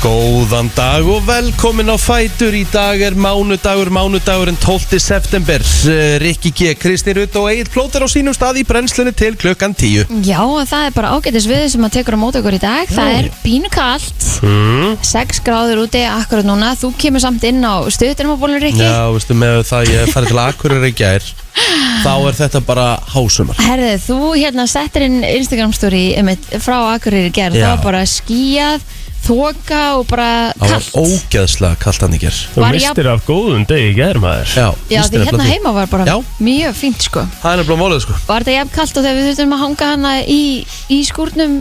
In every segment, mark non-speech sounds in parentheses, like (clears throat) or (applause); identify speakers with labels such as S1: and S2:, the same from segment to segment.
S1: Góðan dag og velkomin á Fætur Í dag er mánudagur, mánudagurinn 12. september Eh, Rikki G, Kristi Rutt og Egil Plóter á sínum stað í brennslunni til klukkan 10
S2: Já, og það er bara ágætis við sem að tekur á móti okkur í dag Það er pínu kalt
S1: mm.
S2: 6 gráður úti akkurat núna Þú kemur samt inn á stuðutirmabólur, Rikki
S1: Já, veistu, með það ég farið til Akureyri í gær Þá er þetta bara hásumar
S2: Herði, þú hérna settir inn Instagram story einmitt, frá Akureyri í gerð
S1: Já.
S2: Það var bara skíjað, þoka og bara
S1: Það var
S2: kalt
S1: ógeðslega kallt hann í gær
S3: Þú
S2: Var jafn-
S3: mistir af góðum degi í gær maður
S1: Já,
S2: Já,
S1: víst er
S2: því
S1: nefnilega
S2: hérna heima var bara
S1: Já.
S2: mjög fínt sko
S1: Það er nefnilega málið sko
S2: Var þetta jafn kalt og þegar við þurftum að hanga hana í, í skúrnum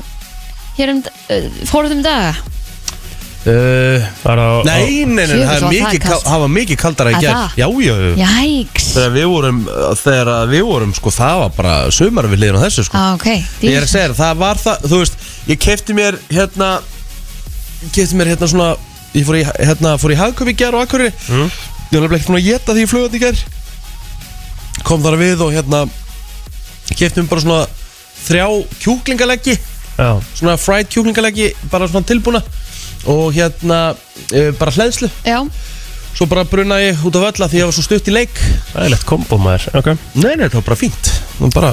S2: hér um, uh, fóruðum daga
S1: uh,
S3: Var á,
S1: Nei, nei, nei,
S2: Jöfull,
S1: það, er
S2: var það
S1: mikið,
S2: kalt.
S1: kal- það var mikið kaldara í
S2: Að
S1: gær
S2: það?
S1: Já, já, já
S2: Jæks
S1: Þegar við vorum, þegar að við vorum, sko, það var bara sumar við liðin á þessu, sko
S2: ah, ok,
S1: Ég er að segja þér, það var það, þú veist, ég kefti mér hérna ég Kefti mér hérna svona, ég fór í, hérna, fór í hagköp í gær og akkurri
S3: Mm.
S1: Ég var nefnilega ekki búin að geta því ég flugandi í gær Kom þar við og hérna Kefti mér bara svona þrjá kjúklingaleggi
S3: Já,
S1: Svona fried kjúklingaleggi, bara svona tilbúna Og hérna, e, bara hleðslu
S2: Já,
S1: Svo bara bruna ég út af öll að því ég var svo stutt í leik
S3: það er lett kombo maður Ok,
S1: Nei, nei, það var bara fínt Það var bara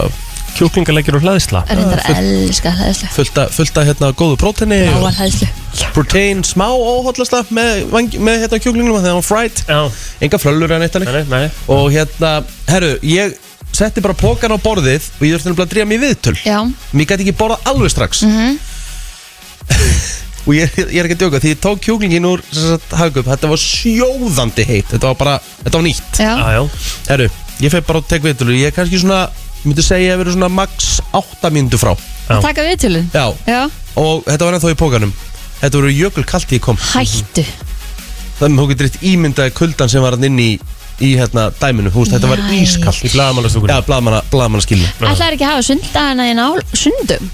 S3: kjúklingalegjur og hlæðisla
S2: reyndar elska hlæðslu
S1: fullt af, fullt af hérna góðu próteini
S2: Bláa
S1: og
S2: hlæðslu
S1: protein smá óhollasta með, vang- með hérna kjúklingnum af því að hann var fried
S3: Já,
S1: enga flöllur en eitt hannig
S3: nei, nei
S1: og hérna, herru, ég setti bara pókan á borðið og ég þurfti nefnilega að dríja mig í viðtöl
S2: Já,
S1: mér gæti ekki borðað alveg strax
S2: Mhm.
S1: (laughs) og ég, ég er ekki að djóka því ég tók kjúklingin úr hagup, þetta var sjóðandi heitt þetta var bara, þetta var nýtt
S2: já,
S3: Ah, Já, já,
S1: herru, ég feg bara að tek viðtöl og ég er kannski svona, myndi segja að vera svona max 8 mínútu frá
S3: Já.
S2: taka við tilun
S1: já,
S2: Já,
S1: og þetta var ennþá í pókanum Þetta voru jökul kallt í kom
S2: hættu
S1: Það er mjög getur eitt ímyndaði kuldan sem var hann inn í, í hérna, dæminu Þú veist, Þetta var
S2: Jæks.
S1: ískallt
S3: í blagamannastúkunni
S1: Já, blaðmanna skilni
S2: Ætlaðir Mhm. ekki að hafa sundagana í nál sundum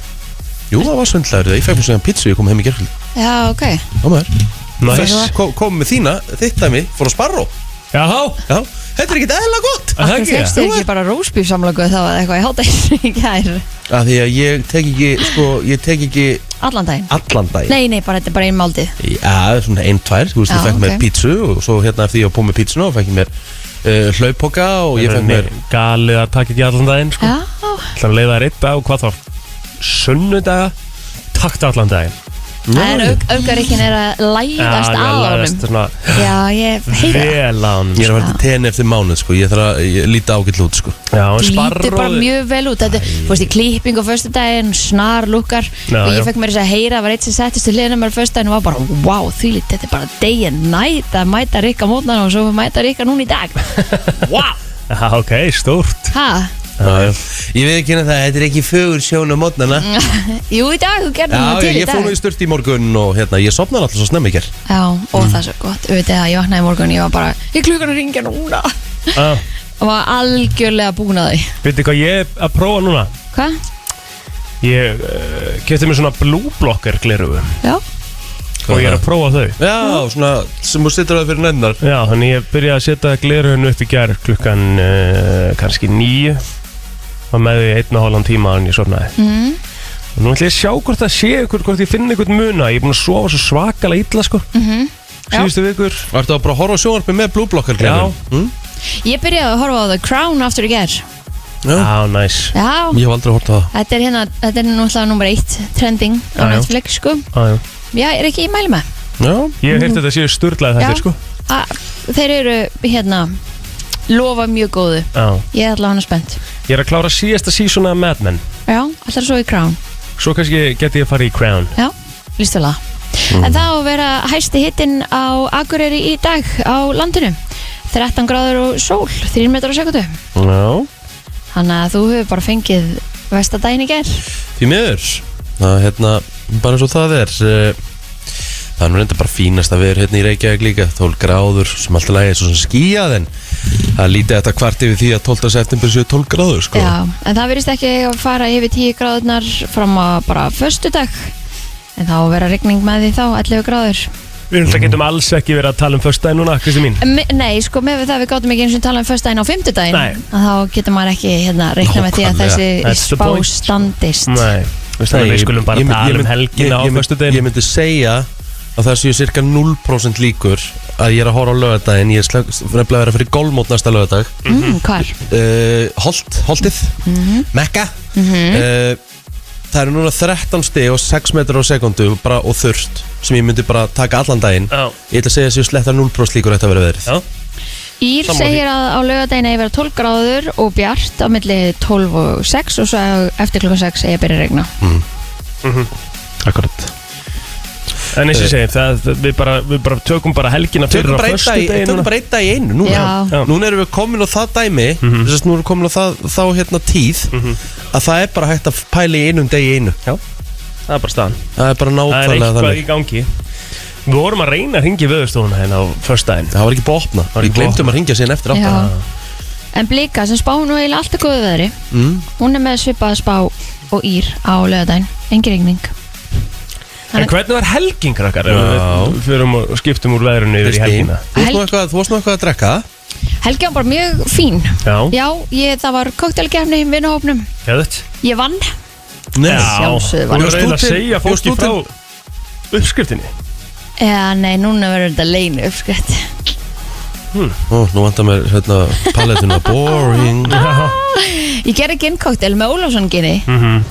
S1: Jú, það var söndlaður það, ég fekk mér svona pizza Ég kom heim í gerkvöld
S2: Já, ok
S3: Næs
S1: kom, kom með þína, þitt dæmi, fór á sparró
S3: Jáhá,
S1: Já, þetta er ekkert eðla gott
S3: það
S2: Þú
S3: ekki
S2: fegst þér ekki bara rósbýfsamlöku þá eða eitthvað í hátægir í gær
S1: Af því að ég tek ekki, sko, ég tek ekki
S2: Allan daginn
S1: allan daginn
S2: Nei, nei, bara þetta er bara einn máldið
S1: Já, svona einn, tvær, þú veist, ég
S2: Já,
S1: fekk mér
S2: ok.
S1: pítsu og svo hérna eftir ég var búið með pítsuna og fekk ég mér uh, hlaupoka og ég fekk mér
S3: Galið að taka ekki allan daginn sko.
S2: Já,
S3: Þannig að leiða þær eitt dag og hvað þá Sunnudaga, takta allan daginn
S2: það er aukarikinn er að læðast á honum
S3: svona
S2: Já, ég heita
S3: vel á sko. honum
S1: Ég er að vera til tenni eftir mánuð sko, ég þarf að ég líti ágætt lút sko
S3: Já, en
S2: Lítur bara
S3: sparróður-
S2: mjög vel út Þetta, þú veist, í klippingu á föstudaginn, snar lukkar
S3: Já,
S2: og ég
S3: já.
S2: fekk mér þess að heyra, það var eitt sem settist til hliðina mér á föstudaginn og var bara, wow, þvílít, þetta er bara day and night að mæta Rikka mótnana og svo mæta Rikka núna í dag Wow!
S3: Já, ok,
S2: (laughs)
S3: stórt
S2: Ha?
S3: Já, já.
S1: Ég veit ekki hérna það, þetta er ekki fögur sjón á mótnana
S3: Mm,
S2: Jú, í dag, þú gerði
S1: Já,
S2: það til
S1: ég,
S2: í
S1: ég fór
S2: dag
S1: nú í sturt í morgun og hérna, ég sopnaði alltaf svo snemmi í ger
S2: Já, og það er svo gott, auðvitað að ég vaknaði í morgun ég var bara, ég klukkan að ringja núna
S3: Já,
S2: og var algjörlega búin að því
S3: Ah, Veitir hvað ég er að prófa núna?
S2: Hva?
S3: Ég uh, kefti mér svona blue blocker glerugu
S2: Já,
S3: og ég er að prófa þau
S1: Já, svona sem þú sittur það fyrir nennar
S3: Já, þannig ég byrjaði að setja glerugun upp í gær klukkan uh, kannski nýju og með því einn og hálfan tíma en ég sofnaði
S2: mm.
S3: og nú ætlum ég að sjá hvort það sé ykkur, hvort ég finn ykkur muna ég er búin að sofa svo svakalega illa sko
S2: Mhm. Já.
S3: síðustu vikur
S1: Vartu að bara að horfa á sjónarpi með blúblokkar
S3: Já,
S1: mm?
S2: ég byrjaði að horfa á The Crown aftur í ger
S1: Já,
S3: já, næs
S2: Já,
S1: ég hef aldrei hort á það
S2: Þetta er hérna, þetta er náttúrulega nummer eitt trending á
S3: Já, já.
S2: Netflix sko
S3: Já, já.
S2: Já, er ekki í mæli með
S1: Já,
S3: Ég hef heyrt að þetta séu
S2: Mhm.
S3: sturlaði
S2: Já.
S3: þetta sko
S2: A, Þeir eru hérna lofa mjög góðu
S3: Já
S2: Ég er allavega hana spennt
S3: Ég er að klára síðasta sísona af Mad Men
S2: Já, allar svo í Crown
S3: Svo kannski geti ég að fara í Crown
S2: Já, lístu alveg En það á að vera hæsti hittin á Akureyri í dag á landinu 13 gráður og sól, 3 metrar á sekundu
S3: Já
S2: Þannig að þú hefur bara fengið vestadaginn í ger
S1: því miður Það hérna, bara eins og það er eh, Það er nú reynda bara fínast að vera hérna í Reykjavík líka 12 gráður sem alltaf lægir svo sem skýjað en það er lítið þetta kvart yfir því að 12. september séu 12 gráður sko
S2: Já, en það verðist ekki að fara yfir 10 gráðunar fram að bara förstu dag en þá vera rigning með því þá 11 gráður
S3: Við mm. getum alls ekki verið að tala um förstæði núna, Kristi mín
S2: M Nei, sko, með við það við gátum ekki eins og tala um förstæðin á
S3: Nei.
S2: fimmtudaginn að þá getur maður ekki hérna reikna með því að þessi
S1: Nákvæmlega.
S3: That's the
S2: spá
S3: point.
S2: standist
S3: Nei, við, Nei, við skulum bara
S1: mynd-
S3: tala um
S1: mynd-
S3: helgina
S1: ég-
S3: á
S1: ég mynd-
S3: föstudeginu
S1: Ég myndi segja að það séu cirka 0% líkur að ég er að horfa á lögadaginn ég er slag- nefnilega að vera fyrir golfmót næsta lögadag
S3: Mhm.
S2: mm, Hvar?
S1: uh, Holt, Holtið Mekka uh, Það eru núna 13 stig og 6 metrar á sekundu og, bara, og þurft sem ég myndi bara taka allan daginn
S3: Já.
S1: Ég ætla að segja að séu sletta 0% líkur að þetta verið verið
S3: Já,
S2: Ír
S3: Sammála
S2: segir að á lögadaginn eigi að vera 12 gráður og bjart á milli 12 og 6 og svo eftir klukkan 6 eigi að byrja að regna
S1: Akkurat
S3: en eins og ég segi, það, það, við, bara, við bara tökum bara helgina fyrir
S1: Tökum
S3: á
S1: bara einn dag í-
S3: föstudaginn
S1: tökum bara einn dag í einu núna
S2: Já.
S3: Já. Mhm.
S1: Núna erum við komin á það dæmi þess að nú erum við komin á það, þá hérna tíð að það er bara hægt að pæla í einum degi í einu
S3: Já, það er bara staðan
S1: Það er bara
S3: Það er
S1: nákvæmlega
S3: eitthvað
S1: þannig
S3: í gangi Við vorum að reyna að ringi viðurstofuna hérna á föstudaginn
S1: Það var ekki búið að opna
S3: var
S1: Við
S3: ekki búið að
S1: glemtum að ringja síðan eftir átta
S2: Já. En blika sem spá nú eiginlega alltaf góðu veðri
S1: Mm.
S2: Hún er með svipað spá og ír á lögadaginn Engi regning
S3: En
S2: Þannig-
S3: hvernig var helgin, krakkar? Ef
S1: Já.
S3: Við fyrir og skiptum úr veðrunni yfir í
S1: Kristín,
S3: helgina
S1: þú varst nú eitthvað- þú varst nú eitthvað að drekka
S2: Helgi var bara mjög fín
S3: Já,
S2: Já, ég, það var koktelgefni í vinahópnum
S3: hefðið
S2: Ég vann
S1: Nei.
S2: Sjálfsögðu
S3: Þú
S2: var
S1: það.
S3: voru eiginlega að
S1: Bjóst þú til-
S3: segja
S1: bjóst þú
S3: fólki frá uppskriftinni
S2: Eða nei, núna verður þetta leinu uppskritt
S1: Ó, nú vantar mér hérna palettuna Boring
S2: Ég gerði ginnkoktel með Ólafsson ginni
S3: Mhm.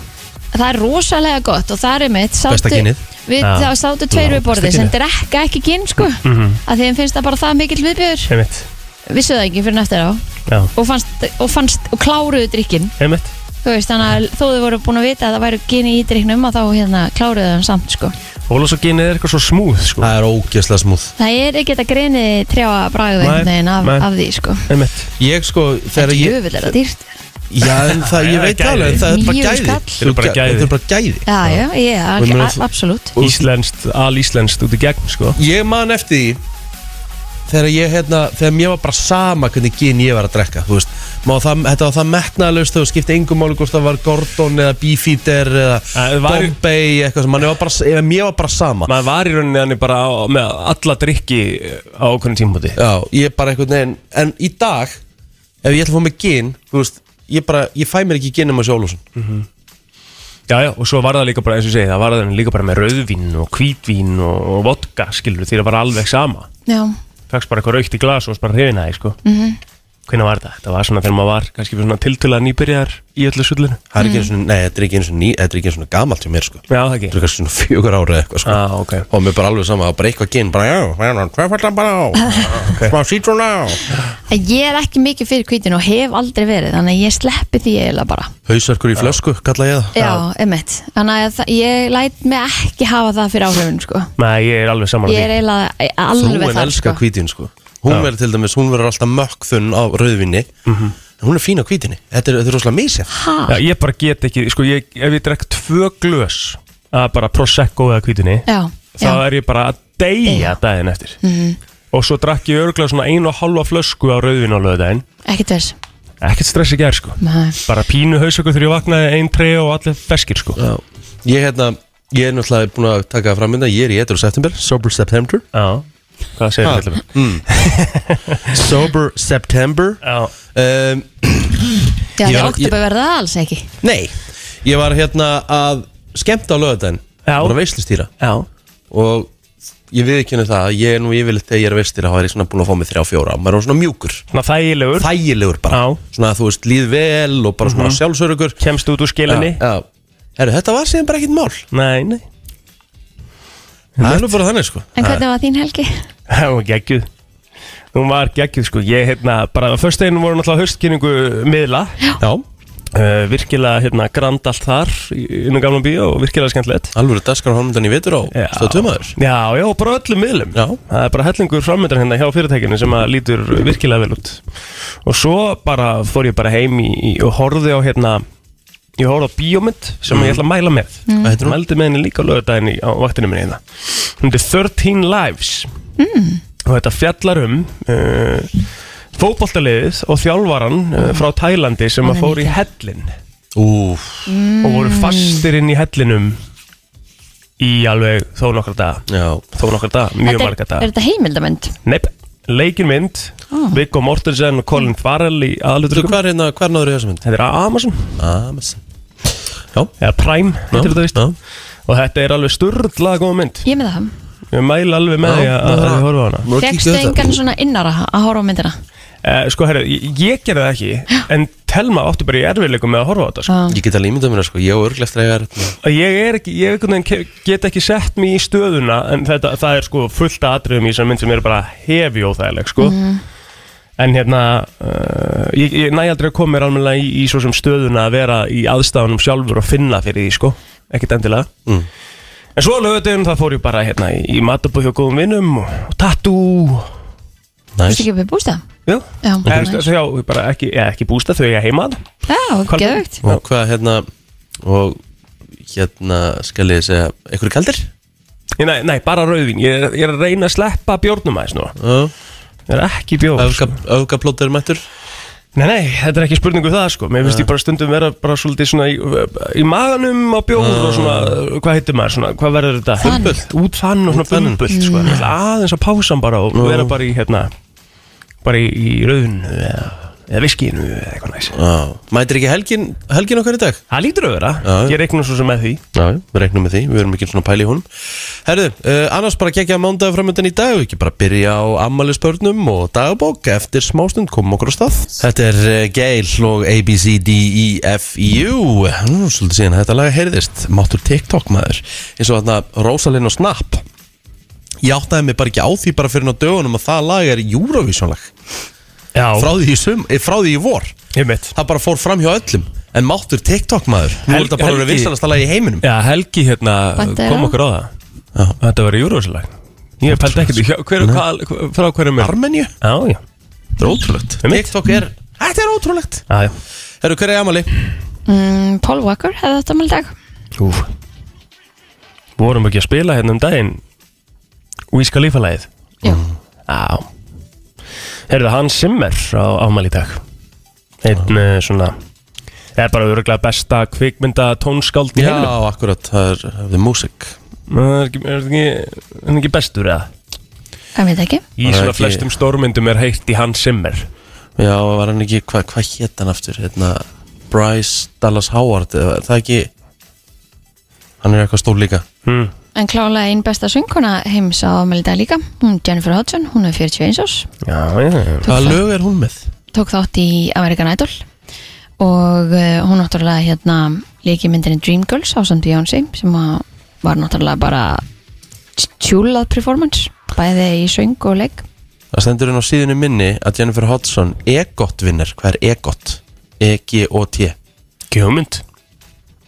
S2: Það er rosalega gott og það er mitt
S1: Besta ginnið.
S2: Við
S3: Já. Mhm.
S2: þá sátu tveir
S1: Já,
S2: við borði
S1: besta
S2: sem
S1: ginnið.
S2: drekka ekki ginn sko að þeim finnst það bara það mikill viðbjör
S3: Einmitt,
S2: Vissu það ekki fyrir eftir á
S3: já,
S2: og fannst og, fannst, og kláruðu drikkin
S3: einmitt
S2: Þú veist, þannig að þó þau voru búin að vita að það væri ginn í driknum að þá hérna kláruðu það samt sko
S3: Ólafsókinni er eitthvað svo smúð, sko
S1: Það er ógeðslega smúð
S2: Það er ekki þetta greinið trjáa bragðu
S3: Nei,
S2: einhvern veginn af,
S3: nei.
S2: af því sko
S3: Einmitt
S1: Ég sko, þegar
S2: Þetta
S1: ég
S2: jöfull er það dýrt
S1: Já, en það, ég
S3: Það er
S1: veit
S3: gæði.
S1: alveg en Það er bara
S2: Níu
S1: gæði
S2: skall.
S1: Þetta er bara
S3: gæði.
S1: Þetta er bara gæði
S2: Já, já, ég,
S1: Og ég meina
S2: al-
S1: þú-
S2: absolutt
S1: Og-
S3: Íslenskt, alíslenskt út í gegn, sko
S1: Ég man eftir því Þegar ég hérna Þegar mér var bara sama hvernig gin ég var að drekka Þú veist Má það, þetta var það metnaðalaust og skipti engum máli hvort það var Gordon eða Beefeater eða
S3: það var-
S1: Bombay eitthvað sem manni var bara, eða mér var bara sama
S3: Maður var í rauninni hann bara á, með alla drikki á okkurinn tímpúti
S1: Já, ég bara eitthvað neginn En í dag, ef ég ætla að fá mig gin Þú veist, ég bara, ég fæ mér ekki gin um að sjálfsson
S3: Já, já, og svo var það líka bara, eins og ég segi, það var það líka bara með rauðvín og hvítvín og, og vodka, skilur, því það var alveg sama
S2: Já,
S3: Fækst bara eitthvað raukt í glas og varst bara hrifin aðeins, sko mm
S2: Mhm.
S3: Hvenær var það? Það var svona þegar maður var kannski svona tiltölulega nýbyrjar í öllu sullinu
S1: Það er ekki eins og, nei, þetta er ekki eins og ný Þetta er ekki eins og gamalt hjá mér, sko
S3: Já, það
S1: Þetta
S3: ekki
S1: er kannski svona fjögur ára eða eitthvað, sko
S3: ah, ok
S1: Og mér bara alveg sama, bara eitthvað gin Bara, já, hérna, tvöfaldan bara (laughs) á Smá sítrún á
S2: en ég er ekki mikið fyrir kvítin og hef aldrei verið þannig að ég sleppi því eiginlega bara
S1: Hausverkur í flösku, kalla ég það
S2: Já, emitt Þannig að það- ég læt mig ekki hafa það fyrir áhrifun sko.
S3: Nei, ég er alveg saman
S2: Ég er eiginlega alveg
S1: Hún
S2: þar
S1: elskar
S2: sko.
S1: sko. hvítin sko Hún
S3: Já.
S1: verður til dæmis, hún verður alltaf mökkþunn á rauðvinni En hún er fín á hvítinni Þetta er, þetta er rosalega misjaf
S2: Ha?
S3: Já, ég bara get ekki, sko, ég, ef ég drekk tvö glös að bara Prosecco eða kvítinni
S2: Já,
S3: þá
S2: já, Mhm.
S3: er ég bara að deyja daginn eftir og svo drakk ég örglega svona einu og halva flösku á rauðvin á löðdæðin
S2: ekkert vers
S3: ekkert stress ekki er sko
S2: Nei.
S3: bara pínu hausöku þegar ég vaknaði ein trei og allir feskir sko
S1: Já. Ég hérna, ég er náttúrulega búin að taka fram mynda Ég er í Edru september, sober september
S3: Já, hvað segir
S1: Ha.
S3: þetta?
S1: Sober (laughs) september
S3: Já,
S1: um,
S2: Já,
S1: Ég
S2: því
S1: var-
S2: oktober verður það alls ekki
S1: Nei, ég var hérna að skemmta á löðan
S3: Já.
S1: Bara veislustýra
S3: já,
S1: Og ég viðkynna það að Ég er nú yfirleitt þegar ég er veistýra Há er ég svona búin að fá mig þrjá fjóra Maður er svona mjúkur
S3: svona þægilegur
S1: þægilegur bara
S3: Já. Mhm.
S1: svona að þú veist líð vel og bara svona sjálfsörugur
S3: kemst út úr skilinni
S1: já. Herru, þetta var síðan bara ekkit mál
S3: Nei, nei, (laughs)
S1: það er nú bara þannig sko
S2: En hvernig var þín helgi?
S3: það var geggjuð Hún var geggjuð sko, ég hérna bara að föstudaginn voru náttúrulega haustkynningu miðla
S1: já,
S3: uh, virkilega hérna grand allt þar í- inn á gamla bíó og virkilega skemmtilegt
S1: alveg daskar hálfmyndan í vitur á
S3: Já.
S1: stöð tömaður
S3: Já, já, bara á öllum miðlum
S1: Já.
S3: Það er bara hellingur framöndan hérna hjá fyrirtækinu sem að lítur virkilega vel út Og svo bara fór ég bara heim í, í, og horfði á hérna Ég horfði á bíómynd sem ég ætla að mæla með
S1: Mm. Hvað heitir hún?
S3: Mældi með henni líka lögudaginn í- á vaktinu minni hérna Hún er 13 Lives mm. Og þetta fjallar um uh, Fótboltaliðið og þjálfaran
S1: Mm.
S3: uh, frá Tælandi sem að fór í hellin
S1: úf,
S3: og voru
S1: Mm.
S3: fastir inn í hellinum í alveg þó nokkra daga
S1: já
S3: þó nokkra daga, mjög
S2: Þetta
S3: marga
S2: er, er
S3: daga
S2: þetta heimildamönd?
S3: Neip, leikin mynd
S2: Ah.
S3: Viggo Mortensen og Colin Farrell í
S1: Þú,
S3: aðlutrygum
S1: hvað er hérna, hvað er náður í þessu mynd? Ah,
S3: Þetta er á Amazon,
S1: Amazon
S3: eða Prime heitir þetta víst
S1: já.
S3: og þetta er alveg sturðlega góð mynd
S2: Ég er með það
S3: Ég mæla alveg með
S1: Já,
S3: því
S1: maður
S3: að að
S1: þarf að-
S3: ég horfa á hana
S1: Nú
S2: Fekstu
S1: kíktu á þetta.
S2: engan svona innara að horfa á myndina?
S3: Eh, Sko, herru, ég, ég gerði það ekki En Telma átti bara í erfiðleikum með að horfa á þetta sko.
S2: Já.
S1: Ég get alveg ímyndað mér það, sko, ég og örglega eftir að ég er
S3: Að Ég er ekki, ég einhvern veginn ke- get ekki sett mér í stöðuna En þetta, það er sko fullt af atriðum í þessari mynd sem eru bara hefi óþægileg sko.
S2: Mhm.
S3: En hérna, uh, ég, ég næ aldrei að koma mér alveg í, í svo sem stöðuna að vera í aðstafanum sjálfur og finna fyrir því sko Ekkert endilega
S1: Mm.
S3: En svo á lögutum það fór ég bara hérna í, í matabóð hjá góðum vinnum og, og tattoo
S2: Þú
S1: Næs
S2: veist ekki við bústað?
S3: Já,
S2: Já,
S3: Eða,
S2: nice.
S3: þú veist, já, bara ekki, eða, ekki bústa þau eiga heima þarna.
S2: já,
S3: Hvalba.
S2: geðvögt
S1: Og hvað hérna Og hérna skal ég segja Ekkur kaldir?
S3: Ég- Nei, nei, bara rauðvín, ég er, ég er að reyna að sleppa bjórnum aðeins nú
S1: Já
S3: Ég er ekki bjór sko.
S1: Öfgaplótið er mættur
S3: Nei, nei, þetta er ekki spurningu það sko Mér finnst ég bara stundum vera bara svolítið svona í, í maganum á bjór og svona Hvað heitir maður svona, hvað verður þetta?
S2: Þann.
S1: Bumbult.
S3: Út þann og svona
S1: Útþann.
S3: bumbult sko Ég ætla Aðeins að pása hann bara og vera bara í hérna Bara í, í rauðinu eða, eða viskinu eða eitthvað næs
S1: Já Mætir ekki helgin, helgin okkar í dag?
S3: Það lítur að vera,
S1: Já.
S3: ég reikna svo sem með því
S1: Já, já, við regnum með því, við erum ekki svona pæli í húnum Herðu, uh, annars bara kekja að mándagur framöndan í dag og ekki bara byrja á ammælisbörnum og dagbók eftir smástund komum okkur á stað Þetta er uh, Gail og ABCDEFU E Nú, svolítið síðan að þetta laga heyrðist Máttur TikTok maður eins og þarna Rosalyn og Snap Ég áttaði mig bara ekki á því bara fyrir ná dögunum að það lag er Eurovision lag
S3: Já,
S1: frá því, í sum, eh, frá því í vor
S3: ég mitt
S1: Það bara fór fram hjá öllum En máttur TikTok maður Nú er
S3: Helgi-
S1: þetta bara að vera
S3: Helgi-
S1: vinsalasta lag í heiminum
S3: Já, Helgi hérna
S2: Benti á.
S3: kom okkur á það
S1: Já.
S3: Þetta var júrósilag Ég pældi ekkert í hjá- hver, hval, frá hverjum er
S1: Armenju?
S3: Já, já,
S1: Þetta er ótrúlegt
S3: Einmitt.
S1: TikTok er Þetta er ótrúlegt
S3: já, já.
S1: Herru, hver er Amali?
S2: mm, Paul Walker hefði þetta mjög dag
S3: Úf. Vorum ekki að spila hérna um daginn Víska lífalæðið
S2: Já,
S1: Ah.
S3: Já Herðu, hann Simmer á ámæli í dag Einn uh, svona Það er bara örgulega besta kvikmynda tónskáld í
S1: Já,
S3: heiminum
S1: akkurat Það er það er músík
S3: Er ekki- Er það ekki, er það ekki bestur eða?
S2: það veit ekki
S3: Í
S1: Það er
S3: svona
S1: ekki-
S3: flestum stórmyndum er heitt í hann Simmer
S1: Já, var hann ekki Hvað hva hétt hann aftur? Hérna Bryce Dallas Howard eða- Það er ekki Hann er eitthvað stór líka
S3: hmm.
S2: En klálega einn besta söngkona heims á afmæli í dag líka Hún Jennifer Hudson, hún er 41 árs
S3: Já, já, já
S1: Hvaða lög er hún með?
S2: Tók þátt í American Idol Og uh, hún náttúrulega hérna Líki myndinni Dreamgirls á samt Beyoncé Sem að var náttúrulega bara Tjúlað performance Bæði í söng og leik
S1: Það stendur hann á síðinu minni að Jennifer Hodson EGOT vinner Hvað er EGOT? E E-G-O-T
S3: Gjómynd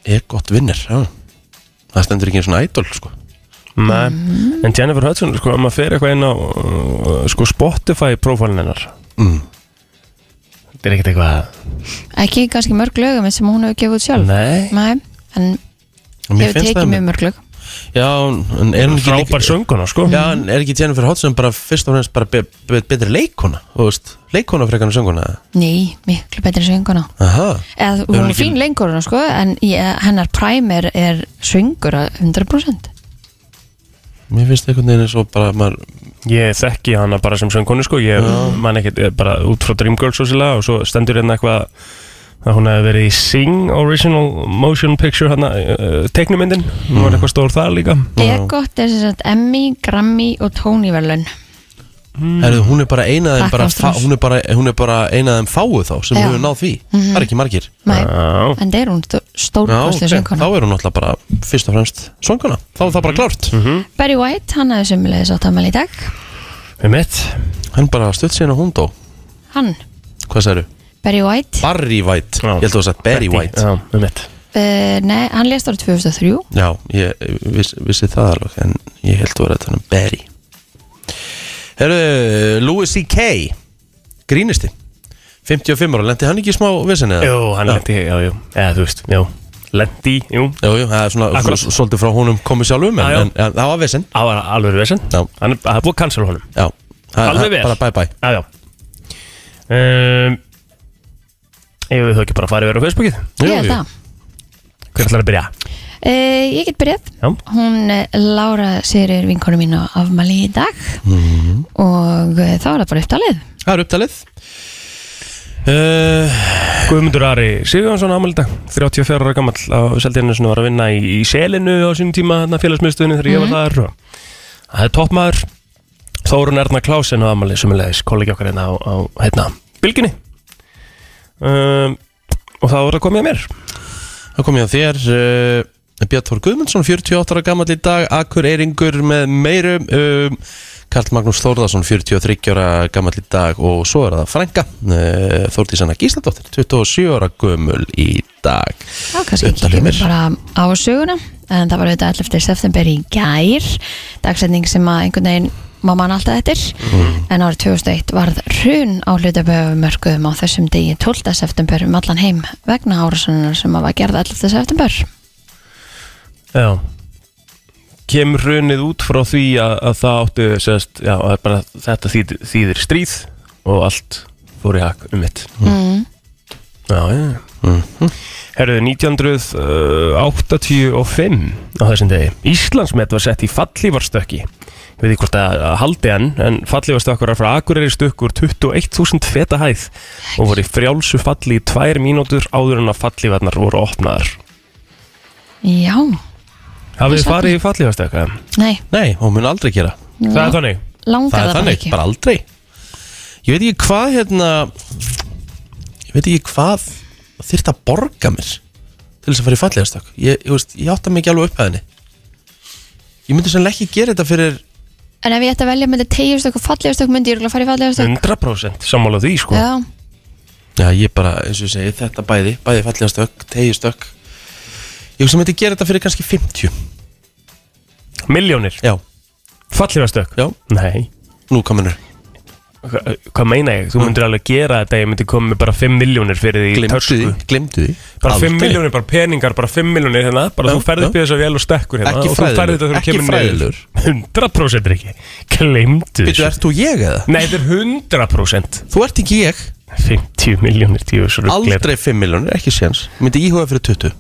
S1: EGOT vinner Já Það stendur ekki eins og idol sko
S3: Nei, en Jennifer Hudson, sko, ef maður fer eitthvað inn á uh, sko, Spotify prófálinn hennar
S1: mm.
S3: Þetta er ekkert eitthvað
S2: Ekki kannski mörg lögum sem hún hefur gefið út sjálf
S3: Nei,
S2: Nei En
S1: Og mér finnst
S2: hefur tekið
S1: það-
S2: mjög mörg lög
S1: Já, en er hún ekki líka-
S3: frábær sönguna, sko
S1: Já, en er ekki Jennifer Hodson bara fyrst og fremst bara be, be, betri leikona, þú veist, leikona frekarna sönguna?
S2: Nei, miklu betri sönguna
S1: Aha,
S2: Eða,
S1: Hefur hún
S2: hún er
S1: ekki-
S2: fín lengur sko, en ég, hennar primer er söngur að 100%
S1: mér finnst einhvern veginn eins og bara maður,
S3: Ég þekki hana bara sem söngunu, sko Ég man ekkert, eh, bara út frá Dreamgirls og sérlega Og svo stendur hérna eitthvað að hún hefði verið í Sing Original Motion Picture hana, uh, teiknumyndin Hún
S1: Mm.
S3: var eitthvað stór þar líka
S2: Egot er sem sagt Emmy, Grammy og Tony verðlun
S1: herðu, hún er bara eina af þeim
S2: Takk,
S1: bara,
S2: Ástrós.
S1: fá- hún er bara, hún er bara eina af þeim fáu þá sem
S2: Já.
S1: hefur náð því, það er ekki margir.
S2: en
S3: Já,
S2: það er hún
S1: Já, ok, þá
S2: stórkostlega okay. sönguna
S1: er hún náttúrulega bara fyrst og fremst sönguna, þá er það bara klárt.
S2: Barry White, hann hefði sömulegis átt afmæli í dag
S3: við Um mitt
S1: Hann bara stutt síðan að hún dó,
S2: hann,
S1: hvað særu?
S2: Barry White
S1: Barry White,
S3: Já.
S1: ég held að þú sagt Barry White.
S3: Já, við mitt
S2: uh, nei, hann lést ára 2003
S1: Já, ég viss, vissi það alveg en ég held að vera þetta um Barry Herru, Louis C.K. Grínisti 55 ára, lendi hann ekki í smá vissinni?
S3: Jú, hann lendi, já, jú Eða, þú veist, jú Lendi, jú
S1: Jú, jú, það er svona,
S3: Akkurat.
S1: svo- svolítið frá honum komið sjálf um en,
S3: Já, já.
S1: en, en það var vissinn
S3: Það var alveg vesend
S1: Já.
S3: Hann er það er búið að cancel honum
S1: Já, það-
S3: Alveg
S1: það- Bara
S3: vel.
S1: bye bye
S3: Já, já um, Ég við þau ekki bara að fara yfir á Facebookið
S2: ég er það
S3: Hver ætlar að byrja?
S2: uh, ég get byrjað
S3: Já,
S2: Hún eh, Lára Sigurður vinkonu mín á afmæli í dag
S1: Mhm.
S2: og eh, þá er það bara upptalið
S1: Það er upptalið uh,
S3: Guðmundur Ari Sigurjónsson ámælda 34 ára gammal á Seldjarnasinu var að vinna í, í selinu á sínum tíma þarna félagsmiðstöðinu þegar ég var þar og Það er toppmaður Þórun Erna Klásen á Amali sem er leiðis kollegi okkar hérna á, á hérna, bylginni um, og það voru að koma í að mér
S1: Það kom ég að þér uh, Björn Þór Guðmundsson, 48 ára gammal í dag Akur Eiringur með meirum um, Karl Magnús Þórðarsson 43 ára gammal í dag og svo er það Franka uh, Þórdísanna Gísladóttir 27 ára gömul í dag
S2: Já, kannski
S1: Undarlegur.
S2: kíkjum við bara á söguna en það var auðvitað 11. september í gær dagsetning sem að einhvern veginn má mann alltaf eftir
S1: Mm.
S2: en árið 2001 varð hrun á hlutaböfumörkuðum á þessum degi 12. september um allan heim vegna árásunar sem að var gerð 11. september
S3: Já Kemur runið út frá því að, að það áttu sérst, já, að bara, þetta þýð, þýðir stríð og allt fór í hak um mitt
S2: mm.
S3: Já, já Mhm. Herðu uh, 1985 á þessum degi Íslandsmet var sett í fallífarstökki Við því hvort að að haldi hann en fallífarstökkur er frá Akureyri stökkur 21.000 feta hæð og voru í frjálsu falli í tvær mínútur áður en að fallífarnar voru opnaðar
S2: Já,
S3: Hafið þið
S2: Þess
S3: farið í fallífarstökka?
S2: nei
S1: Nei, hún mun aldrei gera
S3: Það er þannig
S2: langar
S1: Það
S2: það,
S1: er
S2: bara
S1: þannig,
S2: ekki
S1: bara aldrei Ég veit ekki hvað hérna Ég veit ekki hvað þyrft að borga mér til þess að fara í fallegastök Ég, ég, veist, ég átta mig ekki alveg upp að henni Ég myndi sannlega ekki gera þetta fyrir
S2: En ef ég ætti að velja myndi tegjurstök og fallegurstök myndi ég örugglega fara í
S1: Mm,
S2: fallegurstök
S3: 100% sammála því sko
S2: Já,
S1: Já, ég bara, eins og ég segi, þetta bæði, bæði fallega stökk, tegi stökk Ég hugsa að myndi gera þetta fyrir kannski 50
S3: Miljónir,
S1: Já,
S3: fallífastök
S1: já,
S3: Nei,
S1: nú kominur
S3: Hva, hvað meina ég? Þú myndir alveg gera þetta, ég myndi koma með bara 5 miljónir fyrir því í
S1: Glimtu
S3: törsku.
S1: því, glimtu því
S3: Bara 5
S1: Aldrei.
S3: miljónir, bara peningar, bara 5 miljónir hérna Bara
S1: Já,
S3: þú ferði upp í
S1: já.
S3: þess að vel og stekkur hérna
S1: Ekki
S3: og þú ferð
S1: fræðilegur,
S3: þetta þegar þú
S1: ekki
S3: kemur niður. 100% er ekki, glemdu
S1: Býtu, ert þú ég eða?
S3: Nei, þetta er 100%
S1: Þú ert ekki ég,
S3: 50 miljónir tíu svo rugglir
S1: aldrei 5 miljónir, ekki séns Myndi íhuga fyrir 20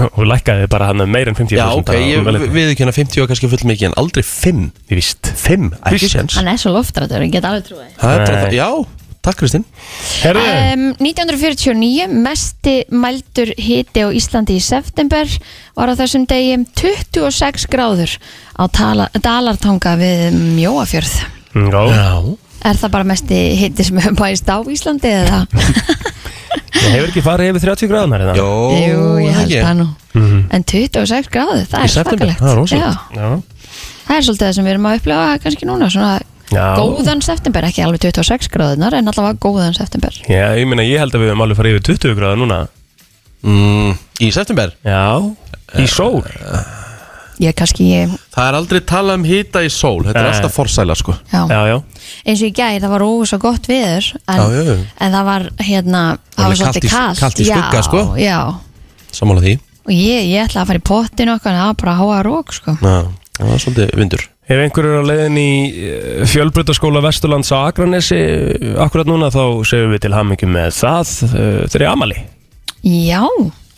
S3: Og lækkaði bara hann meir en 50%
S1: Já, ok, ég við ekki hérna 50 og kannski full mikið en aldrei 5
S3: Ég víst
S1: 5, ekki
S3: Víst.
S1: séns
S2: hann er svo loftrættur, ég get alveg trúið
S1: Það er bara
S3: Nei.
S1: það- Já, takk Kristinn
S3: Herðu,
S2: Um, 1949, mesti mældur hiti á Íslandi í september var á þessum degi 26 gráður á tala, Dalartanga við Mjóafjörð.
S3: Mm, já,
S1: Já
S2: Er það bara mesti hiti sem hefur bæðist á Íslandi eða?
S3: ég hefur ekki farið yfir 30 gráðunar hérna
S1: Jó,
S2: Jú, ég held
S1: ekki. Mhm.
S2: það nú. En 26 gráður, það
S1: Í
S2: er
S1: september,
S2: svakalegt.
S1: það er rosalegt.
S2: Já,
S3: Já,
S2: það er svolítið það sem við erum að upplifa kannski núna, svona
S3: Já.
S2: góðan september, ekki alveg 26 gráðunar en allavega góðan september.
S3: Já, ég meina, ég held að við höfum alveg farið yfir 20 gráða núna
S1: mm, Í september
S3: Já, í sól
S2: Ég kannski, ég,
S1: Það er aldrei talað um hita í sól Þetta er
S3: Nei.
S1: alltaf forsæla sko
S2: já.
S3: Já, já,
S2: eins og í gær, það var ósa gott viður en,
S1: Já, já, já.
S2: en það var
S1: Það
S2: hérna það
S1: var
S2: var svolítið
S1: kalt í-
S2: kallt
S1: kalt í skugga,
S2: já,
S1: sko.
S2: já.
S1: Sammála því
S2: og ég, ég ætla að fara í pottin okkar en það var bara að háa rók sko.
S1: Já, Hérna, það er svolítið vindur
S3: Ef einhver er á leiðin í fjölbrutaskóla Vesturlands á Akranesi eh, akkurat núna þá segjum við til hamingjum með það eh, þeirri amali.
S2: já,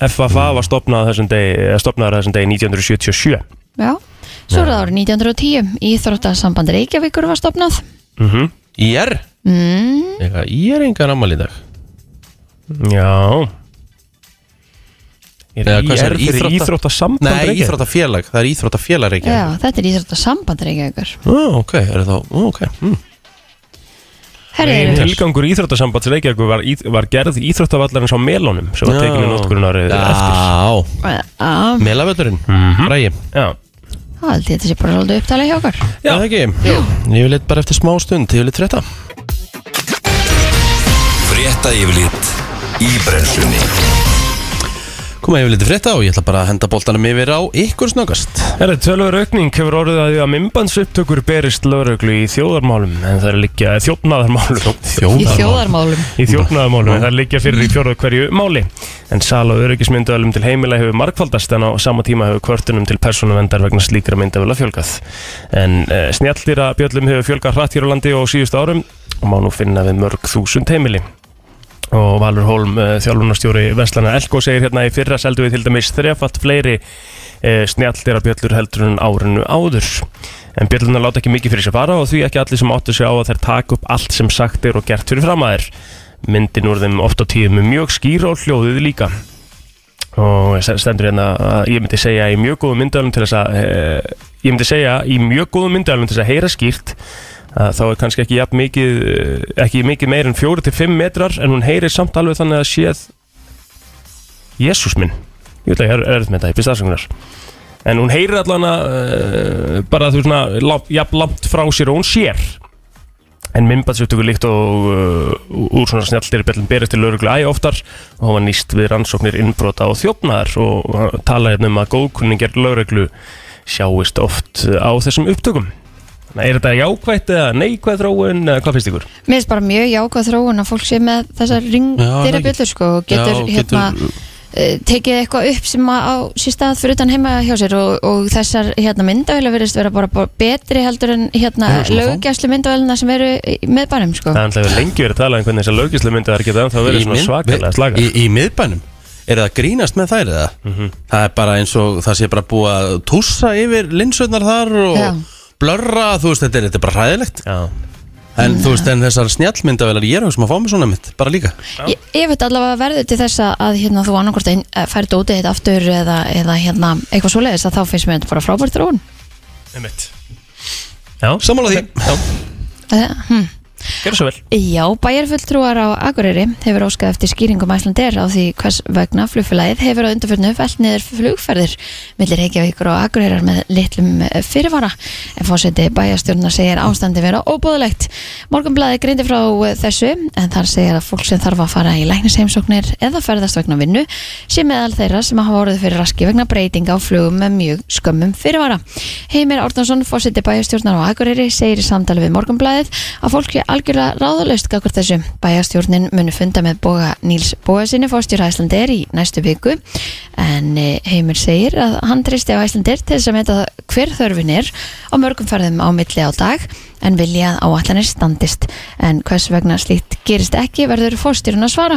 S3: FFA var stopnað þessum degi, eh, stopnaður þessum degi 1977.
S2: já svo er það árið 1910 Íþróttasamband Reykjavíkur var stopnað
S3: Mm
S1: Ír?
S2: mm,
S1: Eitthvað, ég er engan ammali í dag
S3: Já. Er
S1: Eða, hvað
S3: IR
S1: segir,
S3: fyrir
S1: íþrótta-
S3: íþróttasamband
S1: Nei,
S3: Reykjavík?
S1: íþróttafélag, það er íþróttafélag ekki
S2: já, þetta er Íþróttasamband Reykjavíkur
S1: Ó, ok, er það, ó, ok mm.
S3: Megin
S2: herriður,
S3: Tilgangur íþróttasambands Reykjavíkur var, íþ- var gerð íþróttavallarins á melónum sem var tekinu nótkurinn árið eftir.
S1: Já,
S2: það
S1: melavöllurinn, rægi
S3: Já.
S2: held ég að þetta sé bara svolítið upptalið hjá okkar
S1: Já, það ekki Ég vil eitt bara eftir smá stund, ég vil eitt frétta
S4: Frétta yfirlit í brennslunni
S1: Koma, ég vil eitt frétta og ég ætla bara að henda boltanum yfir á ykkur snöggast
S3: Herra, tölvur aukning hefur orðið að því að mymbandsupptökur berist lögreglu í þjóðarmálum en það er líka þjófnaðarmálum
S2: í þjóðarmálum
S3: í þjófnaðarmálum en það er líka fyrir í fjóruð hverju máli en sal og öryggismyndavölum til heimila hefur markfaldast en á sama tíma hefur kvörtunum til persónuvendar vegna slíkra myndavöla fjölgað en uh, snjallýra bjöllum hefur fjölgað hratt hér á landi og síðustu árum og má nú finna við mörg þúsund heimili og Valur Holm, eh, þjálfunarstjóri Veslana Elko segir hérna í fyrra seldu við til dæmis þrefalt fleiri eh, snjalltera bjöllur heldur en árinu áður en bjölluna láta ekki mikið fyrir sér fara og því ekki allir sem áttu sig á að þær taka upp allt sem sagt er og gert fyrir framæðir myndin úr þeim oft á tíðum er mjög skýr og hljóðið líka og stendur hérna að ég myndi segja í mjög góðum myndavölum til þess að eh, ég myndi segja í mjög góðum myndavælum til þess að heyra skýrt að þá er kannski ekki jafn mikið eh, ekki mikið meir en 4-5 metrar en hún heyrir samt alveg þannig að séð Jésús minn ég veit að ég er erð með þetta, ég byrst aðsöngunar en hún heyrir allan að uh, bara þú veist svona lá- jafn langt frá sér og hún sér en myndbatsuttöku líkt og uh, úr svona snjalldiribellum berist til lauruglu æ oftar og hann var nýst við rannsóknir innbrota og þjófnaðar og uh, tala hérna um að góðkunningar lauruglu sjáist oft uh, á þessum upptökum Þannig að Er þetta jákvætt eða neikvætt þróun eða hvað finnst ykkur?
S2: Mér finnst bara mjög jákvæð þróun að fólk sé með þessar
S1: Já,
S2: ringdýra
S1: það
S2: bjöllur sko og getur,
S1: Já,
S2: hérna eh, tekið eitthvað upp sem að á sér stað fyrir utan heima hjá sér og, og þessar hérna myndavæla verðist vera bara, bara betri heldur en hérna
S1: Já, svona þá.
S2: löggæslu myndavælina sem eru í- með bænum sko.
S3: Það er alltaf lengi verið að tala um hvernig þessar lögislu myndi þar geta ennþá verið
S1: Í
S3: svona
S1: mynd-
S3: svakalega
S1: við-
S3: slaga
S1: í, í miðbænum Er það að grínast með þær eða?
S3: Mhm.
S1: Það er bara eins og það sé bara búið að tússa yfir linsutnar þar og
S2: Já.
S1: blörra, þú veist, þetta er, þetta er bara hræðilegt
S3: Já,
S1: En þú veist, en þessar snjallmyndavelar, ég er að hugsa um að fá mig svona mitt, bara líka
S2: Ég, ég veit allavega verður til þess að- að hérna, þú annarkort ein- eh, færð dótið þetta aftur eða, eða hérna, eitthvað svoleiðis að þá finnst mér þetta bara frábært þróun
S3: einmitt Já,
S1: Sammála því
S2: Eh, hm.
S3: gerðu svo vel
S2: Já, bæjarfulltrúar á Akureyri hefur óskað eftir skýringum Æslandeir á því hvers vegna flugfélagið hefur á undanförnu fælt niður flugferðir millir Reykjavíkur og Akureyrar með litlum eh, fyrirvara en fórseti bæjarstjórna segir ástandi vera óbúðulegt. Morgunblæði greindi frá eh, þessu en þar segir að fólk sem þarf að fara í læknisheimsóknir eða ferðast vegna vinnu sé meðal þeirra sem hafa orðið fyrir raski vegna breytinga á flugum með mjög skömmum fyrirvara. Heimir Árnason, fórseti bæjarstjórnar á Akureyri segir í samtali við Morgunblæðið að fólk er algjörlega ráðalaust gagvart þessu. Bæjarstjórnin munu funda með Boga Níls Bóasinni fórstjóra Æslandeir í næstu viku en eh, Heimir segir að hann treysti á Æslandeir til þess að meta hver þörfin er á mörgum ferðum á milli á dag en vilja að áallanir standist en hvers vegna slíkt gerist ekki verður fórstjórun að svara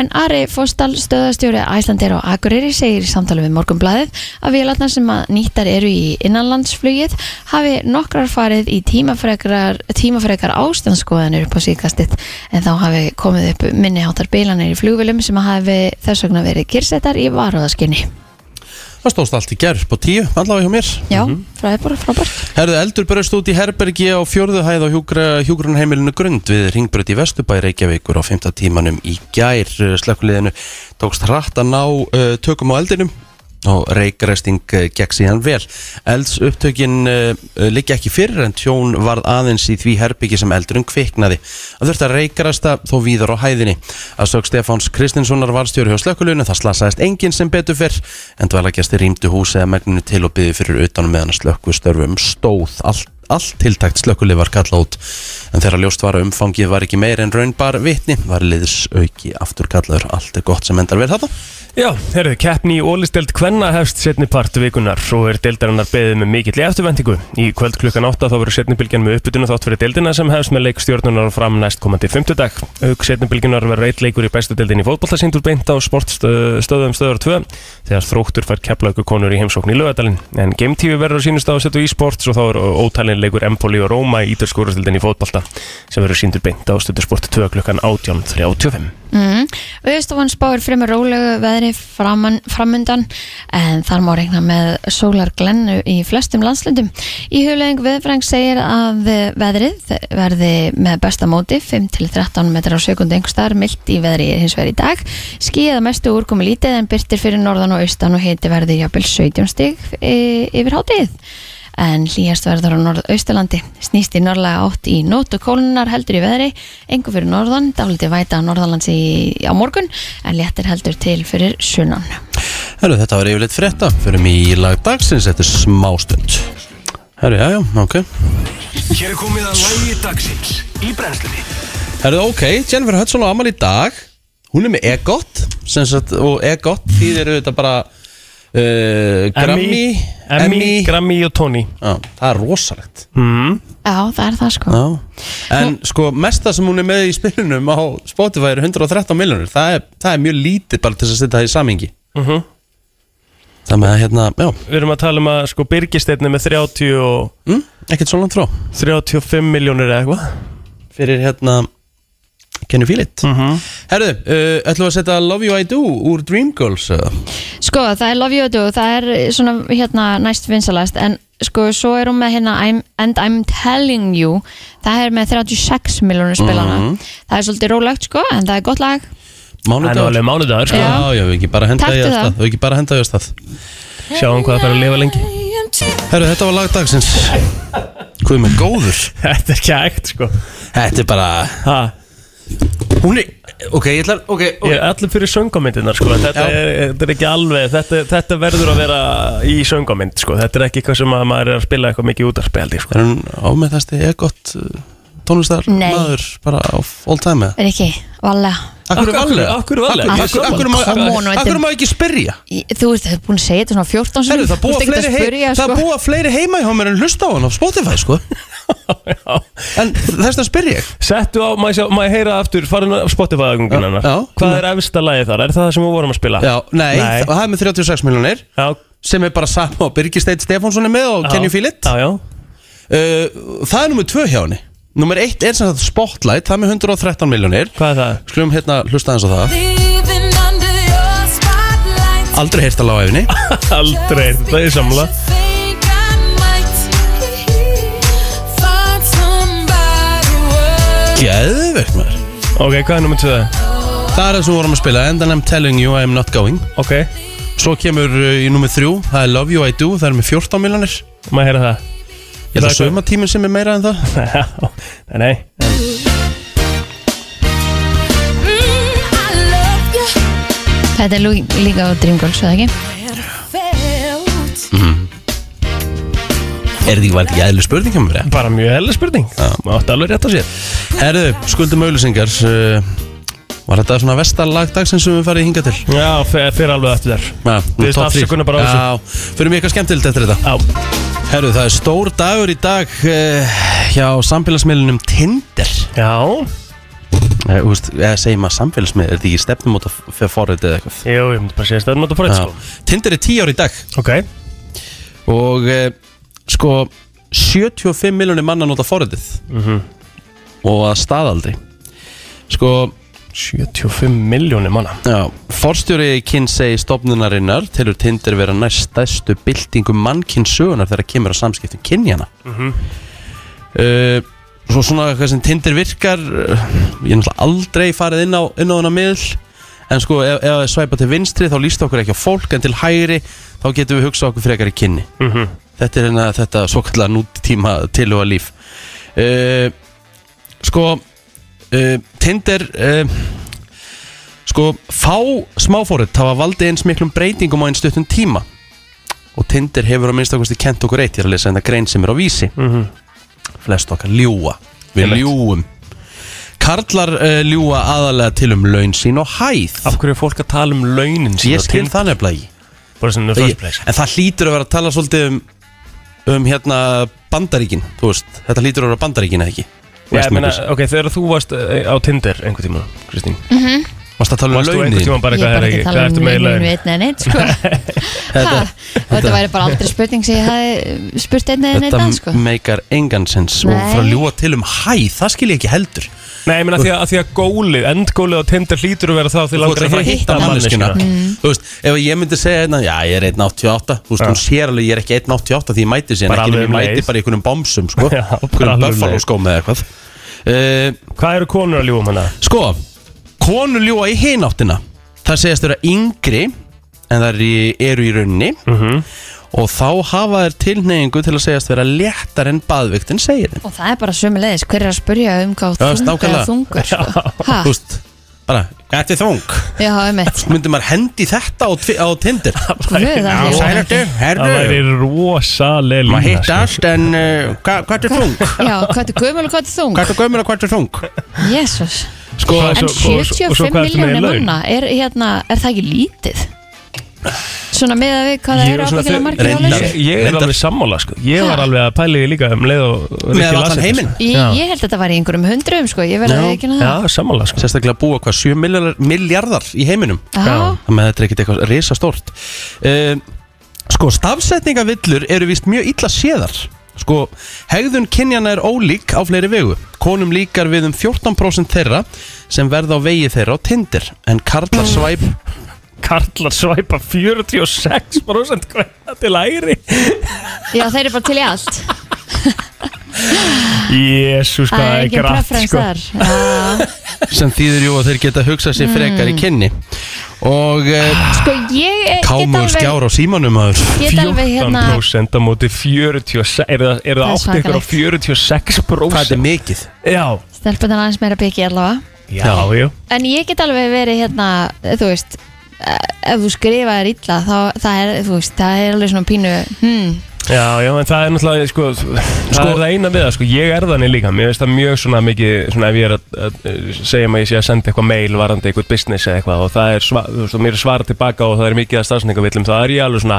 S2: en Ari Fóstal stöðastjóri Æslandeir og Akureyri segir í samtali við Morgunblæðið að vélarnar sem að nýttar eru í innanlandsflugið hafi nokkrar farið í tímafrekar, tímafrekar ástæðanskoðanir upp á síkastitt en þá hafi komið upp minniháttar bilanir í flugvilum sem að hafi þess vegna verið kyrsettar í varúðaskinni.
S1: Það stóðst allt í gerð upp á tíu, allavega hjá mér
S2: Já, mm -hmm. fræðbúr, frábært.
S1: Herðu eldur bröst út í herbergi á fjörðu hæð á hjúgra, hjúgrunheimilinu grund við ringbröð í Vesturbæ Reykjavíkur á 5. tímanum í gær slekkuleginu tókst hratt að ná uh, tökum á eldinum og reykresting uh, gekk síðan vel elds upptökin uh, liggja ekki fyrir en tjón varð aðeins í því herbyggi sem eldurinn kviknaði að þurft að reykresta þó víðar á hæðinni að sög Stefáns Kristinssonar varstjóri hjá slekkuleginu það slasaðist enginn sem betur fyrr en dvelagjastir rýmdu húsið að megninu til og byggði fyrir utanum meðan að slökkvistörfum stóð allt Allt tiltækt slökkulið var kallað út en þegar ljóst var að umfangið var ekki meir en raunbar vitni var liðs auki aftur kallaður allt er gott sem endar vel þetta
S3: Já, herðu, keppni í ólisteld Kvenna hefst setni part vikunar Svo er deildarinnar beðið með mikill eftirvendingu Í kvöld klukkan 8 þá verður setnibilgjan með uppbytuna þátt fyrir deildina sem hefst með leikstjórnunar fram næst komandi fymtudag Auk setnibilgjunar verður eitt leikur í bestu deildin í fótballtasindur beint á sportstöðum stöðar 2 þegar þróttur fær keflaugur konur í heimsókn í lögadalinn En Game TV verður á sínust á setu í sports og þá er ótalinn leikur Empoli og Róma í ítalskórastildin í fótballta sem verður síndur beint á stöðusport 2 klukkan 18.35
S2: Mm. Öðstofan spáir fremur rólegu veðri framan, framundan en þar má reikna með sólar glennu í flestum landslundum. Í hugleðing viðfræng segir að veðrið verði með besta móti 5-13 metrar á sekundu einhverstaðar mildt í veðri hins vegar í dag. Skíða mestu úrkomi lítið en byrtir fyrir norðan og austan og hiti verði jafnvel 17 stig e, yfir hátíð en hlýjast verður á norðaustalandi snýst í norðlega átt í nót og kólunar heldur í veðri, engu fyrir norðan dálítið væta á norðalands í, á morgun en léttir heldur til fyrir sunnan
S1: Herru, þetta var yfirleitt frétta Förum í lag dagsins, þetta er smástund Herru, já, já, ok
S4: Hér er komið að lægi dagsins í brennslunni
S1: Herru, ok, Jennifer Hudson á amal í dag Hún er með EGOT sem sagt, Og EGOT þýðir auðvitað bara uh, Grammy
S3: Emmy, Grammy og Tony
S1: Já, það er rosalegt
S3: Mhm.
S2: Já, það er það sko
S1: Já. En sko, mesta sem hún er með í spilunum á Spotify er 113 miljonur það, er- það er mjög lítið bara til þess að setja það í samingi
S3: Mhm
S1: Það með að hérna, já,
S3: við erum að tala um að sko Birgisteinn er með 30 og
S1: mm, ekkert svo langt frá
S3: 35 miljónir eða eitthvað
S1: Fyrir hérna Can you feel it?
S3: Mm. Mhm.
S1: Herðu, uh, ætlum við að setja Love You I Do úr Dreamgirls uh.
S2: Sko, það er Love You Do, það er svona hérna eh, næst vinsalast en sko, svo er hún með hérna I'm, And I'm Telling You það er með 36 miljónur spilana
S3: Mhm.
S2: það er svolítið rólegt sko, en það er gott lag
S3: Það er nú alveg
S1: Mánudagur
S3: mánudagur sko
S1: Já, já, við ekki bara henda
S2: Taktu
S1: í að
S2: það.
S1: stað Við ekki bara henda í að stað
S3: Sjáum hvað það fær að lifa lengi
S1: Herru, þetta var lagdagsins Hvað með góður?
S3: (laughs) Þetta er ekki hægt sko
S1: Þetta er bara
S3: ha,
S1: Hún er Ok, ég ætlar Ok,
S3: Ég er allir fyrir söngamindirnar sko þetta
S1: Já.
S3: er, þetta er ekki alveg þetta, þetta verður að vera í söngamind sko Þetta er ekki eitthvað sem að maður er að spila eitthvað mikið útarspildi sko
S1: Er hún ámennasti eða gott uh, tónlistar
S2: Nei.
S1: maður bara á all time eða?
S2: er ekki, valega
S1: Akkur er
S3: Akkur-
S1: vallega?
S3: akkur er vallega?
S1: Akkur- akkur- akkur-
S2: Come
S1: akkur-
S2: on,
S1: Akkur er maður ekki spyrja?
S2: Í- þú ert búin að segja þetta svona 14
S1: Herru,
S2: sinni
S1: það búa fleiri hei-
S2: sko.
S1: það búa fleiri heima hjá mér en hlusta á hann á Spotify, sko En þess að spyrja ég
S3: Settu á, maður, sjá, maður heyra aftur farin af Spotify-agungunar hennar.
S1: Já.
S3: Hvað er efsta lagið þar? Er það það sem við vorum að spila?
S1: Já, nei,
S3: Nei.
S1: það er með 36 miljonir
S3: Já,
S1: sem er bara sama og Birgir Steit Stefánsson er með og
S3: já.
S1: Can You Feel It
S3: Já, já
S1: uh, Það er nummið tvö hjá henni Nummið eitt er sem sagt Spotlight, það er með 113 miljonir
S3: Hvað er það?
S1: Skulum hérna hlusta eins á það
S5: Living under your spotlight.
S1: Aldrei heyrt að lága efinni
S3: Aldrei, þetta er samla
S5: Just think I might find somebody worth
S1: Geðvegt maður
S3: Ok, hvað er nummer 2?
S1: Það er það sem við vorum að spila And then I'm telling you I'm not going
S3: Ok,
S1: Svo kemur uh, í nummið þrjú Það er Love You I Do, það er með 14 miljonir
S3: maður heyra það (laughs)
S1: Ég held
S3: Það
S1: að
S3: er
S1: sögum sem er meira en það
S3: Já, nei, nei
S5: Mm, I love you.
S2: þetta er lú- líka á Dream Girls, eða ekki?
S5: Felt.
S1: Er því vært ekki eðlu spurning hjá mér?
S3: Bara mjög hella spurning
S1: Já.
S3: Má átti alveg rétt á sér
S1: Herðu, skuldum auðlýsingar uh, Var þetta svona vestarlag dagsins sem við farið hinga til?
S3: Já, fer, fer alveg eftir þér
S1: Ja,
S3: Biðst afsökunar bara á
S1: þessu Já, fyrir mig eitthvað skemmtilegt eftir þetta
S3: Já,
S1: Herru, það er stór dagur í dag uh, hjá samfélagsmiðlunum Tinder
S3: já
S1: uh, úst, eða segir maður samfélagsmiðl, er þetta ekki stefnum út fyrir forrið eða eitthvað
S3: Jú, ég myndi bara segja stöðum átta fórið sko
S1: Já. Tinder er 10 ár í dag
S3: Ok,
S1: og uh, sko 75 miljonir manna nota forriðið og að staðaldri sko
S3: 75 miljónir manna
S1: Já, forstjóri kynsei stofnunarinnar telur Tinder vera næst stæstu byltingu mannkynnsögunar þegar kemur að samskiptum kynjana uh, Svo svona hvað sem Tinder virkar uh, ég er náttúrulega aldrei farið inn á, inn á hana miðl en sko ef, ef það er svæpa til vinstri þá líst okkur ekki á fólk en til hægri þá getum við hugsað okkur frekar í kynni
S3: Mhm.
S1: Þetta er hérna þetta svo kallar nútíma tilhuga líf uh, Sko uh, Tinder uh, Sko, fá smáfórið hafa valdið eins miklum breytingum á einn stuttum tíma og Tinder hefur á minnst ákvæmst kent okkur eitt, ég er að lesa þetta grein sem er á vísi flest okkar ljúa við
S3: Mhm. Einmitt.
S1: ljúum Karlar uh, ljúa aðalega til um laun sín og hæð
S3: Af hverju er fólk að tala um launin sín
S1: ég
S3: á
S1: skil
S3: Tinder?
S1: það nefnilega í
S3: Bara svona first
S1: Ég-
S3: place
S1: en það hlýtur að vera að tala svolítið um um hérna bandaríkin þú veist, þetta hlýtur að vera bandaríkin eða ekki
S3: Já, ég meina,
S1: Vestmindus.
S3: ok, þegar þú varst eh, á Tinder einhvern tíma, Kristín
S1: varst að tala um
S3: Varst þú
S1: launin
S3: einhvern
S1: þín?
S3: tíma bara
S2: ég
S3: hvað
S2: er
S3: er
S2: bara ekki
S3: ekki,
S2: að
S3: hvað
S2: tala
S3: ertu
S2: um
S3: með í
S2: neinu
S3: laun?
S2: einn eða neitt
S3: (laughs)
S2: sko.
S1: Þetta-
S2: Ha, og þetta væri bara aldrei spurning sem ég hafi spurt einn eða neitt
S1: Þetta
S2: að sko.
S1: meikar engan sens og
S2: Nei.
S1: frá ljúa til um hæð, það skil ég ekki heldur
S3: Nei, ég meina því að, að því að gólið, endgólið á Tinder hlýtur að vera það að því
S1: Þú
S3: langar
S1: ert
S3: að fara að hitta manneskina
S2: Mm.
S1: Þú veist, ef ég myndi segja hérna, já ég er 1.88 Þú veist,
S3: Já.
S1: hún sér alveg ég er ekki 1.88 því ég mæti sér
S3: Bara
S1: ekki, nema
S3: alveg
S1: ég
S3: um
S1: mæti
S3: leið.
S1: bara í einhvernum bámsum sko,
S3: (laughs) Já, bara
S1: einhvernum
S3: alveg um
S1: buffalo
S3: leið.
S1: skóm eða eitthvað uh,
S3: Hvað eru konur að ljúa um hana?
S1: Sko, konur ljúa í hináttina Það segist vera yngri en það eru í, eru í raunni og þá hafa þær tilneyingu til að segjast vera léttar en baðviktin segir þeim
S2: og það er bara sömulegis, hver er að spurja um hvað
S1: Já,
S2: þung-
S1: nákvæmlega.
S2: eða þungur sko.
S1: Þú
S2: Ha,
S1: veist, bara, þetta er þung
S2: já, um eitt
S1: myndi maður hendi þetta á, tvi- á Tinder
S2: Guð, það er
S1: sæl ertu,
S3: Það væri rosalega lína
S1: maður hitt
S3: sko.
S1: allt en uh, hva, hvað er þung?
S2: Já, hvað er gömul og hvað er þung?
S1: hvað er gömur og hvað er þung?
S2: Jésus
S1: sko,
S3: Hvað
S2: En
S3: Svo- og svo- og
S2: 75
S3: svo hvað ertu með í
S2: miljónir
S3: laun?
S2: manna er, hérna, er það ekki lítið? Svona með að við hvað það
S3: Ég
S2: eru
S3: er svona
S2: ábyggilega
S3: þau-
S2: margir á
S1: Reyndar-
S2: lausu
S3: Ég, ég er
S1: Reyndar.
S3: alveg sammála sko Ég var
S2: Ha?
S3: alveg að pæli því líka um leið og Rikki
S1: allan
S3: las þetta,
S1: heiminn?
S3: sko.
S2: Ég,
S3: Já.
S2: ég held að þetta var í einhverjum hundruðum sko, ég verði
S1: Já.
S2: að ekki að
S3: Já,
S2: það
S3: sammála sko
S1: sérstaklega búa hvað 7 milljar- miljardar í heiminum
S2: Já,
S1: þannig að þetta er ekkert eitthvað risastórt uh, sko, stafsetningavillur eru vist mjög illa séðar sko, hegðun kynjana er ólík á fleiri vegu konum líkar við um 14% þeirra sem verða á vegi þeirra á Tinder en karlar svæp
S3: karlar svæpa 46% kvenna til æri
S2: Já, þeir eru bara til í allt
S3: Jésús,
S2: Það
S3: hvað
S2: er
S3: er
S2: ekki
S3: grætt
S2: preference
S3: sko.
S2: þar Já.
S1: sem þýðir jú að þeir geta hugsað sér frekar í kynni og uh,
S2: Sko ég eh, get
S1: kámur
S2: alveg
S1: skjár á símanum maður
S2: Get alveg hérna
S3: 14% á móti 46 Er það,
S2: Það
S3: er það
S2: er
S3: átt ykkur á
S2: svakalegt.
S3: 46%
S1: hvað er mikið?
S3: Já,
S2: Stelpun er aðeins meira byggi allavega
S3: já, já
S2: En ég get alveg verið hérna eh, Þú veist eh, Ef þú skrifaðir illa þá það er, þú veist, það er alveg svona pínu hmm,
S3: Já, já, en það er náttúrulega, sko, það er það eina við það, sko, ég er þannig líka, mér finnst það mjög svona mikið, svona ef ég er að, að, að segja maður ég sé að senda eitthvað mail varandi eitthvað business eða eitthvað og það er, sva, þú veist, og mér er svara tilbaka og það er mikið að stafsningavillum, þá er ég alveg svona,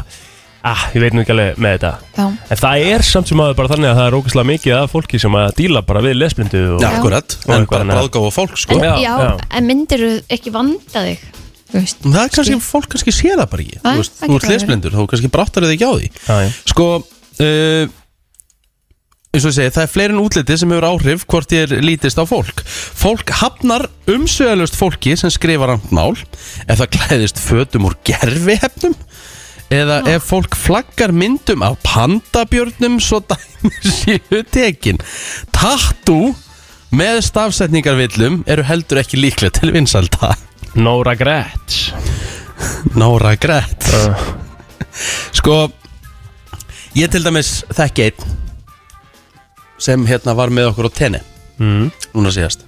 S3: ah, ég veit nú ekki alveg með þetta.
S2: Já,
S3: En það er samt sem aður bara þannig að það er ógeðslega mikið af fólki sem að díla bara við lesblindu og...
S1: Já, akkurat,
S3: Og
S1: en
S3: eitthvað
S1: bara
S3: annað.
S1: bráðgáfa fólk sko
S2: en, já,
S3: Já, já.
S2: en myndir þú ekki vanda þig Þú veist,
S1: það er kannski, fólk kannski sé það bara ekki
S2: Nei,
S1: þú veist, þú
S2: það
S1: ert
S2: getur verið.
S1: lesblindur, þú kannski bráttar þið ekki á því
S3: Já, já.
S1: sko uh, eins og ég segi, það er fleiri en útlitið sem hefur áhrif hvort ég er lítist á fólk fólk hafnar umsvegalust fólki sem skrifar rangt mál ef það klæðist fötum úr gerfihefnum eða ef fólk flaggar myndum af pandabjörnum svo dæmi (laughs) séu tekin tattoo með stafsetningarvillum eru heldur ekki líklega til vinsalda
S3: No regrets.
S1: Nóra Grett
S3: Uh.
S1: (laughs) Sko Ég til dæmis þekki einn sem hérna var með okkur á tenni
S3: Mm.
S1: núna síðast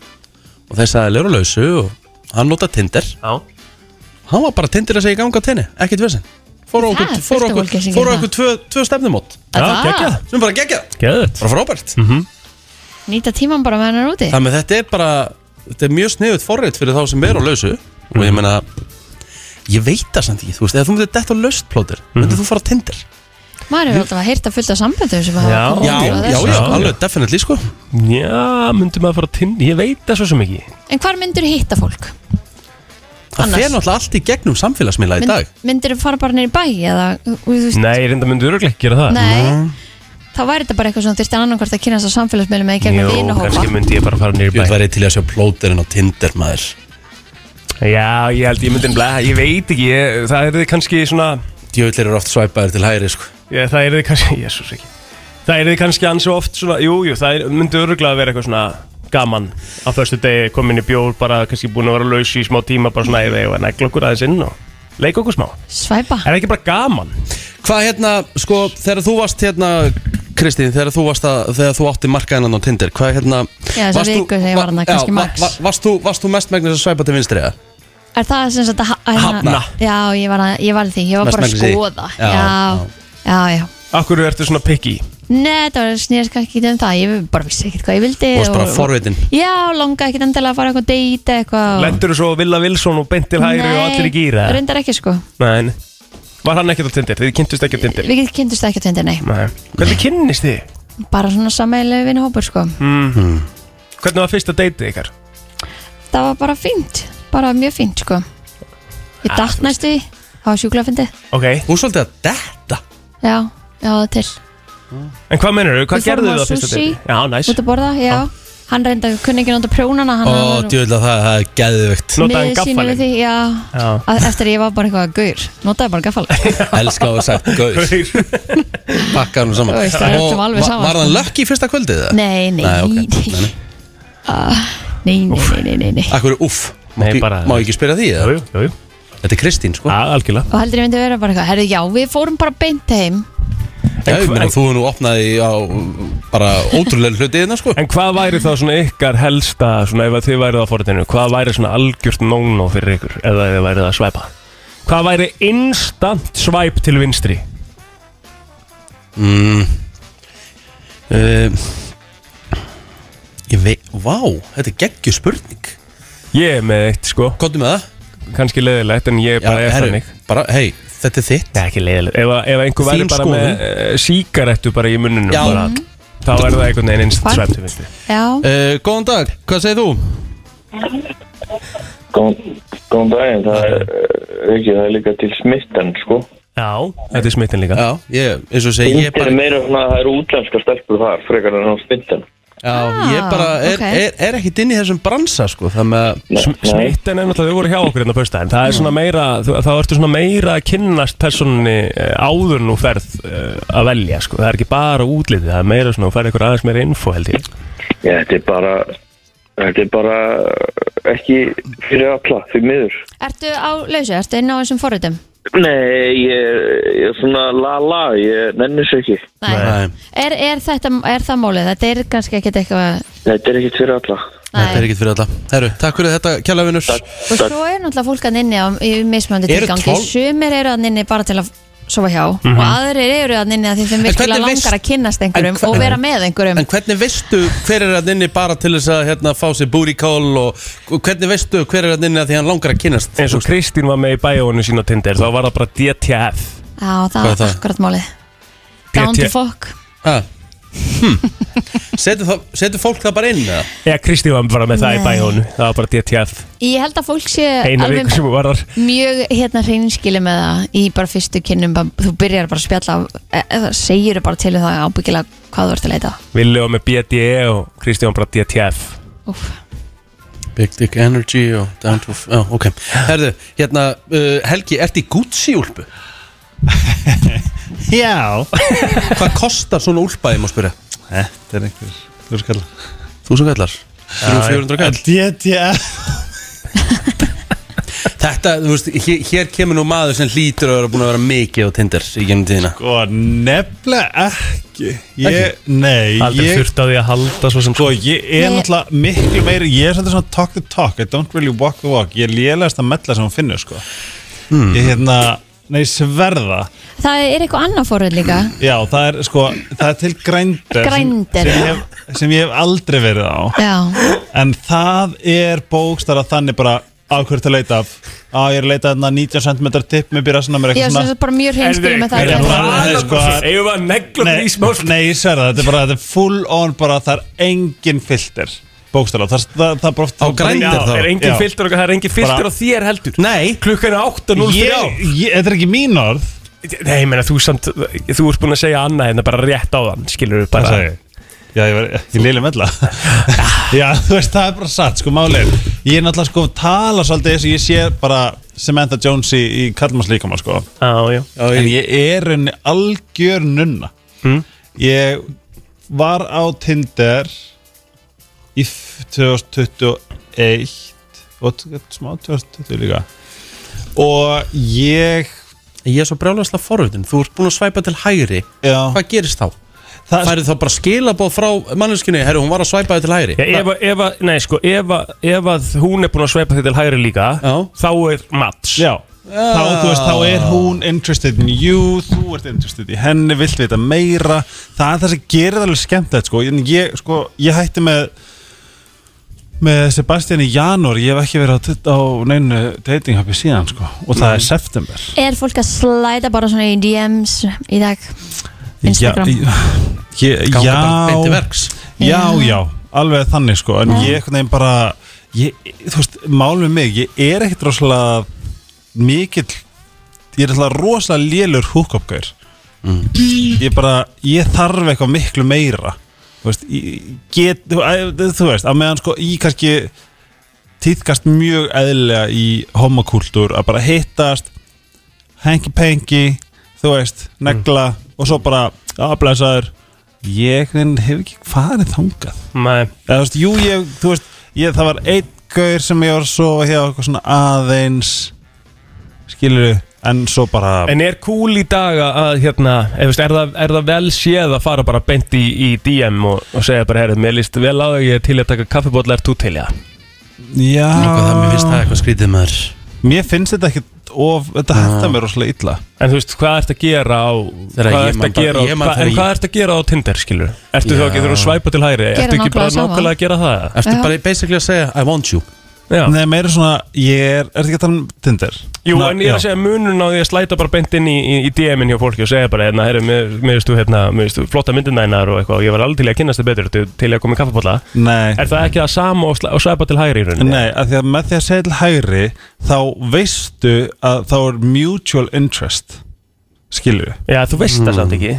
S1: og þeir sagði Leru lausu og hann nota Tinder
S3: Já.
S1: hann var bara Tinder að segja í ganga á tenni ekkert vesen fór á
S2: Það
S1: okkur, fór á
S2: er fullt af
S1: okkur,
S2: fólki sem
S1: fór á
S2: gerir
S1: okkur tvö, tvö stefnumót
S3: Já,
S2: Það-
S3: geggjað.
S1: sem bara gegja
S3: Geðut.
S1: bara frábært
S2: Nýta tíman bara með hennar úti
S1: þannig að þetta er bara þetta er mjög sniðut forrið fyrir þá sem er á lausu og ég meina ég veit það samt ekki, þú veist, ef þú myndir detta á laustplótur, myndir þú fara á Tinder
S2: Maður hefur alltaf að heyrta fullt af samböndum sem hafa
S3: Já,
S1: Já,
S2: komið út
S1: já,
S2: frá
S1: já,
S2: þessu.
S3: já.
S1: alveg, definitely sko
S3: Já, myndum að fara að tinn, ég veit það svo sem ekki.
S2: En hvar myndir hitta fólk?
S1: Það
S2: Annars.
S1: fer náttúrulega allt í gegnum samfélagsmiðla í dag
S2: myndir fara bara neyri bæ eða, þú veist,
S3: Nei, reynda myndu öruglega ekki gera það.
S2: nei Þá væri þetta bara eitthvað svona þyrfti annan hvort að kynast á samfélagsmiðlum eða í gegnum vinahópa
S3: kannski myndi ég bara fara niður
S1: Ég
S3: í bæ
S1: vil væri til að sjá plóterinn á Tinder maður
S3: Já, ég held ég myndi nefnilega, ég veit ekki, ég, það er þið kannski svona,
S1: Djöfullir eru oft svæpaður til hægri sko
S3: ég, það er þið kannski, (laughs) jésús ekki, það er þið kannski ansi oft svona, jú, jú, það er, myndi öruglega að vera eitthvað svona gaman á förstu degi, komin í bjór, bara kannski búin að vera laus í smá tíma, bara svona, ég veit, negla okkur aðeins inn og leika okkur smá.
S2: Svæpa
S3: Er það ekki bara gaman?
S1: Hvað hérna, sko, þegar þú varst hérna Kristín, þegar þú varst að, þegar þú átti markaðinan á Tinder Hvað hérna
S2: Já, þessa
S1: varst þú-
S2: viku þegar ég var þarna,
S1: va-
S2: kannski
S1: já,
S2: max.
S1: va- va- Varst þú, varst þú mest megnis að svæpa til vinstri eða?
S2: Er það sem sagt að ha- að- hérna-
S1: Hafna.
S2: Já, ég var, að, ég var að því, ég var
S1: Mest
S2: bara að
S1: megnis í.
S2: skoða
S1: Já,
S2: Já, já, já
S3: Akkur ertu svona picky?
S2: Nei, það var snýðast kannski ekki um það Ég bara vissi ekkert hvað ég vildi
S1: Þú varst bara
S2: og-
S1: forvitin
S2: Já, langa ekkert endilega að fara eitthvað date eða eitthvað og-
S3: Lendur þú svo á Villa Wilson og beint til hægri og allir í gýra?
S2: Nei, reyndar ekki sko
S3: Nei, nei. var hann ekkert á tindir? Þið kynntust ekki á tindir?
S2: Við kynntust ekki á Tinder, nei
S3: Nei. Hvernig kynnist þið?
S2: Bara svona sammeilegu vinahópur sko
S3: Hvernig var fyrsta deitið ykkar?
S2: Það var bara fínt, bara mjög fínt sko Ég
S3: Ah,
S2: datt
S3: þú veist.
S2: næstu í, það var sjúklega fyndið
S3: Ok,
S1: Þú er svolítið að detta
S2: Já, já það til
S3: en hvað mennur þau? Hvað
S2: Við fórum
S3: gerðu
S2: á
S3: þau á fyrsta
S2: sushi.
S3: deiti? Já, næs
S2: Út að borða, já Hann reynda kunni ekki nota prjónana Hann
S1: Ó,
S2: var
S1: djöfull að það, það er geðveikt
S3: Notaði
S2: miður
S3: hann
S2: sín yfir
S3: gaffalinn
S2: því, já
S3: Já.
S2: að, Eftir að ég var bara eitthvað gaur Notaði bara gaffalinn
S1: Elska og sagt, gauð, (laughs)
S3: (laughs)
S1: pakka hann saman
S2: Þú veist, það er öllum
S1: Og
S2: alveg
S1: va-
S2: sama,
S1: Var
S2: sko.
S1: hann lökki í fyrsta kvöldið eða?
S2: Nei, nei,
S1: Nei, ok. Nei, nei.
S2: Ah, nei, nei, nei, nei, nei, nei
S1: Akkur, uff, má,
S3: Nei,
S1: bí-
S3: bara-
S1: má ekki spyrja því eða?
S3: Jú, Ah, jú, jú
S1: Þetta er Kristín sko
S3: Já, algjörlega
S2: Og heldur ég myndi vera bara eitthvað Herðu, já, við fórum bara beint heim
S1: Já, ég meina, þú hefur nú opnaði á bara ótrúlega hluti hérna, sko
S3: En hvað væri þá svona ykkar helsta, svona ef að þið værið á forutinu, hvað væri svona algjört nónó fyrir ykkur, eða þið værið að svæpa? Hvað væri instant svæp til vinstri?
S1: mm. uh, Ég veit, vá, þetta er geggju spurning
S3: Ég er með eitt, sko,
S1: Kottu með það?
S3: kannski leiðilegt, en ég er bara eftir
S1: herru,
S3: mig.
S1: bara, hei, þetta er þitt
S3: Nei, ekki leiðilegt. Ef, að- ef einhver væri
S1: Þín
S3: bara
S1: skoðun?
S3: með uh, síkarettu bara í munnunum,
S1: Já. Mm-hmm.
S3: bara, þá er það einhvern veginn
S2: Hva?
S3: instant svæp til vinstri.
S2: Já,
S3: Eh,
S1: uh, Góðan dag, hvað segir þú?
S6: Góðan góðan daginn, það er eh, ekki, það er líka til smittan, sko.
S3: Já, þetta er smittin líka.
S1: Já, ég, eins og segi, ég
S6: Índin er
S1: bara
S6: meira svona, það eru útlenska stelpur þar, frekar en á smittan.
S1: Já, ég bara er,
S2: Ah, ok.
S1: er, er ekkit inn í þessum bransa sko Þannig að
S6: Nei, nei,
S3: Smitten er náttúrulega, þau voru hjá okkur hérna fyrsta en það er svona meira, þú- þá ertu svona meira að kynnast personinni eh, áður nú ferð eh, að velja sko, það er ekki bara útlitið, það er meira svona, þú ferð eitthvað aðeins meira info held ég
S6: ég, þetta er bara Þetta er bara ekki fyrir alla, fyrir miður.
S2: Ertu á lausu, ertu inn á þessum forritum?
S6: Nei, ég, ég er svona la-la, ég nenni þessu ekki.
S2: Nei, Er, er, þetta, er það málið? Þetta er kannski ekkert eitthvað
S6: Þetta er ekkert fyrir alla.
S1: þetta er
S2: Nei.
S1: ekkit fyrir alla Herru, takk fyrir þetta, kjæla vinnur
S2: Og svo er náttúrulega fólk að nynni á í mismöndi
S1: Eru
S2: tilgangi
S1: tólf- Mhm.
S2: Sumir eru að nynni bara til að sofa hjá og aðrir eru að nynni að því þeim
S1: En
S2: virkilega
S1: hvernig
S2: langar
S1: veist-
S2: að kynnast einhverjum
S1: En hver-
S2: og vera með einhverjum
S1: En hvernig veistu hver er að nynni bara til þess að hérna, fá sér búri kól og og hvernig veistu hver er að nynni að því hann langar að kynast
S3: eins og Kristín var með í bæjónu sín á Tinder þá var það bara DTF
S2: Já, það
S1: Hvað er
S2: er
S1: það?
S2: akkurat málið Down
S3: DT.
S2: to fuck
S1: ah. hm. setur, þá, setur fólk það bara inn eða?
S3: eða Kristín var bara með það í
S2: Nei.
S3: bæjónu það var bara DTF,
S2: Ég held að fólk sé
S3: eina
S2: alveg
S3: viku sem hún var þar
S2: mjög hérna hreinskili með það í bara fyrstu kynnum bara- þú byrjar bara að spjalla e- eða segir bara til um það ábyggilega hvað þú ert að leita að.
S3: Villi var með BDE og Kristín var bara DTF
S2: Úff.
S1: Big Dick Energy og Down to F oh, ok, herðu, hérna uh, Helgi, ertu í Gucci úlpu?
S7: Já
S1: Hvað kostar svona úlpa, ég má spyrja?
S7: Þetta er einhver Þú skal
S1: Þú sem kallar 300-400 kall
S7: DTF
S1: Þetta, þú veist, hér, hér kemur nú maður sem hlýtur að vera búin að vera mikið á Tinder í gennum tíðina
S7: Sko, nefnilega ekki Ég, nei
S3: aldrei
S7: ég,
S3: þurft á því að halda svo sem
S7: Sko, ég er
S2: Nei.
S7: náttúrulega miklu meiri Ég er svolítið svona talk the talk I don't really walk the walk Ég er lélegast að mella sem hún finnur, sko Ég hérna, nei, sverða
S2: Það er eitthvað annað fóröld líka
S1: Mm.
S7: Já, það er, sko, það er til grændir
S2: Grindr,
S7: sem, sem,
S2: já.
S7: ég hef, sem ég hef aldrei verið á
S2: Já,
S7: En það er bókstara þannig bara á hverju til að leita af Á, ég er að leita þarna 90 cm tipp Mér byrja svona mér
S2: ég er
S7: eitthvað
S2: sem sagt bara mjög hreinskili með það
S7: er
S2: að
S7: það
S2: leita.
S7: bara- sko,
S3: eigum við að negla
S7: Nei,
S3: því smá
S7: nei, ég sverða, þetta er bara þetta er full on bara, það er engin filter bókstala, það, það, það er bara oft
S1: Á Grindr
S7: Já,
S1: þá?
S3: er engin
S7: Já.
S3: filter og það er engin filter á þér heldur
S1: Nei,
S3: klukkan er 8.03
S7: ég, ég, þetta er ekki mín orð
S3: Nei, ég meina, þú samt, þú ert búin að segja annað hérna bara rétt á þann, skilur við bara
S7: Hvað sagði ég? Já, ég, var, ég lili (laughs) meðla Já, þú veist, það er bara satt, sko, málið Ég er náttúrulega, sko, tala svolítið eins og ég sé bara Samantha Jones í, í Kallmars líkama, sko
S3: Já, já
S7: En ég er henni algjör nunna Ég var á Tinder í f- 2021 og t- smá 2020 líka og ég
S1: ég er svo brjálæsla forvöldin Þú ert búin að svæpa til hægri
S7: já,
S1: Hvað gerist þá?
S7: það,
S1: Færið þá bara skilabóð frá manneskinni Herru, hún var að svæpa þig til hægri
S3: Já, ef, að- ef, að- nei, sko, ef, að- ef að hún er búin að sveipa þig til hægri líka
S1: Já.
S3: þá er match
S7: já Þá, þú veist,
S1: Ah.
S7: þá er hún interested in you þú ert interested í henni, vilt vita meira það er það sem gerir það alveg skemmt sko. En ég, sko, ég hætti með með Sebastian í janúar ég hef ekki verið á, t- á neinu datinghappi síðan sko. og það
S1: Mm.
S7: er september
S2: Er fólk að slæta bara svona í DMs í dag? Instagram
S7: Já, (laughs) ég,
S1: Ganga
S7: já,
S1: bara beint til verks
S7: já, já, alveg þannig sko En ég einhvern veginn bara ég, Þú veist, málum mig Ég er ekkert rosalega mikill Ég er alltaf rosalega lélur húkopgær Ég bara, ég þarf eitthvað miklu meira Þú veist, ég get Þú æ, þú veist, að meðan sko Ég kannski týðkast mjög eðlilega í homokultúr Að bara hittast Hengi-pengi Þú veist, negla Og svo bara, að blessaður Ég einhvern veginn hef ekki farið þangað
S3: Nei,
S7: Eða, þú veist, jú, ég, þú veist, ég, það var einn gaur sem ég var að sofa hjá eitthvað svona aðeins skilur en svo bara
S3: En er cool í dag að, hérna, ef, veist, er, það, er það vel séð að fara bara beint í, í DM og, og segja bara, herrið, mér líst vel á þau, ég er til í að taka kaffibólla, er þú til í það?
S7: já,
S1: Hvað það, mér finnst það eitthvað skrítið maður
S7: mér finnst þetta ekkit of, þetta hættar mér rosalega illa
S3: En þú veist, hvað ert að gera á,
S1: Þegar
S3: hvað
S1: ég
S3: ert
S1: man
S3: að
S1: bara-
S3: gera á,
S1: ég man
S3: hva,
S1: þegar
S3: en
S1: ég-
S3: hvað ert að gera á Tinder, skilur? Ertu þú
S1: Já.
S3: ekki þegar þú svæpa til hægri?
S2: Gera
S3: Ertu ekki
S2: nákvæmlega
S3: bara
S2: sama.
S3: nákvæmlega að gera það?
S1: Ertu
S2: Já.
S1: bara basically að segja I want you
S3: Já.
S7: Nei, meira svona, ég er, er þetta ekki að tala um Tinder?
S3: Jú,
S7: Ná,
S3: en ég er að
S7: já.
S3: segja munun á því að slæta bara beint inn í, í, í DM-in hjá fólki og segja bara, hérna, herru, mér mér finnst þú, hérna, mér finnst þú flotta myndinænar og eitthvað og ég var alveg til í að kynast þið betur, til, til í að koma í kaffibólla.
S7: Nei,
S3: Er það ekki það sama og, sla- og svæpa til hægri í rauninni?
S7: nei, af því að með því að segja til hægri þá veistu að þá er mutual interest skilur
S1: Mm.
S3: Já, þú veist það samt ekki.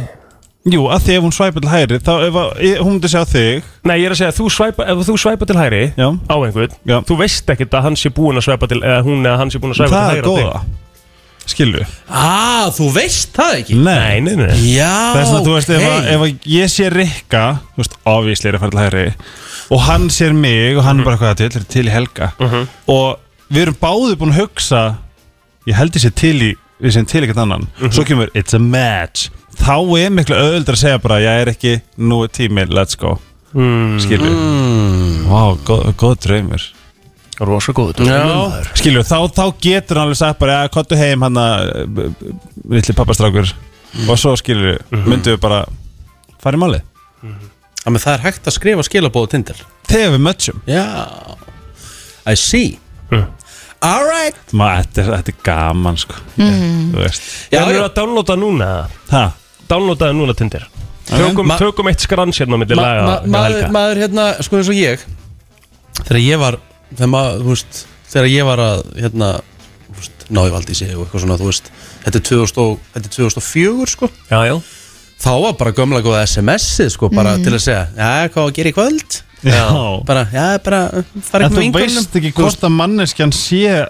S7: Jú, að því ef hún svæpil hægri þá ef að, ég- hún myndi segja þig
S3: Nei, ég er að segja, þú svæpa, ef þú svæpa til hægri
S7: Já.
S3: á einhvern,
S7: Já.
S3: þú veist ekkert að hann sé búin að svæpa til, eða hún eða hann sé búin að svæpa til
S7: Það er
S3: hægri á
S7: góða Skilju
S1: Ah, þú veist það ekki?
S3: Nei, nei, nei, nei.
S1: Já,
S7: Það er svona, þú veist, ef, að,
S1: ok.
S7: ef að ég sé Rikka, þú veist, ofísli er að fara til hægri og hann sér mig og
S3: Mhm.
S7: hann bara hvað til, til í helga og við erum báði búin að hugsa ég held ég sé til í við sem til ekkert annan,
S3: Mhm.
S7: svo kemur it's a match, þá er miklu öðuldur að segja bara, ég er ekki, nú er tími let's go, mm. skilju Vá, góð, góð draumur
S3: Rosa góður
S1: Já.
S7: skilju, þá, þá getur hann alveg sagt bara, ja, kottu heim hann að litli pappastrákur og svo skilju, myndum við bara fara í málið
S1: Já, menn það er hægt að skrifa skilabóðu tindar
S7: þegar við mötsum
S1: Já I see
S7: Hm.
S1: Alright
S7: Maður, þetta, er- þetta er gaman sko
S2: Mhm.
S7: mm. Þú veist
S1: Já,
S3: Það
S1: já.
S3: eru að downloada núna
S7: ha,
S3: Downloadaði núna Tinder Tökum,
S1: Ma-
S3: tökum eitt skrans hérna á milli
S1: ma
S3: laga
S1: ma
S3: hjá
S1: maður,
S3: Helga.
S1: maður hérna, sko eins og ég Þegar ég var Þegar maður, þú veist Þegar ég var að, hérna þú veist, Ná ég valdi í sig og eitthvað svona, þú veist Þetta er 2000 og- þetta er 2004, sko
S3: Já, já
S1: Þá var bara gömla góða SMS-ið, sko Bara til að segja, já, hvað á að gera í kvöld
S7: Já.
S1: Bara, já, bara uh, Fara
S7: En
S1: ekki
S7: þú
S1: með vinkonum.
S7: veist ekki hvort að manneskjan sé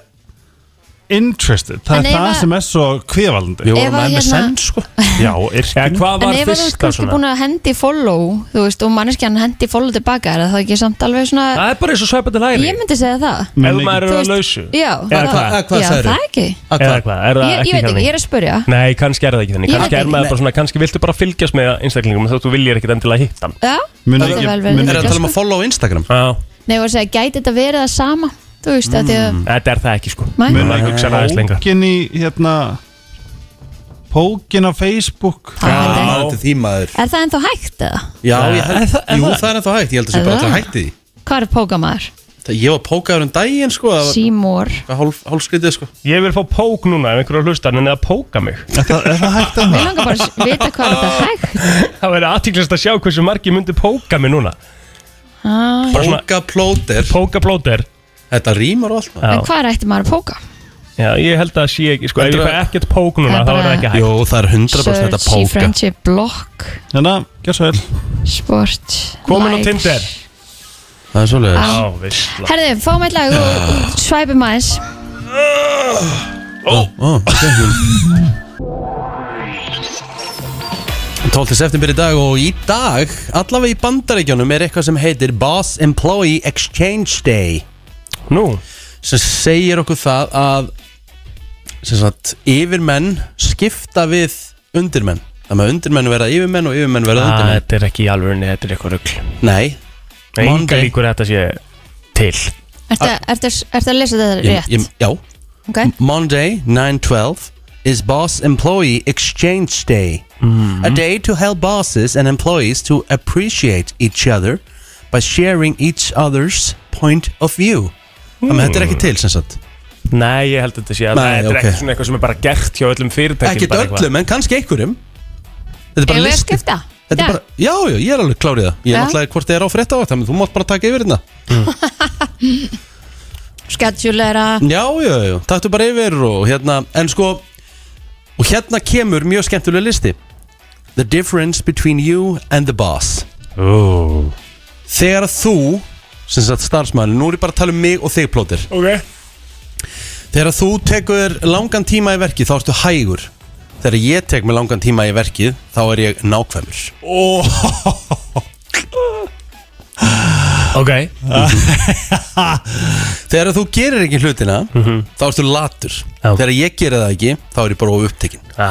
S7: Interested
S2: En
S7: Það er
S2: ef
S7: það
S2: að-
S7: sem er svo kviðvalandi
S1: Við
S2: Ef
S1: vorum
S2: að
S1: með MSN,
S2: hérna- (laughs)
S1: sko
S7: Já,
S3: Já,
S7: yrkinu
S3: hvað
S2: En ef að
S3: var
S2: þú ert
S3: fyrsta
S2: kannski
S3: svona?
S2: búin að hendi follow þú veist, og manneskjan hendi follow tilbaka er það ekki samt alveg svona
S3: Það er bara eins og svæpa til hægri
S2: ég myndi segja það
S3: Ef
S2: Þú
S3: maður eru
S2: veist-
S3: að lausu
S2: já,
S3: Eða
S2: það-
S3: hvað?
S1: Eða hvað
S2: já,
S1: sagðirðu?
S2: það ekki
S1: Að
S3: Eða
S1: hvað?
S3: hvað, er það
S2: ég,
S3: ekki
S2: ég veit ekki,
S3: þannig?
S2: ég er að spurja
S3: Nei, kannski er það ekki þannig
S2: Ég
S3: Kannski
S2: veit
S3: er
S2: ekki.
S3: maður bara svona, kannski viltu bara fylgjast með einstaklingnum þó þú viljir ekkit endilega hitta hann
S2: já,
S7: Mun
S2: það
S7: ekki-
S2: er vel verið
S1: Er
S7: mun
S1: það að
S2: líka,
S1: tala um
S2: sko.
S1: að follow á Instagram?
S3: Já,
S2: Nei, ég var að segja, gæti þetta verið það sama þú veist, mm. að því að
S3: þetta er það ekki sko
S2: Nei.
S7: Mun
S3: Maður hugsa aðeins lengra
S7: Pókin í hérna Pókin á Facebook
S2: það held ég.
S1: þetta er því maður
S2: er það ennþá hægt eða?
S1: Já, ég held,
S3: Er það- er
S1: jú,
S3: það-
S1: það er ennþá hægt, ég held að sé
S2: Er
S1: bara
S2: það?
S1: alltaf hægt í því
S2: Hvað er pókamaður?
S1: Það- Ég var pókaður um daginn, sko, það var
S2: Seymour
S1: eitthvað hálf, hálfskritið, sko
S3: Ég vil fá pók núna ef einhverju hlustar en eða póka mig
S7: Er það, er það hægt að
S2: Mér langar bara að vita hvað er þetta hægt
S3: Það verður aðtíklast að sjá hversu margi myndi póka mig núna
S2: ah,
S3: Bara svona-
S1: Póka plóter,
S3: Póka blóter
S1: þetta rýmar og allt maður
S3: Já.
S2: En hvað ætti maður að póka?
S3: Já, ég held að það sé ekki, sko, ef ég
S1: Heldur
S3: fæ
S1: að-
S3: ekkert pók núna,
S2: Það
S3: þá
S2: er
S3: er það
S2: bara-
S3: ekki hægt
S1: Jú, það er 100% þetta
S2: Searchy,
S1: póka
S2: friendship, block,
S7: Hérna, gjör svo vel
S2: sport
S3: Komin á
S2: likes.
S3: Tinder.
S1: Það er svoleiðis
S3: Já, vissla
S2: Herðu, fáum eitt lag og
S1: Ah.
S2: og svæpum aðeins
S1: Ó, ok, jú. 12. september í dag og í dag, allavega í bandaríkjónum er eitthvað sem heitir Boss Employee Exchange Day
S3: Nú,
S1: sem segir okkur það að sem sagt, yfirmenn skipta við undirmenn þannig að undirmenn verða yfirmenn og yfirmenn verða
S3: að
S1: undirmenn
S3: þetta er ekki í alvörunni, þetta er eitthvað rugl
S1: Nei,
S3: Nei,
S1: Monday.
S3: Enga líkur að þetta sé til
S2: Ertu ertu- ertu að lesa þetta
S1: Ah. ég, ég,
S2: rétt?
S1: já
S2: Ok.
S1: Monday, 9-12 is Boss Employee Exchange Day
S3: Mm-hmm.
S1: A day to help bosses and employees to appreciate each other by sharing each other's point of view Þannig að þetta
S3: Mm.
S1: er ekki til sem sagt
S3: Nei, ég held að þetta sé að
S1: Nei,
S3: þetta er
S1: ok.
S3: ekki svona eitthvað sem er bara gert hjá öllum fyrirtækjum
S1: Ekki
S3: bara eitthvað.
S1: öllum, en kannski einhverjum Þetta er bara
S2: Erum við að
S1: listi
S2: skipta?
S1: Þetta er bara, já, já, ég er alveg klárið það Ég er
S2: Já.
S1: náttúrulega hvort þið er á frétt á þannig að þú mátt bara taka yfir hérna
S2: Schedulera
S1: Já, já, já, taktu bara yfir og hérna En sko, og hérna kemur mjög skemmtulega listi The difference between you and the boss
S7: Ó.
S1: Þegar að þú, sem sagt starfsmæli Nú er ég bara að tala um mig og þig plótir
S3: Ok
S1: Þegar að þú tekur langan tíma í verkið þá ertu hægur Þegar ég tek mig langan tíma í verkið þá er ég nákvæmur
S3: Ok
S1: Þegar að þú gerir ekki hlutina þá ertu latur
S3: Já.
S1: Þegar ég gerir það ekki þá er ég bara upptekinn
S3: Á.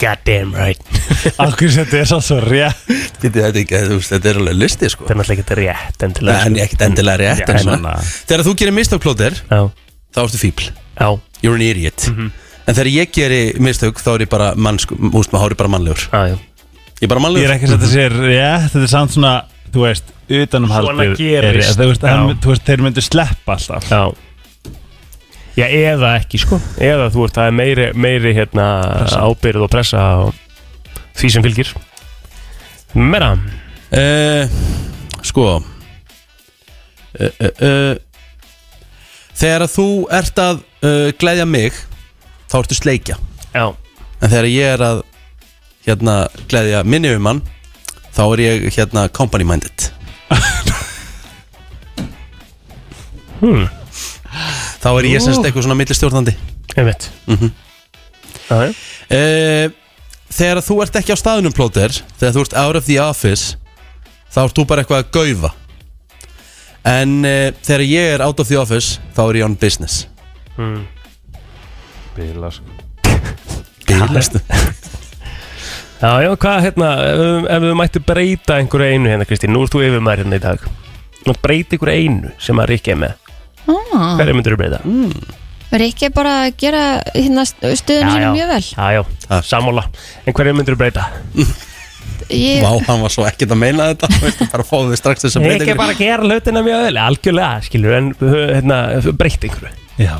S3: God damn right
S7: Akkur sem þetta er svo svo rétt
S1: Þetta er, ekki, þú veist, þetta er alveg listi sko
S3: Þetta er náttúrulega ekkert rétt endilega
S1: En
S3: sko.
S1: ekkert endilega rétt
S3: Já, hérna.
S1: en svona.
S7: svona.
S1: Þegar þú gerir mistökklóter
S3: Já,
S1: þá ertu fíbl
S3: já
S1: You're an idiot En þegar ég gerir mistök þá er ég bara mannsku Úst maður, þá er ég bara mannlegur
S3: Já, já.
S1: Ég er bara
S7: Ég er
S1: mannlegur
S7: ekki að þetta sé rétt Þetta er samt svona, þú veist, utanum
S3: Svona
S7: haldið
S3: gerist.
S7: er rétt. Þú veist, hann-
S3: Já.
S7: þú veist, þeir myndu sleppa alltaf
S3: Já Já, eða ekki sko Eða þú ert það er meiri, meiri hérna, ábyrð og pressa og því sem fylgir Mera
S1: uh, Sko uh, uh, uh, Þegar að þú ert að eh, uh, gleðja mig þá ertu sleikja
S3: Já,
S1: En þegar ég er að hérna gleðja minni um hann þá er ég hérna company minded Þá er ég semst eitthvað svona millistjórnandi
S3: Ég veit Það er
S1: uh, Þegar þú ert ekki á staðunum plóter Þegar þú ert out of the office Þá ert þú bara eitthvað að gaufa En uh, þegar ég er out of the office Þá er ég on business
S7: Bila sko
S1: Bílastu
S3: Já, já, hvað hérna, ef- ef við mættu breyta einhverju einu hérna, Kristín, nú ert þú yfir maður hérna í dag Nú breyta einhverju einu sem að Rikki er með
S2: ah,
S3: Hverju myndir þú breyta?
S2: Rikki er bara að gera hérna, stuðinu sínum mjög vel
S3: já, já,
S1: Takk.
S3: sammála En hverju myndir þú breyta?
S2: ég,
S1: Vá, hann var svo ekkert að meina þetta Þú veist, bara fáðu þið strax þess að breyta
S3: Rikki er bara að gera hlutina mjög vel, algjörlega, skilur En hérna, breyta einhverju
S7: Já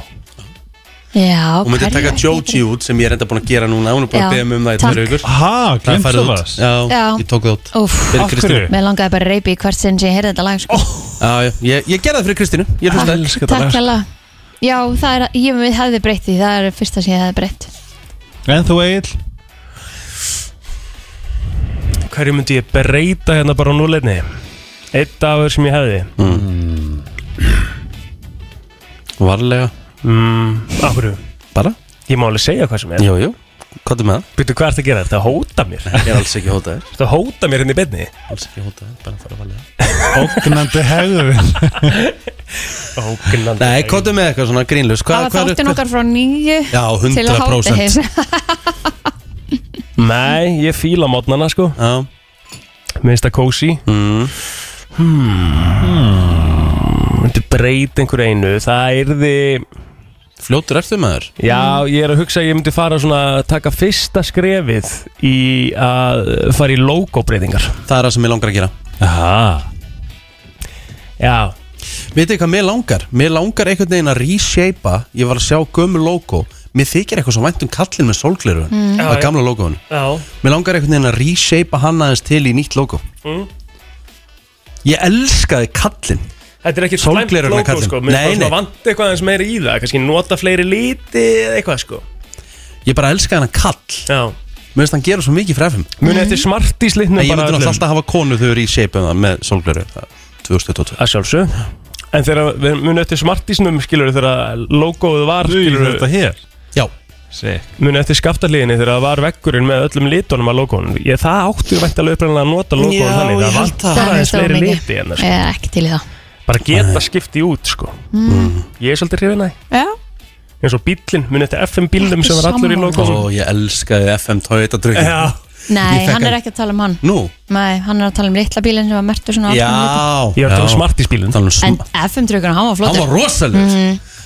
S2: já,
S1: Hún myndi
S2: hverju-
S1: taka Joji út sem ég er enda búin að gera núna Hún er búin
S2: Já,
S1: að beða mig um það í
S2: takk.
S1: tvöru ykkur
S7: Ha,
S1: Það
S7: glemt
S1: færið
S7: það
S1: út
S7: var
S1: Já,
S2: Já.
S1: ég tók það út
S2: Úff,
S1: Fyrir
S7: Af
S1: Kristínu
S7: hverju?
S2: mér langaði bara að reypi í hvert sinn sem ég heyrði þetta lag sko.
S1: Já, já, ég, ég gerði það fyrir Kristínu Ég hlusta það
S7: Elskar
S2: Takk
S7: þetta lag.
S2: hella Já, það er, ég hefði breytt því, það er fyrsta sem ég hefði breytt
S7: En þú Egil
S3: Hverju myndi ég breyta hérna bara á núleitni? Eitt dafur sem ég hefði
S1: Varlega
S3: mm, Af hverju?
S1: Bara?
S3: Ég má alveg segja hvað sem er
S1: Jú, jú Kottu með það
S3: Býttu hvað ertu að gera? Ertu að hóta mér?
S1: Ég er alls ekki hótaðir
S3: Ertu að hóta mér hérna í beinni?
S1: Alls ekki hótaðir Bara fara varlega
S7: Ógnandi hegður
S1: (laughs)
S3: Ógnandi
S1: Nei, kottu með eitthvað svona grínlust
S2: Það var þáttin okkar frá nýju
S1: Já,
S2: til að
S1: 100%
S2: hátta
S3: Nei, ég fíla mótnana sko
S1: Já
S3: Mér finnst það kósi
S1: mm.
S3: Myndi breyta einhverju einu Það yrði
S1: Fljótur ertu maður
S3: Já, ég er að hugsa að ég myndi fara svona að Taka fyrsta skrefið Í að fara í logo breytingar
S1: Það er það sem ég langar að gera
S3: Aha Já,
S1: Vitið hvað mér langar? Mér langar einhvern veginn að reshapa Ég var að sjá gömul logo Mér þykir eitthvað svo vænt um kallinn með sólgleru mm.
S3: Já,
S1: Það
S3: já.
S1: gamla logoinu
S3: já
S1: Mér langar einhvern veginn að reshapa hann aðeins til í nýtt logo
S3: Mm.
S1: Ég elskaði kallinn
S3: Þetta er ekki slæmt
S1: Sólgleraugun
S3: logo
S1: kallinn.
S3: sko Mér
S1: Nei,
S3: finnst
S1: nei.
S3: það vant eitthvað aðeins meira í það Kannski nota fleiri liti eða eitthvað sko
S1: Ég bara elskaði hann að kall
S3: Já
S1: Mér finnst hann gera svo mikið fræfum
S3: Muni eftir smart í slitnum
S1: En ég myndi náttúrulega alltaf að hafa konu þegar ég shape um það með sólgleru 2022
S3: að sjálfsög En þegar við munið eftir smartísnum skilur þegar logoðu var
S7: Skilur
S3: skilur
S7: þetta hér
S1: Já,
S7: Sick
S3: munið eftir skaptarliðinni þegar það var veggurinn með öllum litunum að logoðunum ég það áttu væntalega uppræðanlega að nota logoðun
S1: Já,
S3: þannig
S1: ég held
S3: það
S1: það. Eh.
S3: vantar aðeins fleiri liti en sko.
S2: Ekki til í það
S3: bara geta skipti út sko
S1: Mm.
S3: ég er svolítið hrifin að
S2: Já,
S3: því eins og bílinn munið eftir FM bílnum sem var allur í
S2: Sammála.
S1: Ó,
S3: logoðun
S1: ég elskaði FM Toyota drukkin
S3: Já,
S2: Nei,
S1: Ég fekk
S2: hann er
S1: hann.
S2: ekki að tala um hann
S1: Nú,
S2: Nei, hann er að tala um litla bílinn sem var mertur svona
S1: já
S2: alls konar litum.
S3: ég var að tala um
S1: já.
S3: smartísbílinn
S1: Tala um sm-
S2: En FM-trykkurinn, hann var
S1: hann
S2: flottur
S1: var rosalegur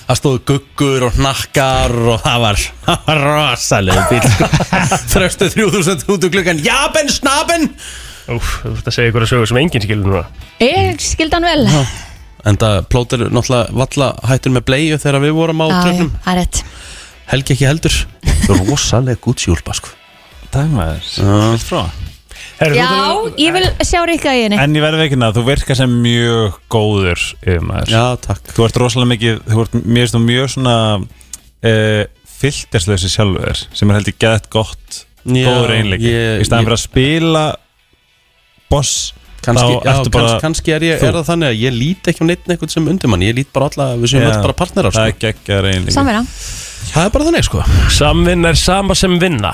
S1: Það stóðu guggur og hnakkar og það var, það var rosalegur bíl sko. Þröstu 3000 út um úr klukkan Jaben, snaben
S3: Úf, þú ert að segja ykkur að sögur sem enginn skilur núna
S2: Ég skildi hann vel Já,
S1: En það plótir náttúrulega valla hættur með bleiu þegar við vorum á
S2: já,
S1: tröfnum
S2: það er rétt
S1: Helgi ekki heldur Rosaleg gútsjúlpa sko
S7: Dæmaður
S1: Já.
S7: Vilt um frá
S3: Herru,
S2: Já,
S3: þú-
S2: ég vil sjá Rikka í henni
S7: En ég verði veginn að þú virkar sem mjög góður yfirmaður
S1: Já, takk
S7: Þú ert rosalega mikið, þú ert mér finnst þú mjög svona uh, filterslösi sjálfur þér, sem er held ég gett gott
S1: Já,
S7: góður einleiki
S1: ég-
S7: í staðan
S1: ég-
S7: fyrir að spila boss
S1: Kanski,
S7: þá
S1: já,
S7: ertu bara
S1: kanns, kannski er, ég,
S7: þú.
S1: er það þannig að ég lít ekki á neitt neitt sem undir mann Ég lít bara alla, við séum
S7: Já,
S1: öll bara partnerar sko.
S7: það er geggjara einleiki
S2: Samverða
S1: Það er bara þannig sko
S3: Samvinna er sama sem vinna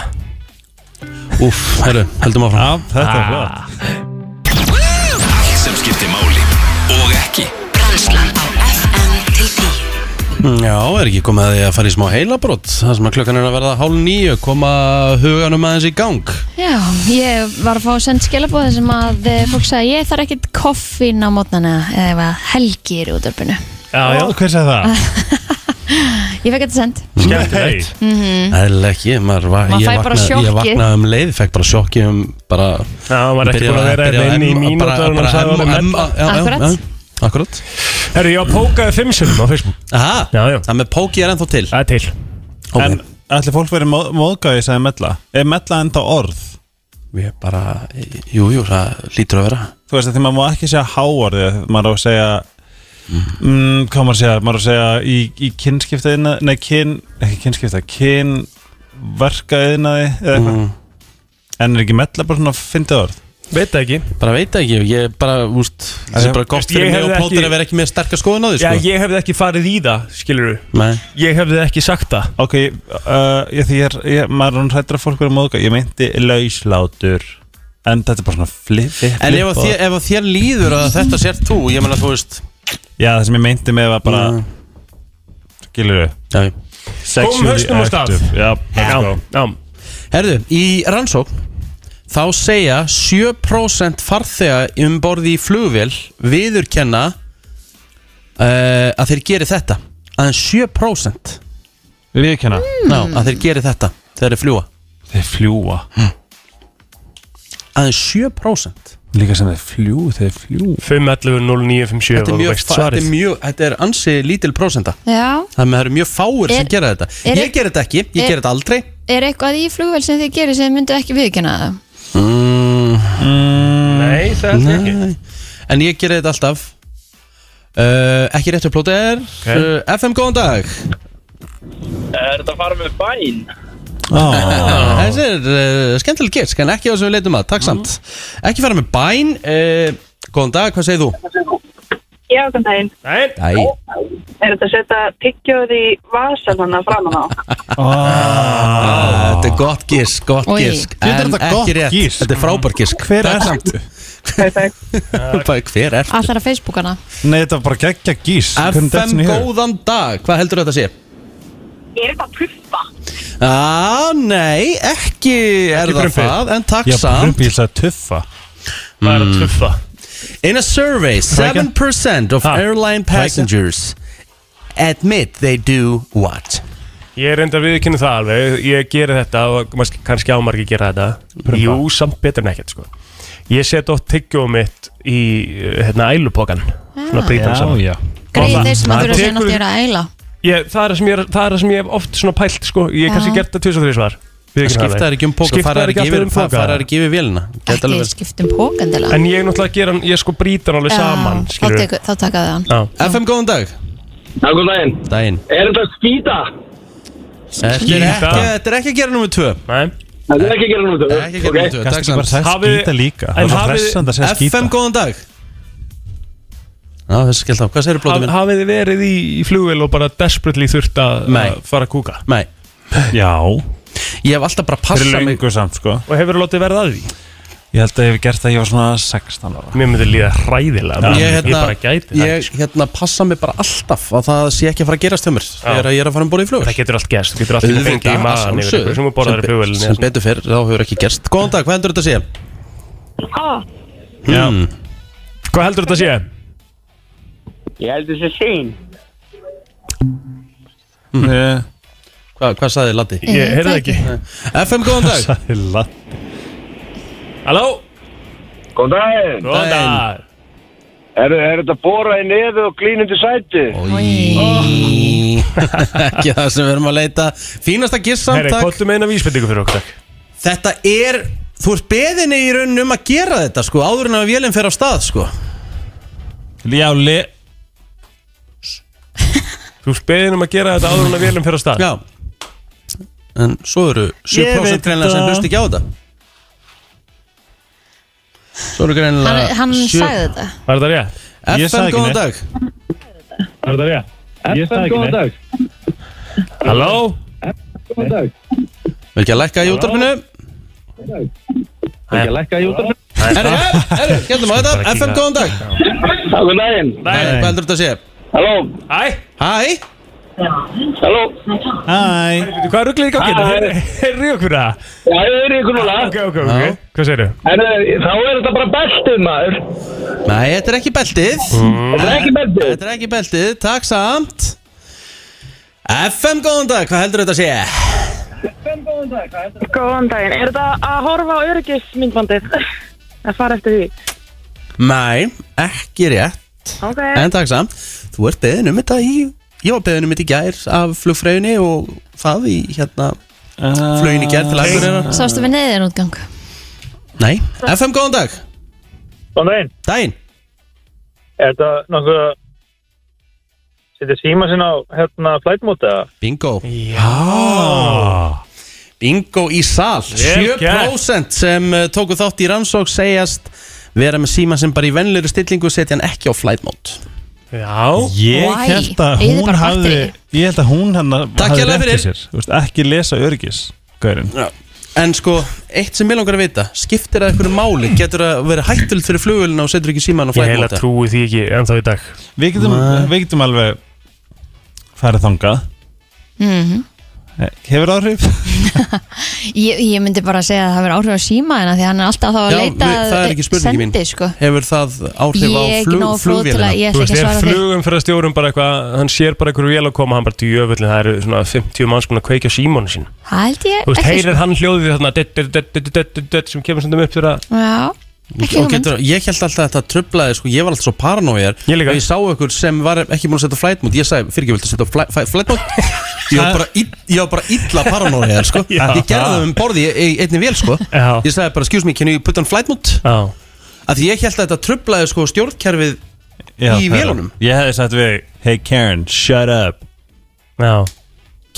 S1: Úf, herru, heldum áfram
S7: Já, þetta
S1: Ah.
S3: Ah.
S7: er flott
S4: Allt sem skiptir máli og ekki
S8: Brænslan á FM til 10
S1: Já, er ekki komið að því að fara í smá heilabrótt Það sem að klukkan er að verða hálf nýju Koma huganum aðeins í gang
S2: Já, ég var að fá að senda skilabóð sem að eh, fólk sagði ég þarf ekkit koffín á mótnana eða helgi er í útörpunu
S3: Já, já,
S7: hver segir það?
S2: Ég fekk þetta send
S3: skemmtilegt
S1: Eða ekki, maður va
S2: Mm. Maður
S1: ég,
S2: fær bara
S1: vaknaði- ég
S2: sjokki.
S1: vaknaði um leið Fekk bara sjokki um bara
S3: Já, hann var ekki
S1: byrjaði
S3: búin að vera
S1: byrjaði
S3: hérna inn í
S1: M- bara-
S3: mínútur og
S1: bara
S3: hann sagði
S1: M-
S3: orðið
S1: M-
S3: mella.
S1: já, já,
S2: Akkurat.
S1: já, Akkurat
S3: Herru, ég var pókaði fimm sinnum á Facebook
S1: Aha,
S3: Já, já.
S1: Það með póki er ennþá til
S3: Það er til
S1: Ok.
S7: En ætli fólk verið móð, móðgæði sem mella Er mella enda orð?
S1: Við bara, jú, jú, það lítur að vera
S7: Þú veist að því maður má ekki segja háorðið Maður á að segja mm, Hvað maður að segja? Maður á að segja í, í kynskiptaðina Nei, kyn, ekki kynskiptað Kynverkaðina eða eitthvað
S1: Mm.
S7: en er ekki mella bara svona fyndið orð
S3: Veit það ekki
S1: Bara veit það ekki, ég bara, úst Það er bara gott
S3: Ég
S1: fyrir mig
S3: hefði
S1: og plótur
S3: ekki-
S1: að vera ekki með sterkar skoðun á því,
S3: Já,
S1: sko
S3: ég hefði ekki farið í það, skilur
S1: Nei,
S3: Ég hefði ekki sagt það
S7: ok, uh, ég, því ég er ég, maður er hann hrættur að fólk verið móðuga ég meinti lauslátur en þetta er bara svona flip, flip
S1: En ef að
S7: flip-
S1: þér, ef að þér líður að þetta sér þú, ég meina þú veist
S7: já, það sem ég meinti með var bara
S1: Mm.
S7: skilur við
S1: Já, já.
S3: Komum hausnum á stað.
S7: já, let's go.
S3: já
S1: Herðu, í rannsókn þá segja 7% farþega um borði í flugvél viðurkenna uh, að þeir geri þetta aðeins 7%
S7: viðkjanna
S1: Ná, að þeir geri þetta þegar þeir fljúa
S7: þeir fljúa
S1: aðeins 7%
S7: líka sem þeir fljúa, þeir fljúa
S3: 511 0957
S1: þetta er,
S3: og þú
S1: mjög, fa- þetta, er
S3: veist svarið.
S1: mjög, þetta er ansi lítil prósenta
S2: Já,
S1: þannig að það eru mjög fáir sem
S2: Er-
S1: gera þetta
S2: er- e-
S1: ég ger þetta ekki, ég
S2: er-
S1: ger þetta aldrei
S2: er eitthvað í flugvél sem þið gerir sem þið myndu ekki viðkynna það?
S3: Nei, það er ekki
S1: Nei. en ég ger þetta alltaf uh, ekki réttu plóti er uh, FM góðan dag
S9: Er þetta að fara með bæn?
S1: Þessi er uh, skemmtileg gisk en ekki á sem við leitum að, takk samt
S9: Mhm.
S1: Ekki fara með bæn uh, Góðan dag, hvað segir þú?
S10: Já, kom daginn.
S3: Nei,
S1: Æ,
S10: Er þetta að setja tyggjóð í vasan hann að framan á?
S7: Ah.
S1: þetta er gott gisk, gott
S2: Oj.
S1: gisk
S7: Þetta er
S1: En
S7: þetta gott
S1: ekki rétt,
S7: gisk.
S1: þetta er frábær gisk
S7: hver
S1: Takk
S7: er
S1: samt.
S7: þetta?
S10: Perfekt.
S1: Bara, Hver er?
S2: Allar að Facebookana
S7: nei, þetta var bara geggja gís Hvernig datt
S1: FM
S7: henni í hug?
S1: góðan dag, hvað heldur þetta sé?
S10: Ég er eitthvað að puffa.
S1: Á, nei, ekki er það
S3: frumpi.
S1: það, en takk
S7: já,
S1: samt
S7: brumbíl sagði tuffa
S3: það er að tuffa
S1: In a survey, 7% of
S3: Ha.
S1: airline passengers admit they do what?
S3: Ég er enda að viðkynna það alveg Ég geri þetta og mas- kannski ámargi gera þetta Jú, samt betur en ekkert sko Ég set oft tyggjóð mitt í eh, hérna ælupokan
S1: Ah.
S3: Svona brítansan
S7: já
S2: Greið
S3: það-
S2: þeir sem að
S3: það
S2: þurfa að segja
S3: tekur-
S2: náttúrulega er að eila
S3: ég, það, er það sem ég, er- það er það sem ég hef oft svona pælt sko Ég hef kannski
S2: Já.
S3: gert það tvis og þrjus var
S1: Skipta þær ekki um póka, fara þær ekki yfir- fa- fara þær ekki yfir vélina Gæti alveg
S2: Ekki um
S1: verið.
S2: skiptum pókandilega
S3: En ég náttúrulega gera hann, ég sko brýtan alveg saman
S2: þá,
S3: skilurðu.
S2: tekur, þá takaði hann
S3: Já.
S1: FM góðan dag
S9: Já, góð daginn.
S1: Daginn
S9: Er þetta að skýta?
S1: Þetta er
S3: Skýta.
S1: ekki- þetta er ekki að gera nummið tvö
S3: Nei.
S9: Þetta er ekki að gera nú
S1: Þetta er Ekki að gera nummið tvö, takk
S7: kannski bara
S1: samt
S7: sagði
S3: Hafið-
S7: skýta líka
S3: en
S7: það var
S3: hafið-
S7: fressand að segja skýta
S1: FM góðan dag Já, þessi skellt á, hvað segir blóðum
S3: Haf-
S1: minn?
S3: Hafið þið verið í, í flugvél og bara desperately þurft að
S1: Nei.
S3: að fara að kúka
S1: Nei,
S7: já
S1: ég hef alltaf bara
S7: fyrir
S1: passað mig
S7: löngu samt sko
S3: Og hefur látið verið að því?
S7: Ég held að ég hef gert það, ég var svona 16 ára
S3: Mér myndi líða hræðilega
S1: Ég,
S3: ég,
S1: hérna,
S3: bara gæti það sko.
S1: ég hérna, passa mig bara alltaf að það sé ekki að fara að gerast hjá mér þegar að ég er að fara um borðið í flugur
S3: Það getur allt gerst, þú getur allt ekki fengið í maðan yfir ykkur sem er borðaður í
S1: sem, sem
S3: flugvélinni hérna.
S1: betur fyrr, þá hefur ekki gerst Góðan dag, hvað heldur þetta að sé?
S10: Ó,
S1: Hmm.
S3: Hvað heldur þetta að sé?
S9: Ég held þessi sín.
S7: mm.
S1: Hvað, hvað sagði Latti?
S3: Ég heyrði ekki
S1: FM góðan dag
S3: (laughs)
S7: Sæla
S3: Halló?
S6: Góð daginn
S3: Góðan
S1: Daginn.
S3: dag
S6: Er, er þetta bóra í nefi og glínandi sæti?
S1: Í- (laughs) Ekki það sem við erum að leita Fínasta giss samt,
S3: Herri,
S1: takk
S3: kóttu með eina vísbendingu fyrir okkur takk.
S1: Þetta er, þú ert beðinni í raun um að gera þetta sko, áður en að vélinn fer af stað sko
S7: Já, le
S3: Þú spegðin um að gera þetta áður en að vélum fyrir að stað
S1: Já En svo eru
S7: Ég veit
S1: 7% greinlega sem
S7: það.
S1: hlust ekki á þetta Svo eru greinlega
S2: Hann, hann
S1: sjö-
S2: sagði þetta
S3: Var þetta rétt?
S7: Ég sagði
S1: FM
S7: ekki
S1: góðan
S7: neitt.
S1: dag
S3: Var þetta rétt?
S9: FM, góðan dag.
S3: Halló?
S9: Góðan dag.
S1: Við ekki að lækka í útarpinu
S9: Ég lækka í útrunum.
S1: Herru, herru, herru, getum á þetta FM góðan dag
S9: Já, góð daginn.
S1: Nei, Hvað heldur þetta að segja?
S9: Halló.
S3: Æ,
S1: Hæ,
S9: Halló.
S7: Hæ
S3: veitu hvað rugglir í gangi?
S9: Hæ.
S3: Heyrðu- Heyrðu okkur það?
S9: Já, ég er ykkur núna.
S3: Ok, ok, ok Hvað segirðu?
S9: En eh, þá er þetta bara beltið, maður.
S1: nei, þetta er ekki beltið
S9: Þetta er ekki beltið.
S1: Þetta er ekki beltið, takk samt FM góðan dag, hvað heldur þetta að segja?
S10: góðan daginn. Er þetta að horfa á öryggismyndbandið? Að fara eftir því?
S1: Nei, ekki rétt
S10: Ok.
S1: En takk samt, þú ert beðin um þetta í Ég var beðin um þetta í gær af flugfræðinni og það í hérna flugin í gær til aðgurina
S2: Sástu við neyðin útgang
S1: Nei, FM góðan dag,
S9: Góðan daginn.
S1: daginn
S9: Er þetta nokkuð að setja síma sinna á hérna flætmóta?
S3: Ah.
S1: Bingo,
S3: Já
S1: Ingo í sal
S11: Vel gert.
S1: 7% sem eh, tóku þátt í rannsók segjast vera með síma sem bara í venlöru stillingu setja hann ekki á flight mode
S3: Já
S7: Ég
S1: Why?
S7: held að
S1: Eyðir
S7: hún
S1: bara
S7: hafði
S1: batteríi.
S7: Ég held að hún hann
S1: Takk
S7: hafði
S1: hérlega
S7: rétt
S1: fyrir.
S7: í sér Þú veist, Ekki lesa öryggis Gaurin
S1: Já. En sko, eitt sem ég langar að vita Skiptir að einhverju máli Getur að vera hættulegt fyrir flugulina og setur ekki síman á
S3: Ég
S1: flight
S3: heila
S1: mode
S3: trúi því ekki ennþá í dag
S7: Við getum, við getum alveg farið þangað Eh, Hefur áhrif?
S2: ég, ég myndi bara að segja að það verður áhrif á síma en að því að hann er alltaf þá að
S1: Já,
S2: leita
S1: við- það er ekki spurningi
S2: sendi,
S1: mín.
S2: sko.
S1: Hefur það áhrif
S2: Ég
S1: á
S2: er ekki
S1: flug,
S2: nógu fljót til að-
S1: flugvélina?
S2: ég ætla
S3: Þú veist,
S2: ekki að
S3: er
S2: svara þér.
S3: flugum fyrir að stjórum bara eitthvað Hann sér bara einhverju vél að koma Hann bara djöfullin, það eru svona 50 manns búin að kveikja símónu sín
S2: Það held ég
S3: Þú veist,
S2: ekki,
S3: heyrir hann hljóðið þarna dött, dött, dött, dött, dött, dött, dött, sem kemur stundum upp fyrir að
S2: Já, ekki
S1: og
S2: hugmynd
S1: getur, ég held alltaf að þetta trublaði sko, ég var alltaf svo paranoiðar ég, ég sá ykkur sem var ekki búin að setja á flight mode ég sagði, fyrir ekki viltu setja á fli- fli- flight mode ég var bara, ill, ég var bara illa paranoiðar sko.
S11: Já.
S1: ég gerði það um borði í í einni vél sko. ég sagði bara, excuse me, can you put on flight mode
S3: Já.
S1: af því ég held að þetta trublaði sko, stjórnkerfið í
S7: það er-
S1: vélunum
S7: Ég hefði sagt við Hey Karen, shut up
S3: Já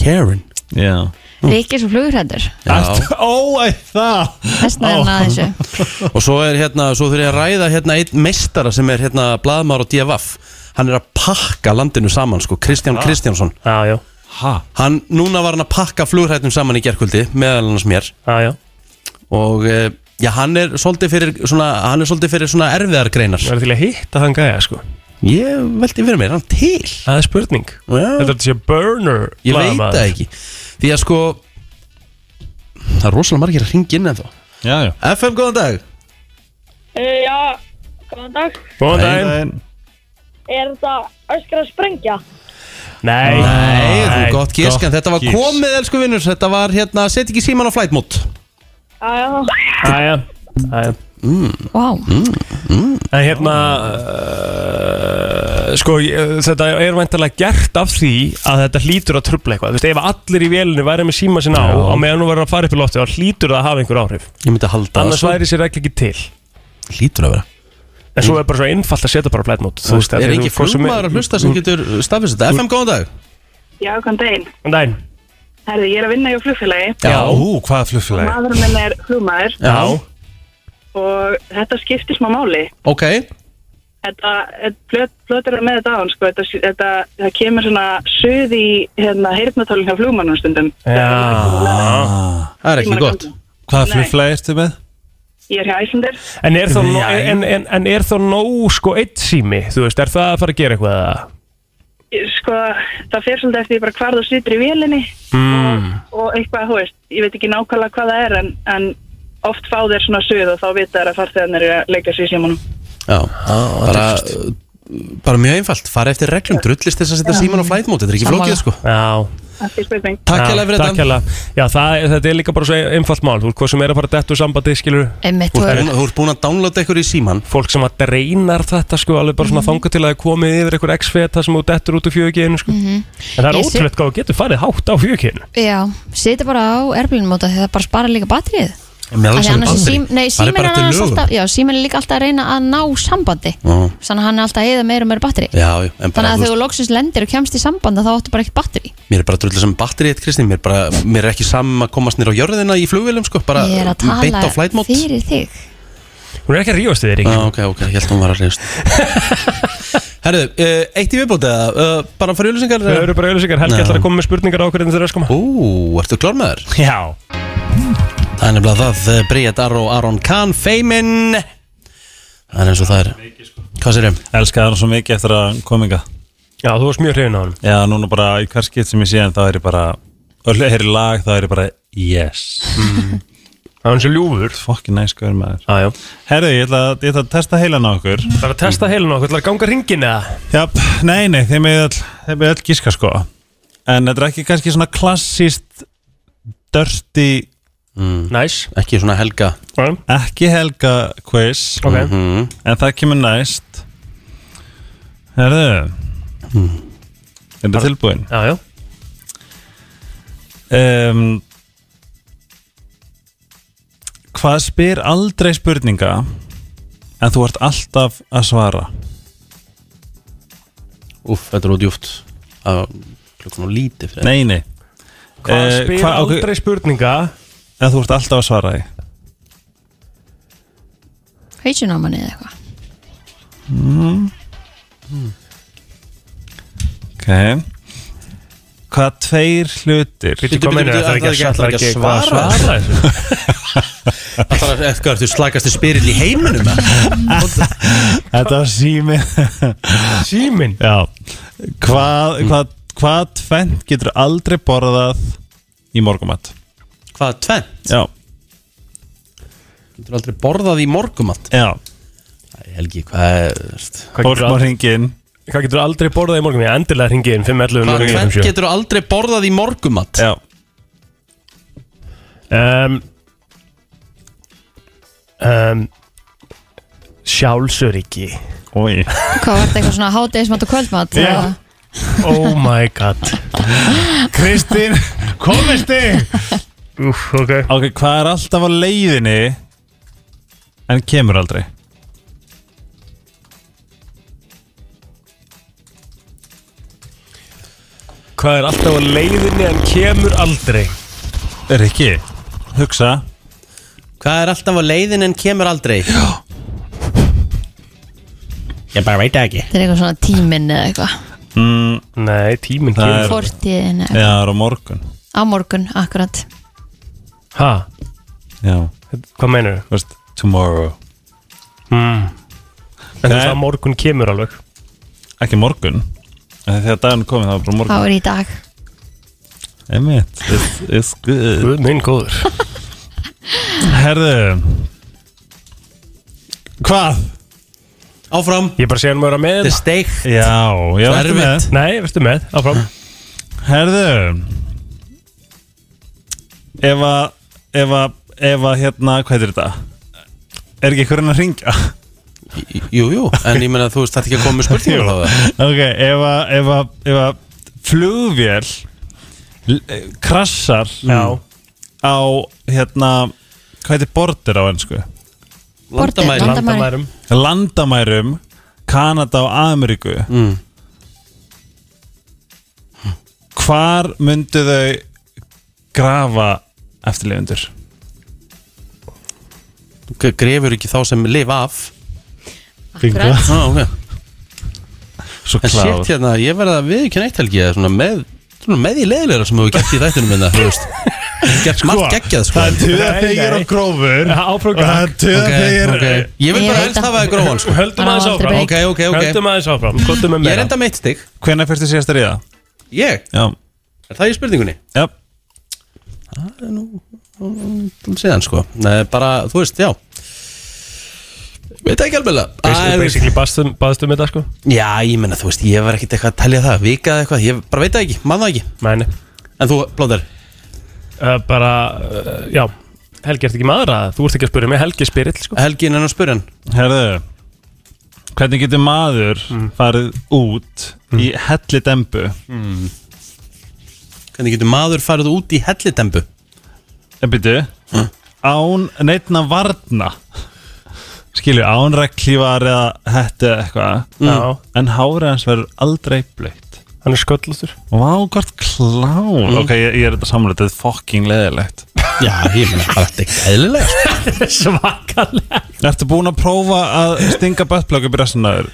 S1: Karen?
S7: Já
S2: Rikki er svo flugurhættur
S7: Allt- (laughs) Ó, æ, það
S2: Þessna er hann að þessu
S1: og svo er hérna, svo þurfið að ræða hérna einn meistara sem er hérna blaðmar og DFF hann er að pakka landinu saman sko, Kristján
S11: Ha?
S1: Kristjánsson
S3: já, já.
S1: hann, núna var hann að pakka flughrættum saman í gerkvöldi, meðal annars mér
S3: já, já.
S1: og eh, já, hann er svolítið fyrir svona, hann er svolítið fyrir svona erfiðar greinar
S3: Það er til að hitta þann gæja sko
S1: Ég veldi fyrir mér, hann til
S3: Það er spurning Þetta er þetta sé burner
S1: Ég veit
S3: blaðamaður.
S1: það ekki Því að sko Það er rosalega margir að ringa inn en þá
S7: já, já.
S1: FM, góðan dag
S12: Eh, Já, góðan dag.
S3: Góðan daginn
S12: Er þetta öskar að sprengja?
S3: Nei,
S1: Nei, þú
S3: Nei,
S1: gott gísk En þetta var
S3: gísk.
S1: komið, elsku vinnur Þetta var hérna, set ekki síman á flight mode
S12: Æja,
S3: Æja, æja
S2: Vá
S3: En hérna uh, Sko, ég, þetta er væntalega gert af því að þetta hlýtur að trubla eitthvað Þú veist, ef allir í vélunni væri með síma sinna á
S1: Já.
S3: á meðan þú verður að fara upp í lofti þá hlýtur það að hafa einhver áhrif
S1: Ég myndi að halda
S3: Annars væri sér ekki ekki til
S1: Lítur að vera
S3: En svo er bara svo einfalt að setja bara flight mode
S1: Mm. Þú veist, er ekki flugmaður að hlusta sem getur staðfist þetta? FM, góðan dag
S13: Já, góðan daginn.
S3: Góðan daginn
S13: Herði, ég er að vinna hjá flugfélagi.
S7: Ú, hvaða flugfélagi?
S13: Maðurinn minn er flugmaður
S7: Já
S13: og þetta skiptir smá máli.
S1: Ok
S13: Þetta, þetta- flöt, flötur er með þetta á hann, sko. Þetta, þetta, það kemur svona suð í hérna, heyrnatálinn hjá flugmannum stundum.
S3: Já
S1: Það er ekki gott
S7: Hvaða
S13: Nei.
S7: flugfélagi ertu með?
S13: Ég er hjá Æslandir.
S3: En er þá, nó- en, en, en er þá nóg sko eitt sími, þú veist, er það að fara að gera eitthvað eða?
S13: Sko, það fer svolítið eftir bara hvar þú situr í vélinni
S3: Mm.
S13: og eitthvað, þú veist, ég veit ekki nákvæmlega hvað það er en, en oft fá þér svona suð og þá vita þær að farþegarnir eru að leika sér í símanum.
S1: Já, bara Bara mjög einfalt, fara eftir reglum Drullist þess að setja síman á flight mode Þetta er ekki flókið, sko
S3: Já
S13: Þetta er spurning.
S1: Takk hérlega fyrir
S3: Takk
S1: þetta.
S3: hérlega Já, það, er- þetta er líka bara svo einfalt mál Þú veist hvað sem er að fara dettu sambandi, skilur
S2: Einmitt,
S1: Þú ert búin- þú ert búin að downloada ykkur í síman
S3: Fólk sem að dreinar þetta sko alveg bara svona mm. til að það er komið yfir ykkur x-feta sem þú dettur út úr fjöguginu sko
S2: Mhm.
S3: En það er
S2: Ég sé-
S3: ótrúlegt hvað þú getur farið hátt á fjöguginu
S2: Já, setja bara á erblinum móta því það bara sparar líka batrið
S3: meðal annars er batteri.
S2: Nei,
S3: Það er
S2: síminn er
S3: bara til
S2: annars
S3: lögum.
S2: alltaf Já, síminn er líka alltaf að reyna að ná sambandi
S1: Já.
S2: Þannig að hann er alltaf að eða meira og meira batteri
S1: Já, já, en
S2: Þannig
S1: bara, þú
S2: að þegar þú
S1: veist,
S2: loksins lendir og kemst í samband þá áttu bara ekkert batteri
S1: mér er bara drullið sem batterið eitt, Kristín, mér er bara, mér er ekki saman að komast nýra á jörðina í flugvélum, sko, bara
S2: Ég er að
S1: beint á
S2: tala
S1: flight mode.
S2: fyrir þig
S3: Hún er ekki að rífast þig, Rík
S1: Já, ok, ok, ég held hún var að reyðast Herðu, uh, eitt í viðbúti eða, uh, bara fyrir öllusingar?
S3: Við erum bara öllusingar, Helgi ætlar að koma með spurningar á hverju þeir eru að skoma
S1: Ú, ertu klár með þér?
S3: Já
S1: Það er nefnilega það, uh, Bríett Aró Aron Kahn, feimin Það er eins og það er Hvað sér ég?
S7: Elskaði hann svo mikið eftir að kominga
S3: Já, þú varst mjög hrifin á hann
S7: Já, núna bara í hver skipt sem ég sé en þá er ég bara öll er í lag, þá er ég bara yes
S3: Það er eins og ljúfur
S7: Fokkin næs skoður maður
S3: ah,
S7: Herðu, ég ætla, að- ég ætla að testa heilan á okkur
S3: Það er að testa heilun okkur, það er að ganga ringin eða
S7: Já, nei, nei, þeim er all, þeim er all gíska sko En þetta er ekki kannski svona klassist Dirty
S1: mm.
S3: Nice
S1: Ekki svona helga
S7: Ekki helga quiz
S3: Ok.
S1: Mhm.
S7: En það kemur næst Herðu Er þetta tilbúin?
S3: Já, já
S7: um, Hvað spyr aldrei spurninga En þú ert alltaf að svara
S1: Úff, þetta er út júft Klukkan og lítið fyrir
S7: Nei, nei
S3: Hvað spyr aldrei spurninga
S7: En þú ert alltaf að svara því
S2: Heitjun á manni eða eitthvað
S7: mm. Ok Hvað tveir hlutir
S3: Bíddu, hvað Bíddu, meinarðu? bíddu, Það er ekki að- ætlar ekki að svara svara
S1: Það er eftir hvað, þú slakast þið sko, spyrill í heiminum
S7: Þetta var símin
S3: Símin?
S7: Já Hvað, hvað, hvað tvent getur aldrei borðað í morgumat?
S1: Hvað, tvent?
S7: Já
S1: Getur aldrei borðað í morgumat
S7: Já
S1: Helgi, hvað er
S7: ringin
S3: Hvað getur aldrei borðað í morgun? Ég endilega ringin 511
S1: Hvað tvent
S3: 0957.
S1: getur aldrei borðað í morgumat?
S7: Já
S3: um, um, Sjálfsöryggi
S7: Ói
S2: Hvað var þetta eitthvað svona hádegismat og kvöldmat
S3: Já.
S2: eða?
S3: Oh my god
S7: Kristín, komist þig
S3: Úf, ok
S7: Ok, hvað er alltaf á leiðinni en kemur aldrei?
S3: Hvað er alltaf á leiðinni en kemur aldrei?
S7: Er ekki, hugsa
S1: Hvað er alltaf á leiðin en kemur aldrei? Já Ég bara veit það ekki
S2: Þetta er eitthvað svona tíminn eða eitthvað
S7: mm,
S3: Nei, tíminn
S2: kemur. Fortíðin eða
S7: Já, það er á morgun
S2: Á morgun, akkurat
S3: Ha?
S7: Já
S3: Hvað meinarðu?
S7: Vist, tomorrow
S3: mm. En þú veist að morgun kemur alveg
S7: Ekki morgun En Þegar daginn komið það var bara
S2: Þá
S7: morgun
S2: er í dag
S7: Emmett, it's, it's good
S3: Guð minn góður
S7: Herðu Hvað?
S1: Áfram
S3: Ég bara segja hann maður að með
S1: Þetta er steikt
S7: Já, já,
S3: Það er
S7: ertu með?
S3: erfitt. Nei, verður með, áfram
S7: Herðu Ef að Ef að, ef að hérna, hvað heitir þetta? Er ekki einhverjum að ringja?
S1: Jú, jú, en ég meina þú veist þetta ekki að koma með spurningar þá eða?
S7: (laughs) ok, ef að, ef að, ef að flugvél l- eh, krassar
S3: Já.
S7: á hérna, hvað heitir border á ennsku?
S1: Border, Landamæri. landamærum.
S7: Landamærum Kanada og Ameríku
S1: mm.
S7: Hvar myndu þau grafa eftirleifundur?
S1: G- Grefur ekki þá sem lifa af
S7: Bingo.
S1: Á, ok.
S7: Svo
S1: En
S7: klár.
S1: sétt hérna, ég verða að við ekki neitt helgi eða svona með Svona með í leiðilega sem hefur gert í þættinum minna, þú veist Gert margt geggjað, sko
S7: tuðaþegir og grófur
S3: Áfram
S7: Það er
S1: tuðaþegir okay. Ég vil bara helst hafa það grófan, sko
S3: Höldum aðeins áfram
S1: Ok, ok, ok
S3: Höldum aðeins áfram Kottum
S1: Ég
S3: með
S1: er
S3: meira
S1: enda mitt stig
S7: Hvenær fyrstu síðast að ríða?
S1: Ég?
S7: Já
S1: Er það í spurningunni?
S7: Já
S1: Það er nú Síðan, sko Nei, bara, þú veist, já Veit ekki alveg
S3: Basically-
S1: Æ,
S3: Basically baðstum, baðstum þetta sko
S1: Já, ég menna, þú veist, ég var ekkert eitthvað að telja það Vika eða eitthvað, ég bara veit það ekki, maður það ekki
S3: Mæni
S1: En þú, Blóðar?
S3: uh, Bara, uh, já Helgi, ert ekki maður að þú ert ekki að spyrja mig Helgi spyrill sko
S1: Helgi innan að spyrja hann
S7: Herðu, hvernig getur maður farið út í hellidembu?
S1: mm. Hvernig getur maður farið út í hellidembu?
S7: En byrju, Eh, án neittna varna Skilju, án reglívar eða hettu eða eitthvað
S3: Já.
S7: En hárið hans verður aldrei bleitt
S3: Hann er (laughs) sköllóttur
S7: Vá, hvort klár
S3: Mm.
S7: Ok, ég, ég er þetta samlega, þetta er fucking leðilegt
S1: Já, ég meina, bara þetta er ekki eðlilega
S7: Svakalegt Ertu búin að prófa að stinga buttplug upp í ressunaður?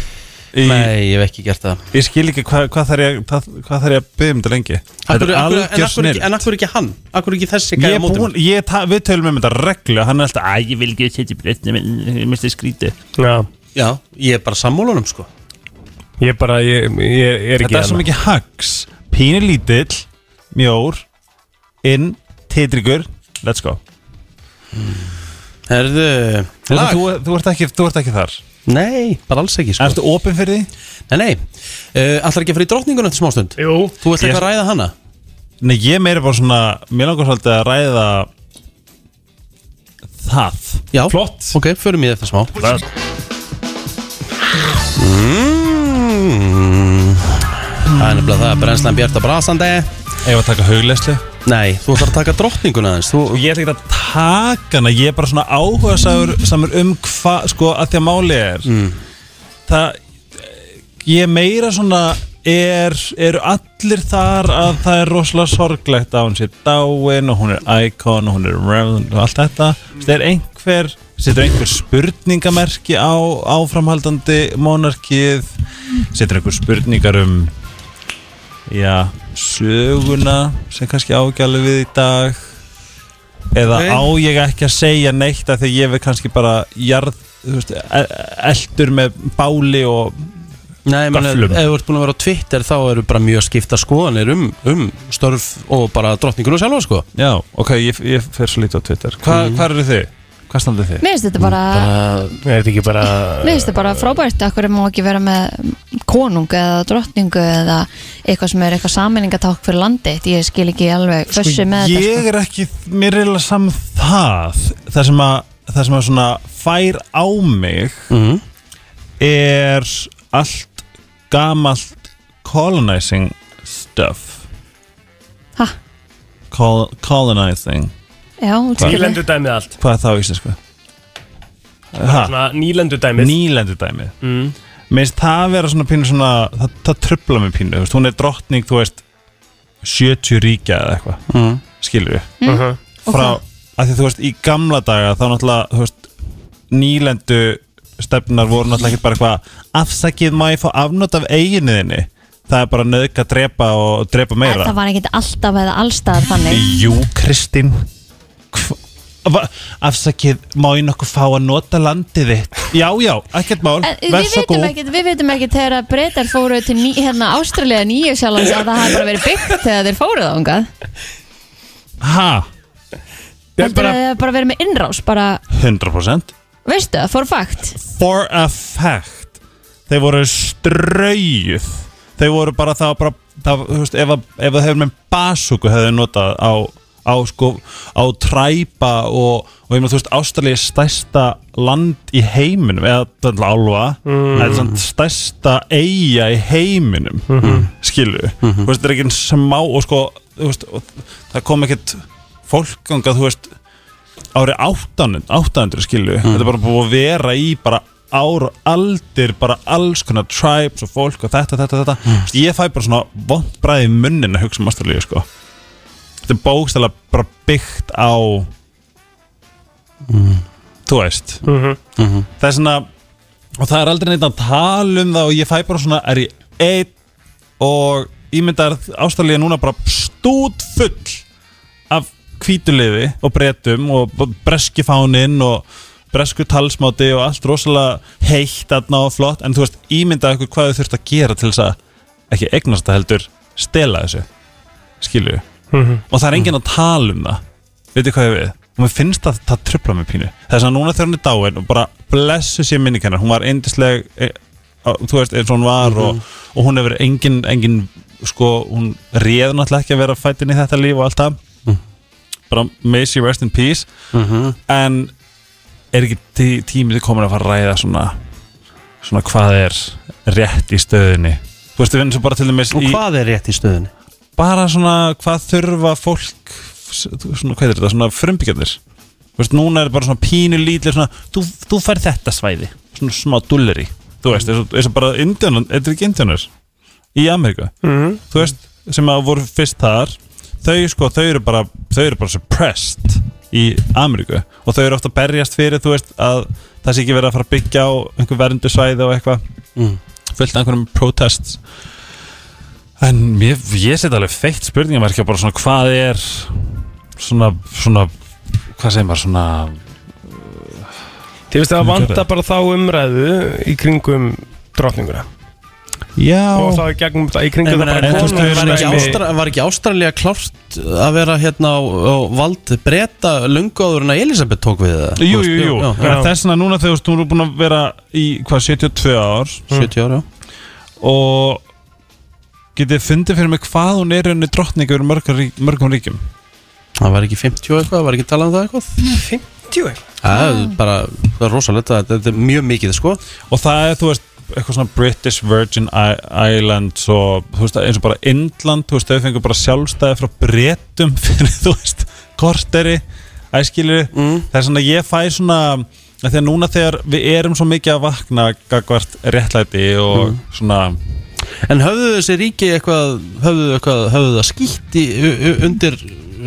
S7: Í...
S1: (laughs) Nei, ég hef ekki gert það
S7: Ég skil ekki hvað hva þarf ég, hvað, hvað þarf ég að byggja um þetta lengi
S1: Akkur,
S7: Þetta er
S1: akkur, en,
S7: algjör
S1: akkur
S7: snill
S1: ekki, en akkur ekki hann? Akkur ekki þessi
S7: Ég
S1: gæja
S7: er
S1: mótum?
S7: búin, ég, ta- við tölum um þetta reglu Hann er alltaf, að ég vil ekki setja í breytni Ég misti skríti
S3: Já
S1: Já, ég er bara sammólunum, sko
S3: Ég bara, ég, ég er ekki hérna.
S7: Þetta er svo mikið hags Pínu lítill, mjór Inn, titrigur, let's go
S1: Herðu,
S7: Þú,
S1: lag?
S7: þú, þú, ert ekki, þú ert ekki þar
S1: Nei, bara alls ekki, sko
S7: Ertu opinn fyrir því?
S1: Nei, nei uh, Ætlar ekki að fara í drottninguna eftir smástund?
S3: Jú
S1: Þú ætlar ekki að ræða hana?
S7: Nei, ég meira bara svona Mér langar svolítið að ræða Það
S1: Já, flott Ok, förum í þetta smá Mm. Það er nefnilega það, brennslan bjart og brasandi Ég
S7: var að taka hauglesli
S1: Nei, þú ætlar að taka drottninguna aðeins þú...
S7: Ég ætla ekki að taka hana Ég er bara svona áhuga samur um hvað Sko, að því að máli er Það Ég er meira svona er, eru allir þar að það er rosalega sorglegt að hún sé dáin og hún er icon og hún er relevant og allt þetta Þú veist, er einhver, setur einhver spurningamerki á áframhaldandi monarkið setur einhver spurningar um já, söguna sem kannski ágjali við í dag eða
S14: Nei.
S7: á ég ekki að segja neitt af því ég er kannski bara jarð, þú veist, e- eldur með báli og
S14: Nei, menn, ef
S7: Gafflum.
S14: ef þú ert búin að vera á Twitter þá eru bara mjög skipta skoðanir um, um störf og bara drottningunum sjálfa sko
S7: Já, ok, ég, ég fer svo lítið á Twitter Hva,
S14: Mm.
S7: Hvað eru þið? Hvað standið þið?
S2: Mér finnst þetta bara,
S3: Eh, Er þetta ekki bara
S2: mér finnst þetta bara frábært Akkur má ekki vera með konung eða drottningu eða eitthvað sem er eitthvað sammenningaták fyrir landið Ég skil ekki alveg fössu með þetta
S7: Sko,
S2: sko.
S7: Ég er ekki, mér er eiginlega saman það Það sem að, það sem að svona fær á mig Er allt gamalt colonizing stuff
S2: Ha?
S7: Col colonizing
S2: Já, útskýrðu.
S3: Nýlendu dæmið allt
S7: Hvað er það á íslensku? Ha?
S3: Svona nýlendu dæmið
S7: Nýlendu dæmið mm. Mér finnst það vera svona pínu svona Það, það trubla mig pínu, þú veist, hún er drottning Þú veist, 70 ríkja eða eitthvað
S14: Mm.
S7: Skilur við
S14: Mm. Mhm. Og
S7: Frá,
S14: hvað?
S7: af því þú veist, í gamla daga Þá náttúrulega, þú veist, nýlendu Stefnar voru náttúrulega ekki bara eitthvað Afsakið má ég fá afnót af eiginniðinni Það er bara nöðg að drepa Og drepa meira
S2: Það var ekkert alltaf eða allstaðar þannig
S7: Jú, Kristín Hva- va- Afsakið, má ég nokkuð fá að nota landið þitt? Já, já, ekkert mál
S2: En
S7: Verð
S2: Eh, Við
S7: svo
S2: vitum
S7: góð.
S2: ekkert, við vitum ekkert þegar að breytar fóru til ný, hérna Ástralja nýju sjálfans að það hafi bara verið byggt þegar þeir fóruð ángað
S7: Ha?
S2: Heldur að það hafi bara verið með innrás bara,
S7: 100%
S2: veistu það, for a fact
S7: For a fact Þeir voru strauð Þeir voru bara það var bara það, þú veist, ef, að- ef það hefur með basúku hefur notað á, á sko á træpa og, og ég með þú veist Ástralía er stærsta land í heiminum eða þannig álfa
S14: Mm.
S7: það er svona stærsta eiga í heiminum
S14: Mhm.
S7: skilu þú veist það er ekki einn smá og sko þú veist og það kom ekkert fólkganga þú veist árið 800, 800 skilu þetta er bara búið að vera í bara ár og aldir, bara alls konar tribes og fólk og þetta, þetta, þetta mm. ég fæ bara svona vond bræði munnin að hugsa um Ástralíu sko þetta er bókstælega bara byggt á þú veist
S3: Mhm.
S14: Mhm.
S7: það er svona og það er aldrei neitt að tala um það og ég fæ bara svona, er ég einn og ímyndar ástæðlega núna bara stút full af hvítuliði og bretum og breski fáninn og bresku talsmáti og allt rosalega heitt aðna og flott en þú veist, ímyndaðu ykkur hvað þau þurft að gera til þess að ekki eignast það heldur stela þessu, skilju
S3: Mhm.
S7: og það er enginn að tala um það veitir hvað ég við og mér finnst að það tröfla mig pínu þess að núna þegar hún er dáin og bara blessu sér minning hennar hún var eindisleg e, á- þú veist eins og hún var
S3: Mhm.
S7: og, og hún hefur engin, engin sko, hún réð náttúrulega ekki að vera fættin í þetta líf og allt það bara may she rest in peace
S14: Mhm.
S7: en er ekki tí, tímið til komin að fara að ræða svona svona hvað er rétt í stöðunni þú veist við eins og bara til dæmis
S14: Og hvað er rétt í stöðunni?
S7: bara svona hvað þurfa fólk svona, hvað er þetta, svona frumbyggjarnir þú veist, núna er bara svona pínu lítið svona, þú, þú fær þetta svæði svona smá dulleri, þú veist eins og, eins og bara indjónar, þetta er ekki indjónar í Ameríku,
S3: Mhm.
S7: þú veist sem að voru fyrst þar þau sko, þau eru bara, þau eru bara suppressed í Ameríku og þau eru ofta að berjast fyrir, þú veist, að það sé ekki verið að fara að byggja á einhver verndu svæði og eitthvað
S14: Mm.
S7: fullt af einhverjum protests En mér, ég seti alveg feitt spurningamarkja bara svona hvað er svona, svona hvað segir maður svona
S3: Þið veist það vanta bara þá umræðu í kringum drottninguna
S7: Já
S3: Og þá í gegnum það í
S14: En
S3: kringum það bara
S14: þú veist, var ekki
S3: konungsdæmi.
S14: Ástra- var ekki ástralja klárt að vera hérna á, á vald breyta lungu áður en að Elisabeth tók við það
S7: Jú, jú, jú,
S14: já,
S7: En þess vegna núna þegar þú veist, hún er búin að vera í hvað, 72 ár
S14: 70 ár,
S7: já Og getið þið fundið fyrir mig hvað hún er unni drottning yfir mörgum, rík, mörgum ríkjum
S14: Það var ekki 50 og eitthvað, var ekki talað um það eitthvað
S3: 50 eitthvað
S14: Það er bara, það er rosalegt að þetta er mjög mikið sko
S7: Og það er, þú veist, eitthvað svona British Virgin I- Islands og þú veist, eins og bara Indland, þú veist, þau fengur bara sjálfstæði frá bretum (laughs) fyrir, þú veist, korteri, æskilu, mm. það er svona, ég fæ svona, af því að núna þegar við erum svo mikið að vakna gagvart réttlæti og svona
S1: En höfðu þessi ríki eitthvað Höfðu, þau eitthvað, höfðu það skýtt í, u- u- undir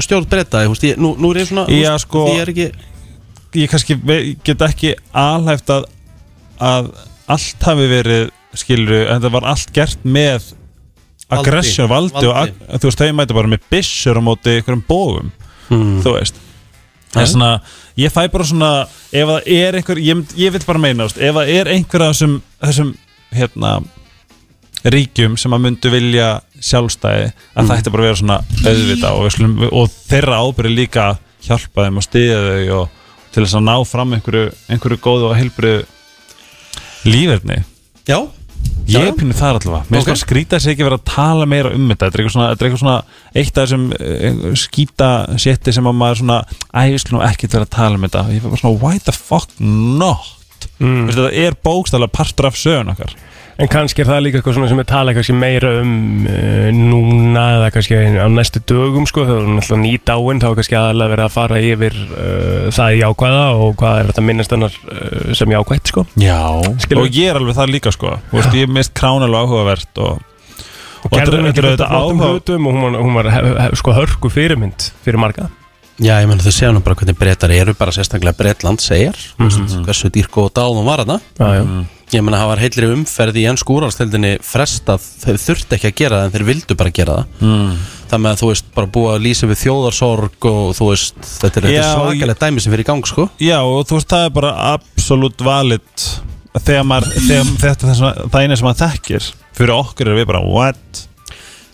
S1: stjórn breyta ég, ég, nú, nú er ég svona þú
S7: Já,
S1: veist,
S7: sko,
S1: Því ég er ekki
S7: Ég kannski ve- get ekki alhæft að, að allt hafi verið skilur, en það var allt gert með
S1: Valdi.
S7: aggression, valdi, og
S1: Valdi.
S7: ag- þú veist, þau mæti bara með byssur á móti einhverjum bógum
S1: Hmm.
S7: þú veist en
S1: Mm. Já.
S7: svona, ég fæ bara svona ef það er einhver, ég, mynd- ég vil bara meina þú veist, ef það er einhver af þessum, þessum hérna ríkjum sem að myndu vilja sjálfstæði að
S1: Mm.
S7: það ætti bara að vera svona auðvita og, við slum, og þeirra ábyrði líka að hjálpa þeim og stiðja þau og til þess að ná fram einhverju, einhverju góðu og helbriðu líferni
S1: Já
S7: Ég
S1: Já.
S7: er pínu þar allavega Mér finnst
S1: Ok.
S7: okay. skrýta sig ekki verið að tala meira um þetta Þetta er eitthvað svona, þetta er eitthvað svona eitt af þessum eh, skýta sétti sem að maður svona Æ, við skulum ekki vera að tala um þetta Ég fyrir bara svona, why the fuck not? Mm. Þetta er bókstæðlega partur af sögun okkar
S3: En kannski er það líka eitthvað svona sem við tala kannski meira um uh, núna eða kannski á næstu dögum sko þegar hún ætla ný dáin þá er kannski aðalega verið að fara yfir uh, það jákvæða og hvað er þetta minnast hennar uh, sem jákvætt sko
S7: Já
S3: Skilur.
S7: Og ég er alveg það líka sko Þú veist, Ég er mist kránalega áhugavert Og, og,
S3: og gerði hún ekki þetta flottum
S7: áhuga-
S3: hlutum og hún var, hún var hef, hef, sko hörku fyrirmynd fyrir marga
S1: Já, ég menn þau séu nú bara hvernig breytar eru bara sérstaklega breytland segir mm
S7: Mhm.
S1: -hmm. hversu dýrku og dáðum var hana
S3: Já, já.
S1: Ég menna, það var heilri umferð í ennsku úrvalstildinni frestað, þau þurfti ekki að gera það en þeir vildu bara gera það
S7: Mm.
S1: Þannig að þú veist, bara búið að lýsa við þjóðarsorg og þú veist, þetta er, þetta er
S7: Já,
S1: svakalega dæmi sem fyrir í gang, sko
S7: Já, og þú veist, það er bara absolutt valid þegar maður, þegar þetta er svona- það eina sem maður þekkir fyrir okkur er við bara, what?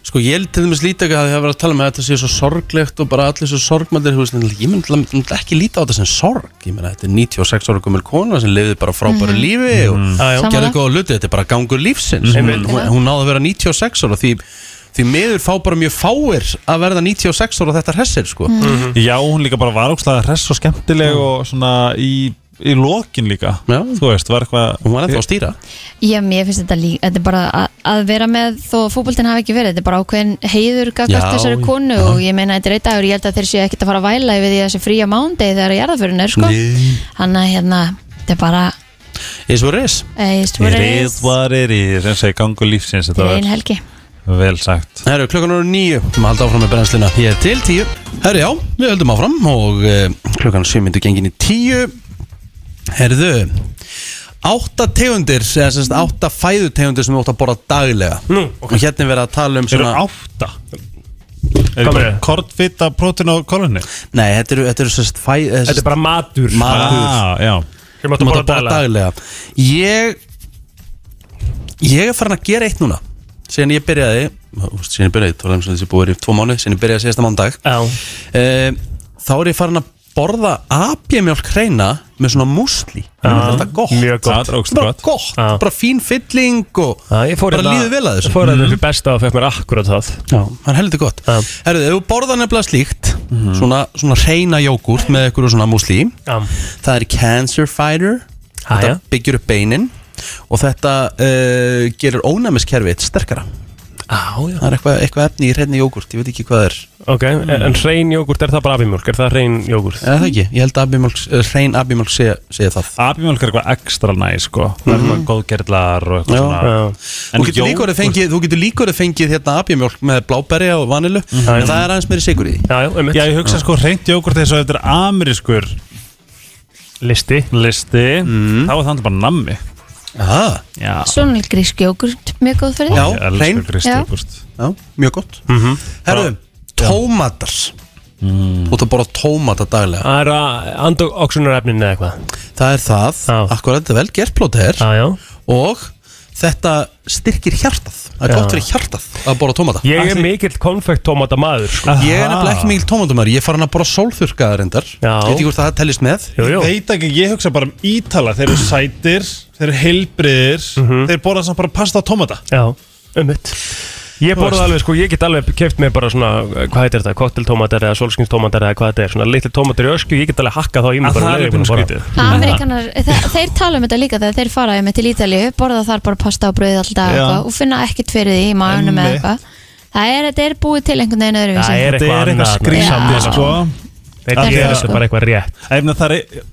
S1: Sko, ég til dæmis líta ekki að það hefur verið að tala með að þetta sé svo sorglegt og bara allir svo sorgmændir, þú veist, en ég myndi myndi ekki líta á þetta sem sorg, ég meina, þetta er 96 ára gömul kona sem lifði bara frábæru
S15: Mhm.
S1: lífi
S15: Mhm. Já, já.
S1: og gerði
S15: Sammála.
S1: góða hluti, þetta er bara gangur lífsins,
S15: Mhm.
S1: hún, hún, hún náði að vera 96 ára því, því miður fá bara mjög fáir að verða 96 ára þetta hressir, sko
S7: Mhm. Já, hún líka bara var ógslag hress og skemmtileg og svona í, í lokin líka Já. Þú veist, var eitthvað
S1: Hún var ennþá að stýra
S2: Já, mér finnst þetta líka, þetta er bara að, að vera með þó að fótboltin hafi ekki verið, þetta er bara ákveðin heiður gagast
S1: Já,
S2: þessari konu
S1: já.
S2: og ég meina þetta er einn dagur, ég held að þeir séu ekkert að fara að væla yfir því að þessi fría mándegi þegar að jarðaförin er, sko. Þannig að hérna, þetta er bara,
S1: Is what is
S2: eh, it's what it is,
S7: var er í þess að gangu lífsins Þetta
S2: þetta er ein
S7: var
S2: helgi.
S7: vel sagt
S1: Herru, klukkan eru nýju, við halda áfram með brennsluna Ég er til tíu Herru, já, við höldum áfram og uh, klukkan sjö myndu gengin í tíu Herðu Átta tegundir, eða semst átta fæðutegundir sem við ótt að borða daglega Nú, ok Og hérna er verið að tala um svona
S7: Eru átta? Er bara kortfita, prótin og kolunni?
S1: Nei, þetta eru, þetta eru semst fæ Þetta
S3: er bara matur
S1: Matur
S7: ah, Já
S1: Sem átt að borða daglega Ég Ég er farin að gera eitt núna Síðan ég byrjaði úst, Síðan ég byrjaði, þá erum þessi búið er í tvo mánu Síðan ég byrjaði síðasta mándag e, Þá er ég farin að borða apjamjálk hreina Með svona músli
S3: Já.
S1: Þetta er gott
S3: Mjög gott.
S1: Það er ógeðslega Bara gott,
S3: Já.
S1: bara fín fylling og
S3: Já, ég fór hérna-
S1: Bara líður vel að þessu.
S3: Fór þetta
S1: Mhm.
S3: fyrir besta og fekk mér akkurat það
S1: Já, það er heldur gott Herðu, ef þú borða nefnilega slíkt
S3: Mhm.
S1: svona, svona reyna jógurt með einhverju svona músli
S3: Já.
S1: Það er cancer fighter
S3: Ha,
S1: Þetta
S3: já.
S1: byggjur upp beinin Og þetta uh, gerir ónæmiskerfið sterkara
S3: Á, já
S1: Það er eitthvað, eitthvað efni í reyna jógurt, ég veit ekki hvað það er
S3: Ok, en- en hrein jógurt, er það bara abimjólk? Er það hrein jógurt?
S1: Eða það ekki, ég held að abimjólk, hrein abimjólk segja, segja það
S7: Abimjólk er eitthvað ekstra næ, sko Það er eitthvað góðgerðlar og eitthvað
S1: Mhm. Já.
S7: svona En
S1: Þú getur líka orðið
S7: jógúrt-
S1: fengið, þú getur líka orðið fengið hérna abimjólk með bláberja og vanilu En það er aðeins meiri sigur í því
S3: Já, já, einmitt.
S7: Já, ég hugsa sko reynt jógurt þess að þetta er amerískur
S3: Listi
S7: Listi,
S1: Mhm.
S7: þá er það bara nammi
S1: Aha.
S7: Já
S2: Svona grísk jógurt, mjög góð fyrir
S7: Ég elska grískt
S2: Já.
S7: jógúrt.
S1: Já, mjög gott mm -hmm. Herru, tómatar Þú ert að borða tómata daglega
S3: Það er að andoxunarefnin eða eitthvað
S1: Það er það, akkurat, þetta er vel gert plóta þér
S3: Já, já
S1: Og þetta styrkir hjartað Það er
S3: Já.
S1: gott fyrir hjartað að borða tómata
S3: Ég er mikill konfekttómata maður sko.
S1: Ég er nefnilega ekki mikil tómatumæður, ég er farin að borða sólþurkaðar endar Já Veit ekki hvort það tellist með
S7: Ég veit ekki, ég hugsa bara um ítala Þeir eru
S3: (clears throat)
S7: sætir, þeir eru heilbriðir
S3: Mhm.
S7: Þeir borða samt bara pasta og tomata
S3: Já, um mitt Ég
S7: Þú veist.
S3: borða alveg, sko, ég get alveg keft mér bara svona, eh, hvað heitir þetta, kokteltómatar eða solskinstómatar eða hvað þetta er, svona litli tómatar í ösku, ég get alveg hakka þá í mig
S7: Að það er
S3: um
S7: pínu
S2: Amerikanar, þe- þeir tala um þetta líka þegar þeir fara með til Ítalíu, borða þar bara pasta og brauð alltaf
S3: Já.
S2: og finna ekkert fyrir því í maðunum eða
S3: Einmitt.
S2: eitthvað Það er, þetta er búið til einhvern veginn öðru
S3: Það er eitthvað annað þarna.
S7: skrýmsandi
S3: Já.
S7: sko
S3: Þeir
S7: Af því
S3: gera
S7: að-
S3: þessu bara eitthvað rétt.
S7: Ég meina, Það er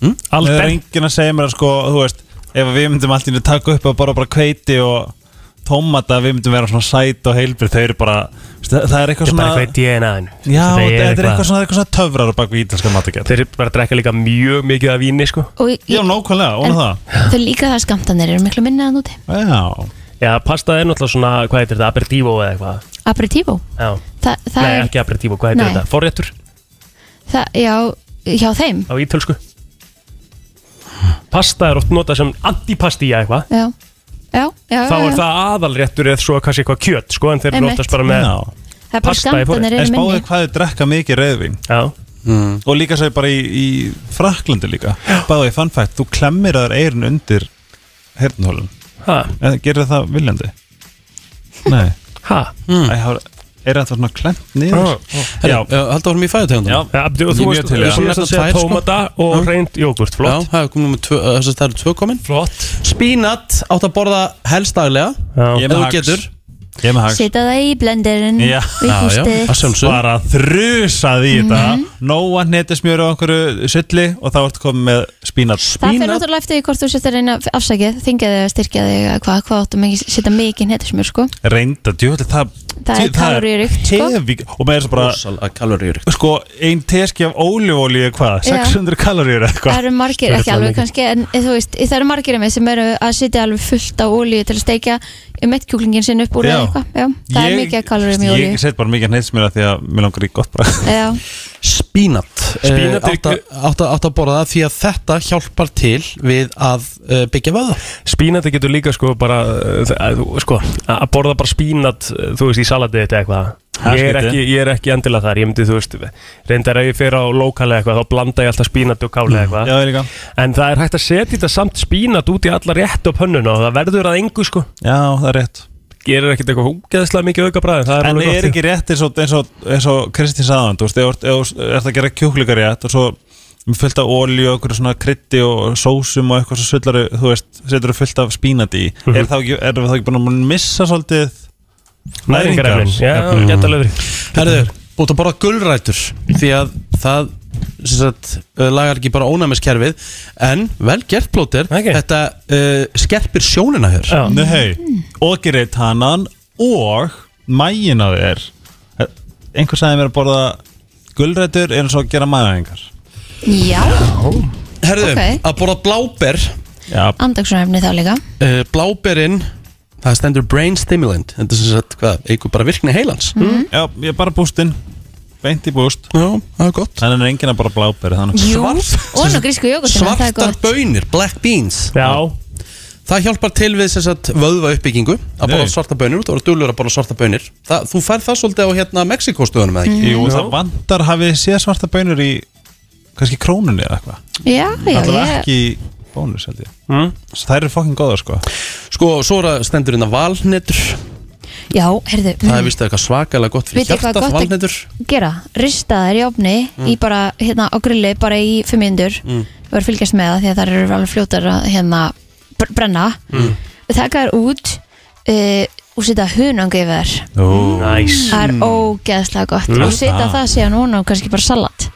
S7: Hm? Það er enginn að segja mér að sko Þú veist, ef við myndum allt í einu taka upp og borða bara kveiti og tómata við myndum vera svona sæt og heilbrið þau eru bara, veist, það það er eitthvað
S3: Þetta er
S7: svona
S3: bara eitthvað í DNA-inu.
S7: Já, þetta er eitthvað svona, eitthvað svona töfrar á bak við ítalska matakett
S3: Þeir eru bara að drekka líka mjög mikið af víni sko.
S2: Og í-
S7: Já, nákvæmlega,
S2: En Þau líka það skamtanir eru miklu minna en úti
S7: Já
S3: Já, pasta er náttúrulega svona, hvað heitir þetta, aperitivo eða eitthvað
S2: Aperitivo
S3: Já
S2: Þa, það
S3: Nei,
S2: er,
S3: ekki aperitivo, hvað heitir
S2: Nei.
S3: þetta, forréttur
S2: það, Já, hjá þeim
S3: á ítölsku Pasta er oft notað sem antipasti eða eitthvað
S2: Já, já, já
S3: Þá
S2: já,
S3: er
S2: já.
S3: það aðalréttur eða svo kannski eitthvað kjöt sko, en þeir eru
S2: Ah. Einmitt.
S3: oftast bara með
S2: Það er bara skamtanir
S7: En
S2: eru
S7: spáðu
S2: minni
S7: hvað þau drekka mikið reyðvin
S1: mm.
S7: Og líka svo bara í, í Fraklandi líka Báðu í fun fact, þú klemmir að þær eirun undir hernhólun
S3: Ha?
S7: Gerir það viljandi? Nei
S3: Ha?
S1: Hmm.
S7: Mm. Æ, það er þetta svona klemt
S1: Oh,
S7: niður
S3: Ah, ah.
S7: Já,
S1: Haldur varum eh, í fæðutegundum
S7: Já.
S3: Ja, þú
S7: Ég er
S3: þú
S7: mjög
S3: veist,
S7: til í
S3: þú
S7: það.
S3: veist að segja tómata
S7: sko.
S3: og reynd jógurt, flott
S1: Já, það er komið númer tvö, þess að það eru tvö komin
S3: Flott
S1: Spínat átt að borða helst daglega Ef
S7: Ég er með
S1: þú
S7: hax.
S1: getur
S7: Ég er með hax
S2: Sita það í blenderinn
S7: Já,
S2: Við hústið
S7: bara þrjusað í þetta
S2: Mhm.
S7: mm -hmm. Nóa netismjöru á einhverju sulli og þá ertu komið með spínat
S2: Það fyrir náttúrulega eftir því hvort þú setja reyna afsakið, þingja þig að styrkja þig eða hvað, hvað áttu mikið, setja mikið netismjör sko.
S7: reynda djúvöldi það,
S2: Það er kaloríuríkt, sko.
S7: hefi, og með þess að bara kaloríuríkt sko ein teski af ólífólíu hvað
S2: Já.
S7: 600 kaloríur eða
S2: Það
S7: hvað
S2: eru margir, ekki alveg kannski, en þú veist, það eru margir með sem eru að setja alveg fullt á ólíu til að steikja mettkjúklingin sinn upp úr
S7: Já.
S2: eða eitthvað. Já, það er mikið kaloríum í ólíu.
S7: ég set bara mikið netismjöru því að mér langar í gott bara
S2: Já,
S1: Spínat eh,
S3: Spínat er
S1: átt að- átt að átt að borða það því að þetta hjálpar til við að eh, byggja vöða
S3: Spínati getur líka sko bara uh, þ- að, þú- sko, að að borða bara spínat uh, þú veist í salatið þetta eitthvað
S7: Það
S3: ég er,
S7: skrítið.
S3: ekki, ég er ekki endilega þar, ég myndi þú veist reyndar ef ég fer á lokal eitthvað þá blanda ég alltaf spínat og káli eitthvað
S7: Mm. Já, líka.
S3: en það er hægt að setja þetta samt spínat út í alla rétt á pönnuna og það verður að engu sko
S7: já, það er rétt
S3: gerir ekkert eitthvað úgeðslega mikið aukabræðin það er
S7: en
S3: alveg
S7: er ekki rétt eins og, eins og, eins og Kristín saðan, þú veist, ef þú ert- ef þú ert að gera kjúklingar rétt og svo með fullt af olíu og einhverju svona krytti og sósum og eitthvað svo sullari, þú veist, setur þú fullt af spínati í,
S3: Mhm.
S7: er, þá ekki, er það ekki búin að missa svolítið
S3: Næringarefnin, já,
S7: Jafnvel.
S3: geta alveg verið.
S1: Herðu, búið að borða gulrætur því að það sem sagt, eh, lagar ekki bara ónæmiskerfið en vel gert plóter okay. þetta uh, skerpir sjónina hér
S3: Ah,
S7: Nei,
S2: Mm.
S7: og gerir tannan og mægin á þér einhver sagði mér að borða gulrætur eins og gera mæðaðingar
S2: já,
S1: Herðu,
S2: Ok.
S1: að borða bláber
S7: Já,
S2: andagsunarefni þá líka.
S1: uh, bláberinn það stendur brain stimulant þetta er sem sagt, hvað, eitthvað bara virkni heilans
S7: Mhm. Já, ég er bara bústinn Beint í búst
S1: Já, það er gott
S7: Þannig er enginn að bara bláberi þannig
S2: Jú, og nú grísku jógurtina, það er
S1: svartar
S2: gott.
S1: bönir, black beans
S3: Já
S1: Það hjálpar til við sem sagt vöðva uppbyggingu að borða
S7: Nei.
S1: svarta bönir, þú voru dúlur að borða svarta bönir það, Þú færð það svolítið á hérna Mexikostöðunum eða ekki?
S7: Jú, það vantar hafið þið séð svarta bönur í kannski krónunni eða eitthvað
S2: Já, já,
S7: Það er
S2: ég, Hmm?
S7: ekki í bónus held ég Svo Það eru fokkin góðar sko
S2: Mm.
S1: Sko, svo er að stendur hérna valnetur
S2: já, heyrðu,
S1: Það er vist eitthvað svakalega gott fyrir
S2: Mm. Vitið hvað
S1: hjartað
S2: gott að-
S1: valnetur
S2: gera, rista þær í ofni
S1: Mm.
S2: í bara, hérna, á grilli, bara í fimm mindur
S1: Mm.
S2: og er að fylgjast með það því að það eru alveg fljótar að, hérna, br- brenna
S3: Mm.
S2: taka þær út uh, og setja hunang yfir þær
S3: Ó. Nice.
S2: það er ógeðslega gott
S7: Mm.
S2: og setja það síðan hún og kannski bara salat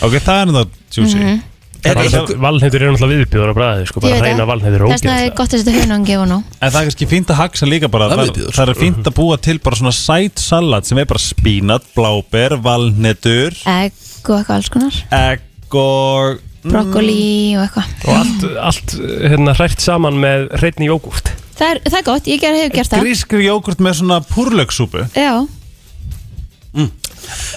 S7: Ok, það er það juicy
S2: Mhm.
S7: Er
S3: rétt Valneitur eru náttúrulega viðbjóður á bræði sko, bara
S2: Ég veit
S3: reyna
S2: það.
S3: valneitur
S2: þess vegna er gott að setja hunang yfir hún
S7: En það er kannski fínt að haksa líka bara
S1: Það
S7: Það,
S1: veit ég, sko.
S7: það, er fínt að búa til bara svona sæt salat sem er bara spínat, bláber, valnetur
S2: egg og eitthvað alls konar
S7: Egg og
S2: brokkoli og eitthvað
S3: og allt, allt hérna hrært saman með hreinni jógurt
S2: það er, það er gott, ég ger, hef gert það
S7: Grískur jógurt með svona púrlöksúpu
S2: já,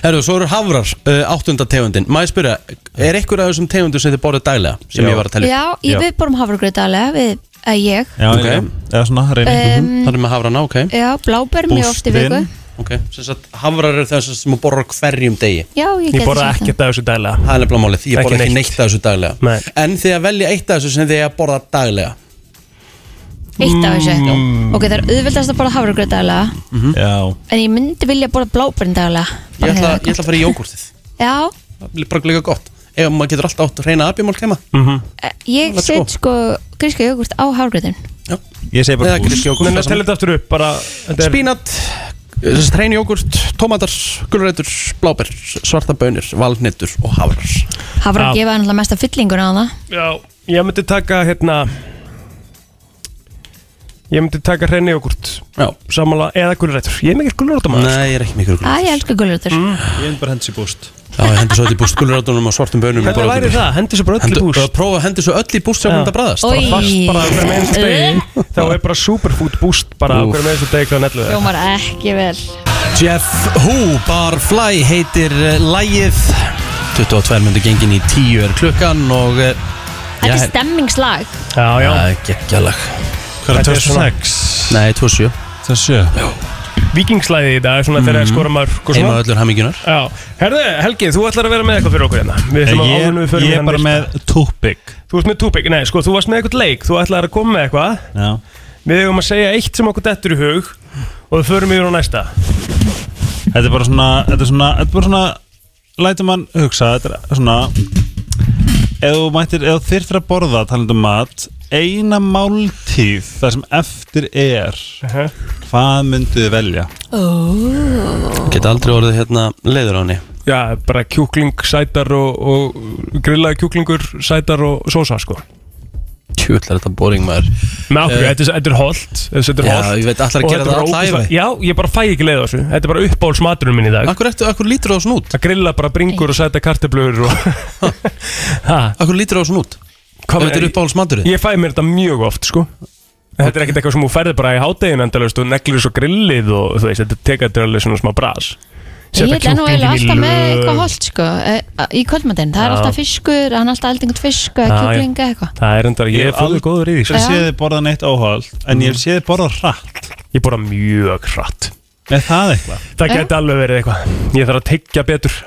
S1: Herru, svo eru hafrar, uh, áttunda tegundin Má ég spyrja, er einhver af þessum tegundum sem þið borðið daglega sem
S7: Já.
S1: ég var að tella upp?
S2: já, ég, við borum hafragraut alveg við, að ég,
S7: Já,
S1: Ok.
S7: eða svona reyning
S2: Um,
S1: Það er með hafrana, ok
S2: já, bláber mjög oft í viku
S1: Ok, sem sagt, hafrar eru þessar sem þú borðar á hverjum degi
S2: já, ég,
S1: Ég
S2: geti
S1: borða
S2: sagt það.
S1: ekkert
S3: af þessu daglega
S1: Það er nefnilega málið, ég
S3: Ekki
S1: borða ekki
S3: neitt.
S1: neitt af þessu daglega
S3: Nei.
S1: En þið að velja eitt af þessu sem þið að borða daglega
S2: eitt af þessu ok, það er auðvildast að borða hafragraut alveg
S7: Mhm. Já
S2: en ég myndi vilja borða bláberinn daglega
S1: Ég ætla, ég ætla að fara í jógurtið
S2: já,
S1: Það er bara líka gott Ef maður getur alltaf átt að reyna abjumál keima
S3: mm -hmm.
S2: eh, ég
S1: Let's go.
S2: set sko gríska jógurt á hafragrautin
S7: Ég segi bara
S1: Eða grísk jógurt,
S3: Menna,
S1: það sama.
S3: tella þetta aftur upp bara þetta er-
S1: Spínat, eh, reyni jógurt, tómatar, gulrætur, bláber, svarta bönir, valnetur og hafrar
S2: hafra
S3: Já.
S2: gefa náttúrulega mesta fyllingur á það
S3: Já, ég myndi taka hérna Ég myndi taka hreinu jogurt Samanlega, eða gulrætur Ég er mikill gulrætur
S1: Nei, ég er ekki mikill
S2: Æ, ég elska gulrötur
S7: Ég er bara hendur sér búst
S1: Já, ég hendur svo öll í búst Gulrætunum og svartum bönum
S3: Hvernig væri það? Hendur svo bara öll í búst.
S1: Prófa að hendur svo öll í búst sem
S3: Já.
S1: þetta bræðast
S3: Bara
S2: Oj.
S3: fast bara hver með einstu degi Þá er bara superfood boost bara
S1: Úff.
S3: hver með einstu degi hvað netlu
S2: Hljómar ekki vel
S1: Jeff Who Barfly heitir uh, lægið 22 myndu gengin í 10 er klukkan og uh,
S2: Þetta er stemmingslag
S3: Já, já
S1: Það er geggjalag
S7: Hvað er 26?
S1: Nei, 27
S7: 27
S3: Vikingslæði í dag, svona
S7: Mhm.
S3: þegar skora maður og svona.
S1: Heima öllur hammingjunar
S3: Já, herðu, Helgi, þú ætlar að vera með eitthvað fyrir okkur hérna Við ætlum að
S7: Ég-
S3: áður en við förum
S7: ég er
S3: í þann
S7: bara
S3: lista.
S7: með Topic
S3: Þú ert með Tupac, nei, sko, þú varst með eitthvað leik Þú ætlar að koma með eitthvað
S7: Já.
S3: Við höfum að segja eitt sem okkur dettur í hug Og við förum yfir á næsta
S7: Þetta er bara svona Þetta er svona Þetta er bara svona Lætur mann hugsa Þetta er svona Ef þú mættir Ef þú þyrftir að borða talandi um mat Eina máltíð Það sem eftir er Hvað myndu þið velja?
S2: oh.
S1: Geta aldrei orðið hérna leiður á henni
S3: Já, bara kjúkling, sætar og, og grillaði kjúklingur, sætar og sósa, sko
S1: Tjúll er þetta boring maður
S3: Með okkur,
S1: Eh,
S3: þetta er- þetta er holdt Þetta er
S1: Já,
S3: holdt
S1: ég veit, ætlar að
S3: og
S1: gera
S3: þetta er
S1: það alla
S3: ógeðslega-
S1: ævi?
S3: Já, ég bara fæ ekki leið á þessu Þetta er bara uppáhaldsmaturinn minn í dag
S1: Akkur, eftir, akkur lítur það svona út?
S3: Að grilla bara bringur og sæta kartöflur og...
S1: Akkur lítur það svona út?
S3: Hvað
S1: Þetta er uppáhaldsmaturinn?
S3: Ég fæ mér þetta mjög oft, sko Þetta er ekkert eitthvað sem þú færði bara í hádegin endalaust og neglir svo grillið og þú veist, þetta tekar þetta alveg svona smá bras
S2: Ég er nú eiginlega alltaf með eitthvað
S3: lög.
S2: holdt sko, eh, í kvöldmatinn, það er
S3: Já.
S2: alltaf fiskur hann er alltaf eldingut fisk og
S3: Já, já.
S2: kjúklinga eitthvað
S3: Það er endar, ég er fólk góður í því sko. Mm.
S7: Ég hef séð þið borða neitt óhald En ég hef séð þið borða hratt
S3: Ég borða mjög hratt
S7: Er það eitthvað?
S3: Það geti alveg verið eitthvað Ég þarf að tyggja betur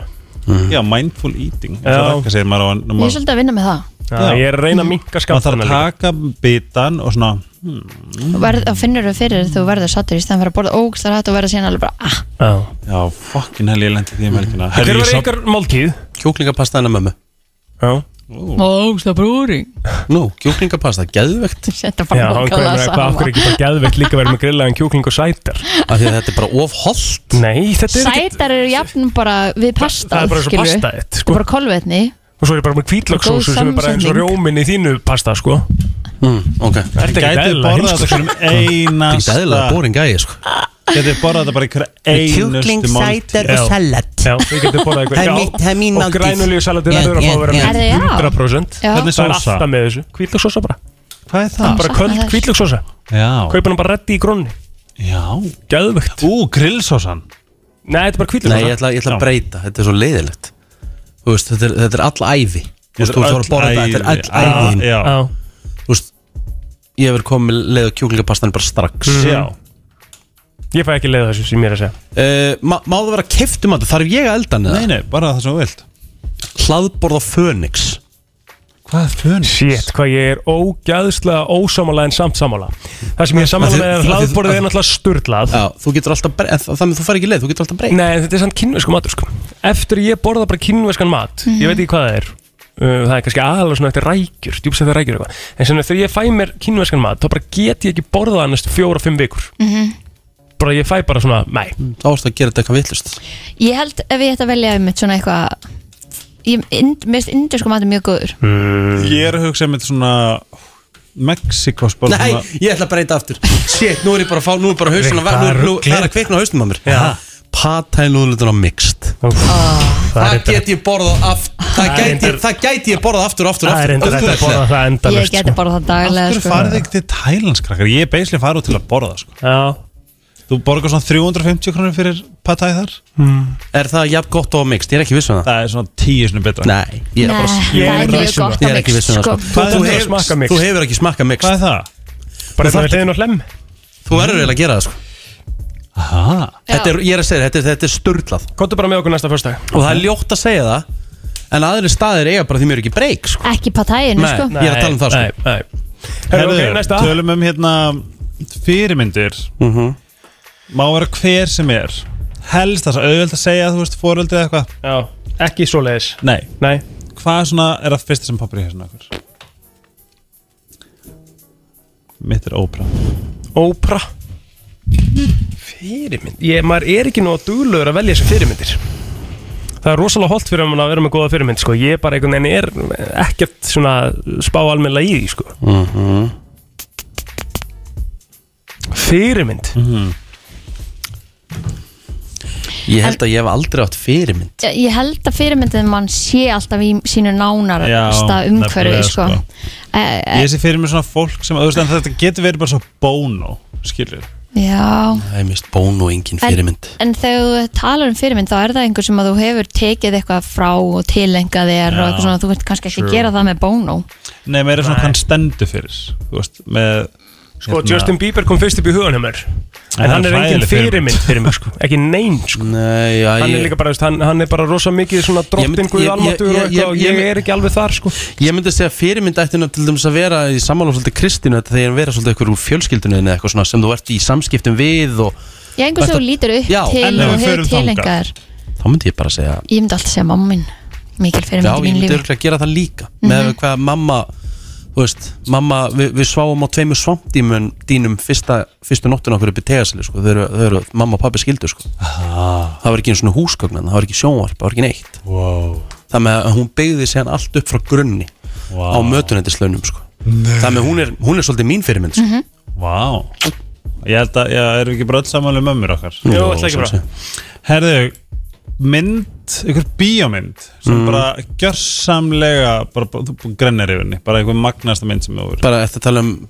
S7: Já, mindful eating
S3: Mm. Já.
S7: Það rakka segir maður á hann
S2: Ég er svolítið að vinna með það
S3: Ég er að reyna að minka
S7: skampana Maður þarf að taka bitan og svona
S3: Mm.
S2: Þú verð, og finnur þú fyrir þú verður sattur í stæðan fyrir að borða ógst þar hættu og verða síðan alveg bara ah,
S3: Já,
S7: já fucking hell ég lendi því um helgina
S1: Hver var
S3: ykkar máltíð?
S1: Kjúklingapasta hennar mömmu
S3: Já
S2: ógst að brúring
S1: Nú, kjúklingapasta, geðvegt
S2: Þetta bara
S3: Já, hann
S2: nákvæmlega
S3: komið eitthvað
S2: sama.
S3: Akkur ekki bara geðveikt líka verið með grillaðan kjúkling og sætar
S1: Af því að þetta er bara of holdt
S3: Nei, þetta er ekki
S2: Sætar eru jafn bara við pasta
S3: Það er bara eins og
S2: skilurðu.
S3: pasta sko. þitt,
S2: Þetta er bara kolvetni
S3: Og svo er ég bara með kvítlöksósu
S2: Góð
S3: sem er bara eins og
S2: samsetning.
S3: rjómin í þínu pasta, sko
S1: mm, Ok
S3: Þetta er ekki eðlilega
S7: Gætið borða
S3: heimskt,
S7: þetta
S3: sko.
S7: hverjum einasta
S1: Þetta er eðlilega boring gæði, sko
S7: Gætið borða þetta bara hverjum einustu
S1: kjúkling, sætar
S3: og Já.
S1: salat.
S3: Já, þið getur borðað eitthvað
S1: Það er
S3: Já,
S1: mitt- það er mín
S3: Og
S1: máltíð.
S3: grænulíu salatið verður að fá að vera
S1: Já,
S3: með
S2: já, já.
S3: 100%
S2: Já.
S7: Hvernig
S3: Það er
S7: sósa?
S3: alltaf með þessu Kvítlöksósa bara
S7: Hvað er
S3: Það er bara köld
S2: Sakna þess.
S3: kvítlöksósa
S7: Já,
S3: Kaupa hann bara reddi í grónni
S7: já
S3: Gæðvegt
S7: Ú, grillsósan
S3: Nei, þetta er
S1: Nei,
S3: bara
S1: ég
S3: kvítlöksósa
S1: ætla, ég ætla
S7: Já.
S1: að breyta, þetta er svo leiðilegt Þú veist, þetta er, þetta er all ævi Þú veist, þú
S7: Þetta er
S1: þarf að borða þetta,
S7: öll
S1: þetta er all
S7: ævi.
S1: ævi þín.
S7: Já, já.
S1: Þú veist, ég hefur komið leið á kjúklingapastan bara strax
S7: Já.
S3: Ég fæ ekki leið á þessu sem ég er að segja
S1: uh, má, má það vera keftum að það þarf ég að elda hann
S7: Nei, nei, bara það sem þú vilt
S1: Hlaðborð á Fönix
S7: Hvað er fönix?
S3: Shit, hvað ég er ógæðslega ósamála en samt samála Það sem ég er samála
S1: Af því-
S3: með
S1: af
S3: er
S1: því-
S3: hlaðborðið
S1: af-
S3: er náttúrulega sturlað
S1: Já, þú getur alltaf bre- en þa- Þannig að þú fær ekki leið, þú getur alltaf breyta
S3: Nei, þetta er samt kínvesku matur sko Eftir ég borða bara kínveskan mat
S1: Mhm.
S3: Ég veit ekki hvað það er Uh, Það er kannski aðalega svona eftir rækjur Djúpst eftir rækjur eitthvað En sem þegar ég fæ mér kínveskan mat Þá bara get ég ekki borðað hann næstu fjóra-fimm vikur
S1: Mhm.
S3: Bara ég fæ bara svona, nei
S1: Þá erst að gera þetta eitthvað vitlust
S2: Ég held ef ég ætti að velja um mitt svona eitthvað ég- ind- Mér finnst indjösku matur mjög góður
S1: Mm.
S7: Ég er að hugsa um þetta svona Mexikos bara
S1: Nei,
S7: svona
S1: ég ætla að breyta aftur Shit, nú er ég bara að fá, nú er bara hausin að
S3: Hvað
S1: vera Nú
S3: rugl
S1: nú-
S3: er
S1: það er að kveikna á hausnum að mér
S3: Já.
S1: Patælúðlutur á mixt
S3: Úff, Það
S1: Ah. Það
S3: er
S1: get ég borðað aftur Það
S3: Það er
S1: gæti,
S3: reyndar-
S1: það gæti ég borðað aftur, aftur,
S3: Það er
S1: aftur
S3: enda þetta að borða það sko.
S2: Ég
S3: endalust
S2: geti bara það daglega
S7: Þú
S2: sko.
S7: farið ekki til Thailandskrakkar Ég er beislega farið út til að borða sko.
S3: Já,
S7: Þú borgar svona 350 krónir fyrir patæð þar
S1: Er það jafn gott og mixt? Ég er ekki viss um það
S7: Það er svona 10 sinni betra
S1: Nei, ég er
S2: Nei,
S1: bara
S2: það er mjög gott
S1: Ég
S2: að
S1: er ekki viss
S2: mix
S1: um það
S2: sko.
S1: sko.
S3: Hvað
S1: Þú
S3: er þetta að
S1: hefur-
S3: smakka mix?
S1: Þú hefur ekki smakkað mixt
S7: Hvað er það?
S1: þú
S3: bara það
S1: þarft-
S3: er leiðin á hlem
S1: Þú verður eiginlega að gera það sko
S7: Aha.
S1: Þetta er, ég er að segja, þér, þetta er, þetta er sturlað
S3: Kóttu bara með okkur næsta fyrstag
S1: Og það er ljótt að segja það En aðri staðir eiga bara því mér er ekki breyk sko.
S2: Ekki patæinu
S1: Nei,
S2: sko
S1: ég er að tala um það sko.
S3: Nei, nei Herru,
S7: Herðu,
S3: ok, næsta
S7: tölum um hérna fyrirmyndir
S1: Mhm.
S7: Má vera hver sem er Helst það, auðvöld að segja, þú veist, fóröldri eða eitthvað
S3: Já, ekki svo leiðis
S7: Nei,
S3: Nei,
S7: hvað svona er það fyrsta sem poppar í hérna okkur? Mitt er óbra
S3: ópra Fyrirmynd Ég, maður er ekki nóg duglögur að velja þessar fyrirmyndir Það er rosalega holdt fyrir mann að vera með góða fyrirmynd sko. Ég er bara einhvern veginn er Mhm. ekkert svona spá almennilega í því sko.
S1: Mhm.
S3: fyrirmynd
S1: Ég held að ég hef aldrei átt fyrirmynd
S2: Ég held að fyrirmyndin mann sé alltaf í sínu nánar
S7: Já,
S2: stað umhverfi
S7: nefnilega,
S2: sko.
S7: sko.
S2: Eh, eh,
S7: Ég sé fyrir mér svona fólk sem, þú veist, en þetta getur verið bara svo bóno, skilur
S2: Já
S1: Það er mist bón og engin fyrirmynd
S2: En, en þegar þú talar um fyrirmynd þá er það einhver sem að þú hefur tekið eitthvað frá og tilengað þér og
S7: Já,
S2: eitthvað svona þú vilt kannski ekki
S7: true.
S2: gera það með bónó
S7: Nei, meira svona hvað hann stendur fyrir, þú veist, með hérna-
S3: Sko, Justin Bieber kom fyrst upp í hugan hjá mér En
S7: En
S3: hann er
S7: það er
S3: engin
S7: hræðileg
S3: fyrirmynd
S7: fyrirmynd.
S3: fyrir mig sko Ekki neinn sko
S1: Nei, já,
S3: Hann er
S1: ég-
S3: líka bara, þú veist, hann, hann er bara rosa mikið svona drottin guð almatur og eitthvað og ég er ekki alveg þar sko
S1: Ég myndi að segja fyrirmynd ætti nú til dæmis að vera í sammála svolítið Kristínu þetta þegar hann vera svolítið eitthvað úr fjölskyldunni eða eitthvað svona sem þú ert í samskiptum við og
S2: Já, einhver sem þú lítur upp
S1: Já,
S2: til
S1: en ef
S2: og
S1: við
S2: hefur
S1: förum
S2: tilengað
S1: þangað.
S2: þér
S1: þá myndi ég bara segja
S2: Ég myndi alltaf segja mamma mín mikil
S1: Já,
S2: fyrirmynd
S1: ég
S2: í mínu
S1: myndi
S2: lífi
S1: örgulega að gera það líka með
S2: Mhm.
S1: hvað mamma þú veist, mamma, við, við sváum á tveimu svampdímun dínum fyrsta, fyrstu nóttun okkur upp í tegasli, sko, þau eru, þau eru mamma og pappi skildu, sko, ah. það var ekki einu svona húsgögnan, það var ekki sjónvarp, það var ekki neitt
S7: wow.
S1: það með að hún beigði sér allt upp frá grunni
S7: Vá.
S1: á mötunendislaunum, sko
S7: Nei.
S1: það með hún er, hún er svolítið mín fyrirmynd, sko
S7: Mhm. Vá Ég held að, já, erum við ekki bara öll samanlega mömmur okkar
S1: Jú, Jú, ætla ekki bara. sjálfsögðu.
S7: Herðu, mynd, einhver bíómynd sem
S1: Mm.
S7: bara gjörsamlega bara, bara, þú grennir yfir henni, bara einhver magnasta mynd sem þú verður
S1: bara eftir að tala um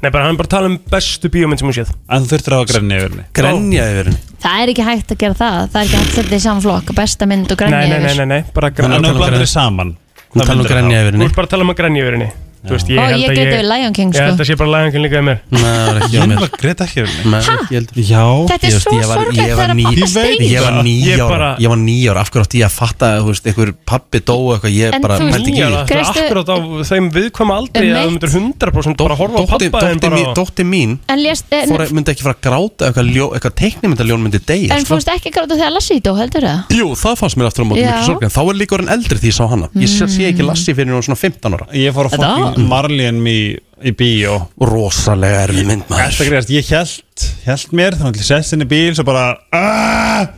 S3: Nei, bara hann er bara að tala um bestu bíómynd sem hún séð
S7: En þú þurftir að hafa grenni yfir henni
S1: Grenja yfir henni?
S2: Það er ekki hægt að gera það, það er ekki hægt að setja í samflokk besta mynd og
S3: Nei,
S2: grænja
S3: nei, nei, nei, nei, bara
S7: Þannig að þú blandar þér
S1: saman.
S7: Hvað
S3: Þú
S1: um
S7: myndir þú þá?
S3: Þú ert bara að tala um að grænja yfir henni Þú veist,
S2: Ó,
S3: ég held
S2: ég
S3: að
S2: grét yfir Lion King,
S3: Ég
S2: sko.
S3: held að sé bara Lion King líka í mér
S1: Nei, það var ekki á mér.
S7: Greta ekki yfir
S1: Nei, ekki heldur.
S2: Þetta er
S1: Ég veist,
S2: svo
S1: ég var-
S2: sorglegt
S1: ég var
S2: þegar
S1: ní-
S2: pabbi
S1: ég,
S2: deyr.
S1: var níu
S3: Ég
S1: ára
S3: bara-
S1: Ég var níu ára, af hverju átti ég að fatta þú veist, einhver pappi dó og eitthvað Ég
S2: En
S1: bara
S2: þú veist,
S1: pældi ekki í
S2: níu
S1: því.
S2: ára, þetta er Greistu- akkurat
S3: á þeim viðkvæma aldrei
S2: Um
S3: að þú
S2: mitt.
S3: myndir 100% bara horfa á
S1: Dóttir-
S3: pappa þinn
S1: dóttir
S3: bara
S1: mín- Dóttir mín
S2: En, lést, eh, en,
S1: fór, að- myndi ekki fara að gráta eitthvað, ljó, eitthvað teiknimyndaljón myndi deyja
S2: en
S1: sko.
S2: fórst ekki að gráta þegar Lassito, heldur það?
S1: Jú, það fannst mér aftur á móti
S2: Já.
S1: miklu sorg en þá er líka orðin eldri því ég sá hana Ég sé, sé ekki
S2: Mm.
S1: Lassi fyrir hún svona 15 ára
S7: Ég fór að
S1: Þetta-
S7: fokkin Marlin í, í bíó
S1: Rosalega erfið mynd maður
S7: Þetta greiðast, ég held, held mér þannig að ég sest inn í bíl svo bara "Ah!" aaaah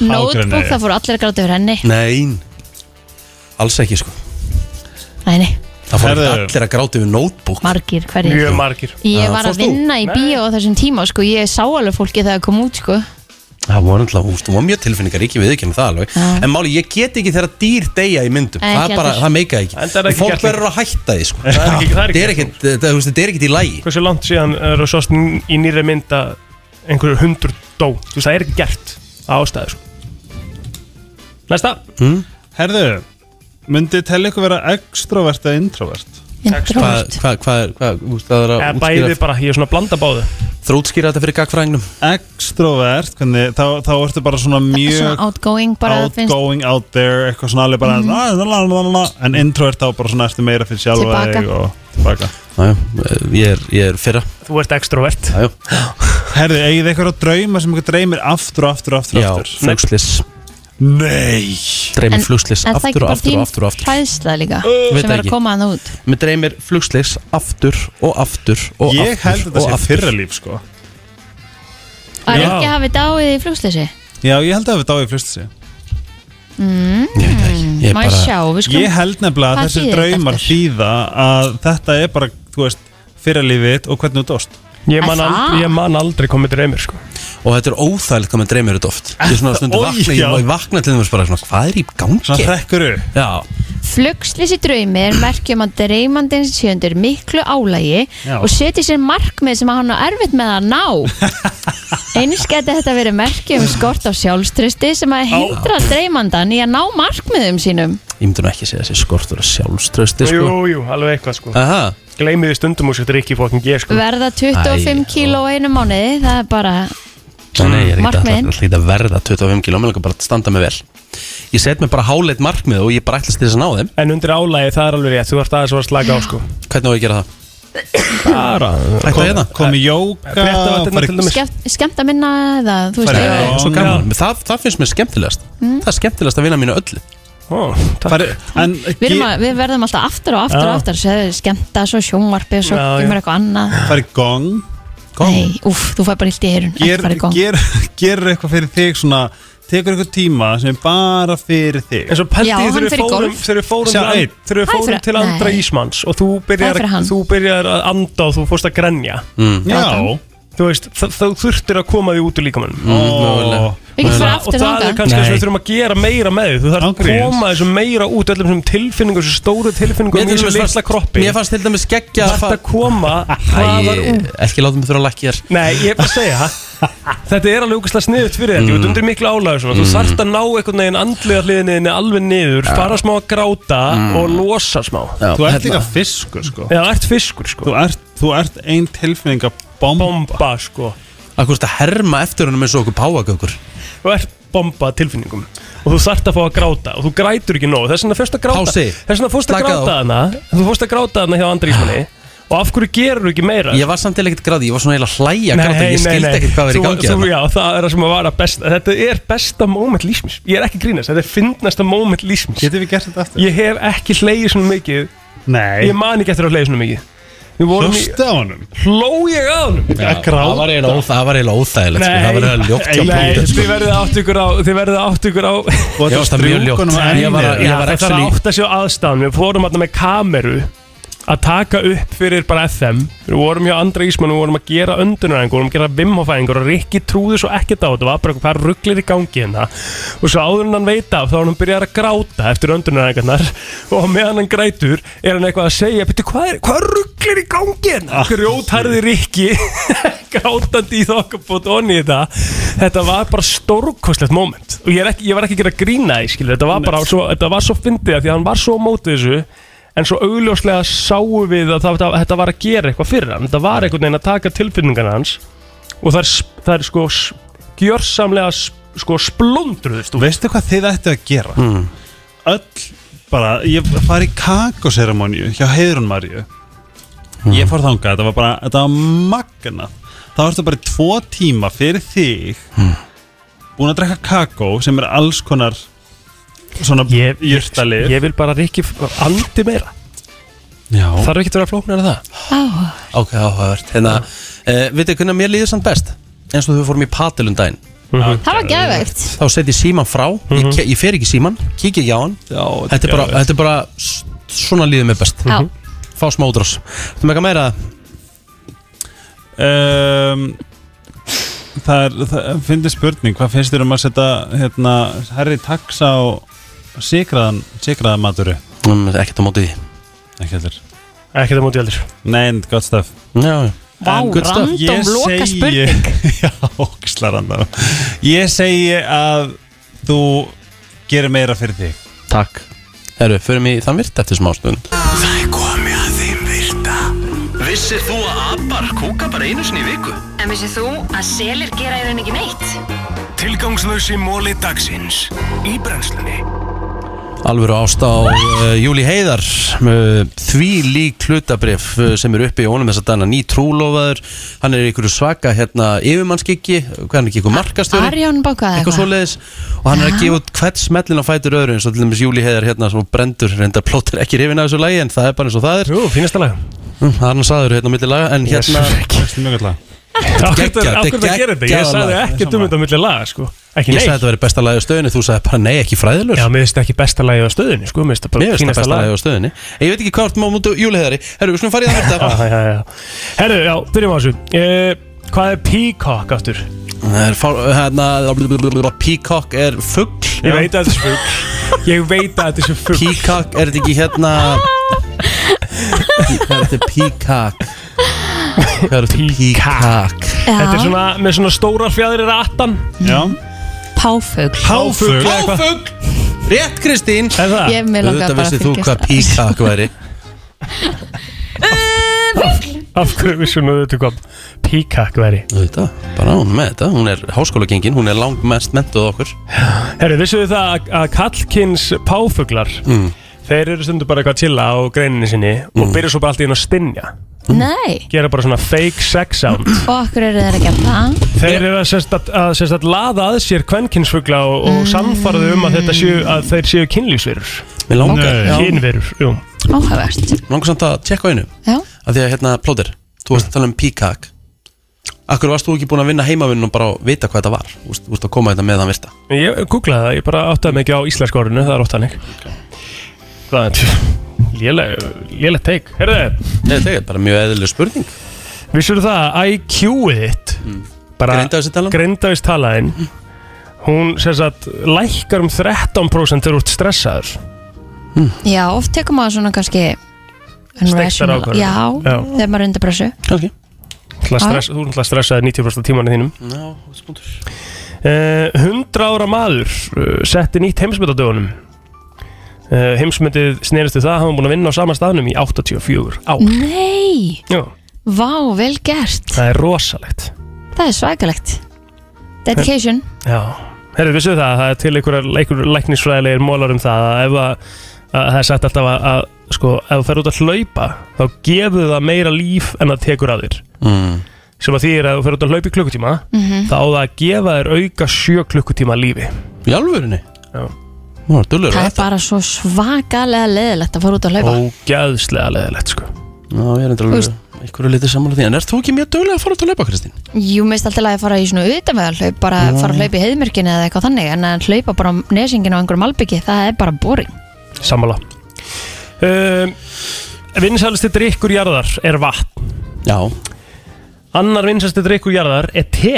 S2: Notebook, það fór allir að gráta yfir henni
S1: Nei, alls ekki sko
S2: Nei, nei,
S1: Það fór ekki allir að gráta yfir notebook
S2: margir hverjir
S1: margir
S2: Ég var að vinna í bíó á þessum tíma sko, ég sá alveg fólki þegar það kom út sko
S1: Það var náttúrulega, þú veist, hún var mjög tilfinningar, ekki við ekki með það alveg
S2: Já.
S1: En máli, ég get ekki þegar dýr deyja í myndum
S2: Nei,
S1: Það
S2: ekki
S1: er bara,
S2: heldur.
S1: það meika ekki
S3: Enda er það ekki
S1: Fólk
S3: gert
S1: verður að hætta því, sko
S3: Það er ekki- það er
S1: Það er ekki, það þú veist, þetta er ekki í lagi
S3: Hversu langt síðan er þú sást ný- í nýri mynd að einhverju hundur dó Þú veist, það er ekki gert að ástæðu sko. Næsta
S1: mm?
S7: Herðu, myndi telli ykkur vera extrovert eða introvert?
S1: Hvað, hvað, hvað, er- hvað, þú veist, það er að
S7: Eða
S1: útskýra
S7: bæði bara,
S3: ég er svona að blanda báðu
S1: Þú útskýra þetta fyrir gagfræðingnum
S7: Extrovert, hvernig, þá, þá ertu bara svona
S2: Svona
S7: mjög
S2: outgoing bara það finnst
S7: outgoing out there, eitthvað svona alveg bara
S2: Mhm.
S7: "Ah, la, la, la, la, la", en introvert þá bara svona ertu meira fyrir sjálfa
S2: Tilbaka.
S7: þig og tilbaka
S1: Næja, ég er, ég er fyrra
S3: Þú ert extrovert
S1: Næja,
S7: Herðu, eigið eitthvað að drauma sem ykkur dreymir aftur og aftur og aftur
S1: já,
S7: og aftur
S1: flugslis
S7: Nei
S1: Dreymir flugslis
S2: en það er
S1: aftur
S2: ekki
S1: og
S2: bara
S1: aftur
S2: þín
S1: og aftur og aftur
S2: hræðsla líka
S1: Ö, veit
S2: sem er að
S1: ekki.
S2: koma hann út
S1: Mér dreymir flugslis aftur og aftur og aftur
S7: Ég held þetta
S1: og
S7: sé
S1: aftur.
S7: fyrra líf sko
S2: og er ekki að hafi dáið í flugsleysi
S7: Já, ég held að við dáið flustlisi
S2: mm, má ég sjá við skulum-
S7: Ég held nefnilega
S2: Hvað
S7: að þessir
S2: þýðir þetta
S7: draumar
S2: aftur?
S7: þýða að þetta er bara, þú veist, fyrralífið og hvernig þú dóst
S3: Ég man, aldrei, ég man aldrei komið til reymir sko.
S1: Og þetta er óþægilegt hvað maður dreymir þetta oft Ég er svona stundu
S3: Oj,
S1: vakna, ég
S3: já.
S1: má ég vakna til þeim bara svona, hvað er í gangi?
S7: Svona hrekkuru
S1: Já,
S2: Flugslýsi draumi er merkjum um að dreymandin sé undir miklu álægi
S1: Já.
S2: og setji sér markmið sem hann á erfitt með að ná. Eins geti þetta verið merkjum skort á sjálfströsti sem að hindra dreymandan í að ná markmiðum sínum.
S1: ég myndi nú ekki segja þessi skortur að sjálfströsti sko.
S3: Jú, jú, alveg eitthvað sko.
S1: Aha.
S3: Gleymið þið stundum og sér ekki fókin ég sko.
S2: Verða 25 kíló á einu mánuði, það er bara...
S1: Nei, nei, ég er ekkert
S2: Markmiðin.
S1: að- alltaf ekki að verða 25 kíló, mér langar bara að standa mig vel Ég set mér bara háleit markmið og ég bara ætlast til þess að ná þeim
S3: En undir álægi það er alveg rétt Þú ert aðeins að slaka á sko.
S1: Hvernig á ég að gera það?
S3: Bara
S1: Ætla hérna
S7: Kom í jóka
S1: fara í-
S2: Skemmt, skemmt að minna eða þú veist...
S1: Já,
S2: eða-
S1: Svo gaman, það, það finnst mér skemmtilegast Það er skemmtilegast að vinna mínu öllu
S3: Ó,
S1: Fari,
S7: en,
S2: Við, erum að, við verðum alltaf aftur og aftur og
S1: Já.
S2: aftur, svo skemmta, svo sjónvarpi, svo
S7: Já, já.
S2: kemur eitthvað annað.
S7: Fari gong
S2: Nei, úf, þú fær bara illt í heyrun, ekki
S7: Ger,
S2: fara í gong.
S7: ger, Gerur eitthvað fyrir þig svona Tekur eitthvað tíma sem er bara fyrir þig
S3: En svo pældi Já, ég þegar hann við fer í fórum- golf. þegar við fórum til and- þegar við Hæ, fórum fyrir- til Andra Nei. Ísmanns og þú
S7: Það er
S3: byrjar,
S7: fyrir hann.
S1: Mm.
S3: þú byrjar að anda og þú fórst að grenja
S7: Já.
S3: Þá þú veist, þá- þá þurftir að koma því út úr líkamannum
S1: Mm, mögulega.
S2: Ekki fyrir
S3: Og
S2: aftur
S3: það
S2: þangað.
S3: er kannski það sem
S1: Nei.
S3: við þurfum að gera meira með því. Þú þarf að
S1: Ángríns.
S3: koma þessu meira út öllum þessum tilfinningum, þessum stóru tilfinningum í
S1: til
S3: þessum
S1: dæmis
S3: litla
S1: fannst-
S3: kroppi
S1: Mér fannst til dæmis geggja
S3: Þú þarft að koma hraðar
S1: Æ,
S3: út.
S1: ekki láta mig þurfa að lakki þér
S3: Nei, ég er bara að segja
S1: (laughs)
S3: Þetta er alveg úkislega sniðut fyrir þetta mm. Undir miklu álægur svona Þú
S1: Mm.
S3: þarft að ná einhvern veginn andlega hliðinni alveg niður Fara smá að gráta
S1: Mm.
S3: og losa smá
S7: Þú
S1: Hérna,
S7: ert líka fiskur sko
S3: Já, ert fiskur sko
S7: Þú ert, þú ert ein tilfinning að bomba Bomba
S3: sko
S1: Akkur veist að herma eftir honum eins og okkur páagökur
S3: Þú ert bomba tilfinningum Og þú þarft að fá að gráta Og þú grætur ekki nóg Þess vegna fyrst að gráta
S1: Pási.
S3: Þess vegna fórst að
S1: Slakaðu á.
S3: gráta hana Þú fórst að gráta hana hjá andri ísmanni Og af hverju gerur þú ekki meira
S1: Ég var samt eða ekkert gráði, ég var svona eiginlega að hlæja gráði Ég skildi ekkert hvað verið í
S3: Þú-
S1: gangi hérna.
S3: þú-
S1: þarna.
S3: Já, það er það sem að vara best Þetta er besta moment lífsmis Ég er ekki að grínast, þetta er fyndnasta moment lífsmis
S7: Getum við gert þetta aftur?
S3: Ég hef ekki hlegið svona mikið
S7: Nei
S3: Ég man ekki eftir að hlegið svona mikið
S7: Hlóstu á honum?
S3: Hló ég á honum
S1: Já, Það var eiginlega óþæ- það var eiginlega óþægilegt sko, Það var eiginlega ljótt hjá
S3: Nei,
S1: Plúton, sko.
S3: þið verðið átt ykkur á Þið verðið átt ykkur á
S1: Ég varst það mjög ljótt. Ég var- ég var
S3: Það þarf að
S1: actually-
S3: átta sig á aðstæðan Við fórum hérna með kameru að taka upp fyrir bara FM Við vorum hjá Andra Ísmann, við vorum að gera öndunaræðingu, við vorum að gera vimhofæðingur og Rikki trúði svo ekkert á þetta, var bara hvað rugglir í gangi hérna og svo áður en hann veit af þá er hann byrjar að gráta eftir öndunaræðingarnar (laughs) og á meðan hann grætur er hann eitthvað að segja, betur hvað er, hvað rugglir í gangi hérna? Grjótarði Rikki (laughs) grátandi í þokkabót og í þetta þetta var bara stórkostlegt moment og ég, er ekki, ég var ekki að gera grína í skilur þetta var bara svo, þetta var svo fyndið af því að hann var svo á mótið þessu en svo augljóslega sáum við að það, þetta var að gera eitthvað fyrir hann þetta var einhvern veginn að taka tilfinningarna hans og það er, það er sko s- gjörsamlega s- sko splundruðist út.
S7: Veistu hvað þið ættu að gera? Öll bara, ég fari í kakoseremoníu hjá Heiðrun Marju Ég fór þangað, þetta var bara, þetta var magna Það var þetta bara í tvo tíma fyrir þig Búin að drekka kakó sem er alls konar svona
S3: ég,
S7: jurtalif
S3: ég vil bara Rikki andi meira
S1: Já.
S3: þarf ekki að vera flóknar en það
S1: Ok, áhugavert Hérna, uh, veitir hvernig að mér líður samt best? Eins og þau fórum í patilum daginn
S2: Það var geðveikt
S1: Þá set ég síman frá,
S3: Mhm.
S1: ég, ke- ég fer ekki í síman, kíkja ekki á hann Já, Þetta er bara,
S2: geðveikt.
S1: þetta er bara s- svona líður mér best
S2: Já.
S1: Fá smá útrás Þú með eitthvað meira?
S7: um, Það er, það finnir spurning, hvað finnst þér um að setja hérna, herri taxa á sigraðan, sigraðan maturu?
S1: Um, ekkert á móti því
S7: Ekki heldur
S3: Ekkert á móti heldur
S7: Nei, en gott stöf
S1: Já
S2: Vá, random loka
S7: spurning (laughs) Já, óksla random Ég segi að þú gerir meira fyrir þig
S1: Takk Herru, förum í þann virt eftir smá stund
S4: Það er komið að þeim virta Vissir þú að abar kúka bara einu sinni í viku?
S5: En vissið þú að selir gera í raun ekki neitt?
S4: Tilgangslösi móli dagsins Í brennslunni
S1: Alvöru ást á uh, Júli Heiðar uh, því lík hlutabrif uh, sem er uppi í honum þess að dana ný trúlofaður hann er í einhverju svaka hérna yfirmannskikki, hvað er hann ekki, einhver markastjóri
S2: Arjón bankaði
S1: eitthvað svoleiðis og hann er að gefa út hvert smellin á fætur öðru eins og til dæmis Júli Heiðar hérna sem hún brendur reyndar plótir ekki rifin af þessu lagi en það er bara eins og það er
S3: Jú, fínasta lag
S1: Það er hann sagður hérna á milli laga en
S3: Yes.
S1: hérna
S3: (laughs)
S7: Veistu mjög gott lag
S3: Akkur
S1: Geggjað,
S3: það
S1: þetta er
S3: gerir þetta, ég
S1: geggjað
S3: sagði
S1: lag.
S3: ekkert um þetta á milli laga sko Ekki
S1: Ég sagði
S3: neitt
S1: þetta verið besta lagi á stöðinu, þú sagði bara nei, ekki fræðilur
S3: Já, mér finnst ekki besta lagið á stöðinni sko Mér finnst það
S1: Mér
S3: bara
S1: finnst það
S3: fínasta
S1: besta
S3: lag
S1: lagi á stöðinni En Ég veit ekki hvað átt má mútu Júli Heiðari Herru, við skulum fara í það
S3: Já,
S1: verða
S3: (laughs) já, já, já. Herru, já, byrjum á þessu uh, Hvað er peacock aftur?
S1: Það er fá- hérna, Peacock er fugg
S3: Ég veit að þetta er fugg Ég veit að þetta er fugg
S1: Peacock, er þetta ekki hérna
S2: (laughs)
S1: Hvað er þetta peacock? Hvað er þetta peacock?
S2: Já.
S3: Þetta er svona með svona stóra fjæðir rattan
S7: Já
S2: Páfugl
S3: Páfugl eða eitthvað?
S1: Páfugl Rétt Kristín
S3: Er það?
S2: Ég- mig langaði
S1: Auðvitað
S2: bara að
S1: vissir þú
S2: fylgjast
S1: hvað
S2: að-
S1: peacock væri
S3: Af hverju við svona þetta kom Peacock væri
S1: Auðvitað, bara hún er með þetta Hún er háskólagengin, hún er langmest mentuð af okkur
S3: Herru, vissu þið það að- að kallkins páfuglar
S1: Mm.
S3: Þeir eru stundum bara eitthvað að chilla á greininni sinni Og byrja svo bara allt í henn að stinja
S2: Nei
S3: Gera bara svona fake sex sound
S2: Og okkur eru þeir að gera það
S3: Þeir eru að sérst að, að, sérst að laða að sér kvenkinsfugla og, og samfaraðu um að, þetta séu, að þeir séu kynlýsverur
S1: Mér langar- Já.
S3: Kynverur, jú
S2: Áhugavert
S1: Langar samt að tjekka á einu
S2: Já.
S1: Af því að hérna, plóter, þú varst að tala um peacock Akkur varst þú ekki búin að vinna heimavinnum og bara vita hvað þetta var Þú veist- þú veist að koma þetta með þann virta
S3: Ég googlaði það, ég bara áttaði mig ekki á íslenska orðinu, það er oft hannig Það er léleg, léleg teik Herðu,
S1: Nei, þetta er bara mjög eðlileg spurning
S3: vissur það að IQ-ið þitt Grindavístalan Grindavístalan Hún sem sagt lækkar um 13% þegar þú ert stressaður
S2: Já, oft tekur maður svona kannski
S3: Steiktar
S2: unrational-
S3: ákvarðanir.
S2: Já,
S3: Já.
S2: þegar maður er undir pressu
S14: Kannski
S3: Ætla að stress, Þú er náttúrulega stressaður 90% af tímanu þínum
S14: Já,
S3: Eh, 100 ára maður uh, setti nýtt heimsmynd á dögunum uh, Heimsmyndið snerist við það að hann var búin að vinna á sama staðnum í 84 ár
S2: Mm. Nei,
S3: Já,
S2: vá, vel gert
S3: það er rosalegt
S2: Það er svakalegt Dedication
S3: Já, herrið, vissu það að það er til einhverjar einhver læknisfræðilegir mólar um það að ef að, að það er sagt alltaf að, að sko, ef þú fer út að hlaupa þá gefur það meira líf en það tekur að þér
S14: Mm.
S3: sem að því er að þú fer út að hlaupa í klukkutíma
S14: Mhm.
S3: þá á það að gefa þér auka sjö klukkutíma lífi
S14: Í alvörinni?
S3: Já
S14: Nú er dullur
S2: Það er bara svo svakalega leðilegt að fara út að hlaupa
S3: Ógæðslega leðilegt sko
S14: Já, ég er endur
S2: Þú
S14: alveg
S2: veist-
S14: einhverju litið sammála því En ert þú ekki mjög duglega að fara út að laupa, Kristín?
S2: Jú, mist alltaf að fara í svona utanvegar hlaup bara
S14: Já.
S2: fara að hlaupa í heiðmörkinu eða eitthvað þannig en að hlaupa bara á nesinginu á einhverjum albyggi það er bara boring
S3: Sammála um, Vinsælusti drikkur jarðar er vatn
S14: Já
S3: Annar vinsælusti drikkur jarðar er te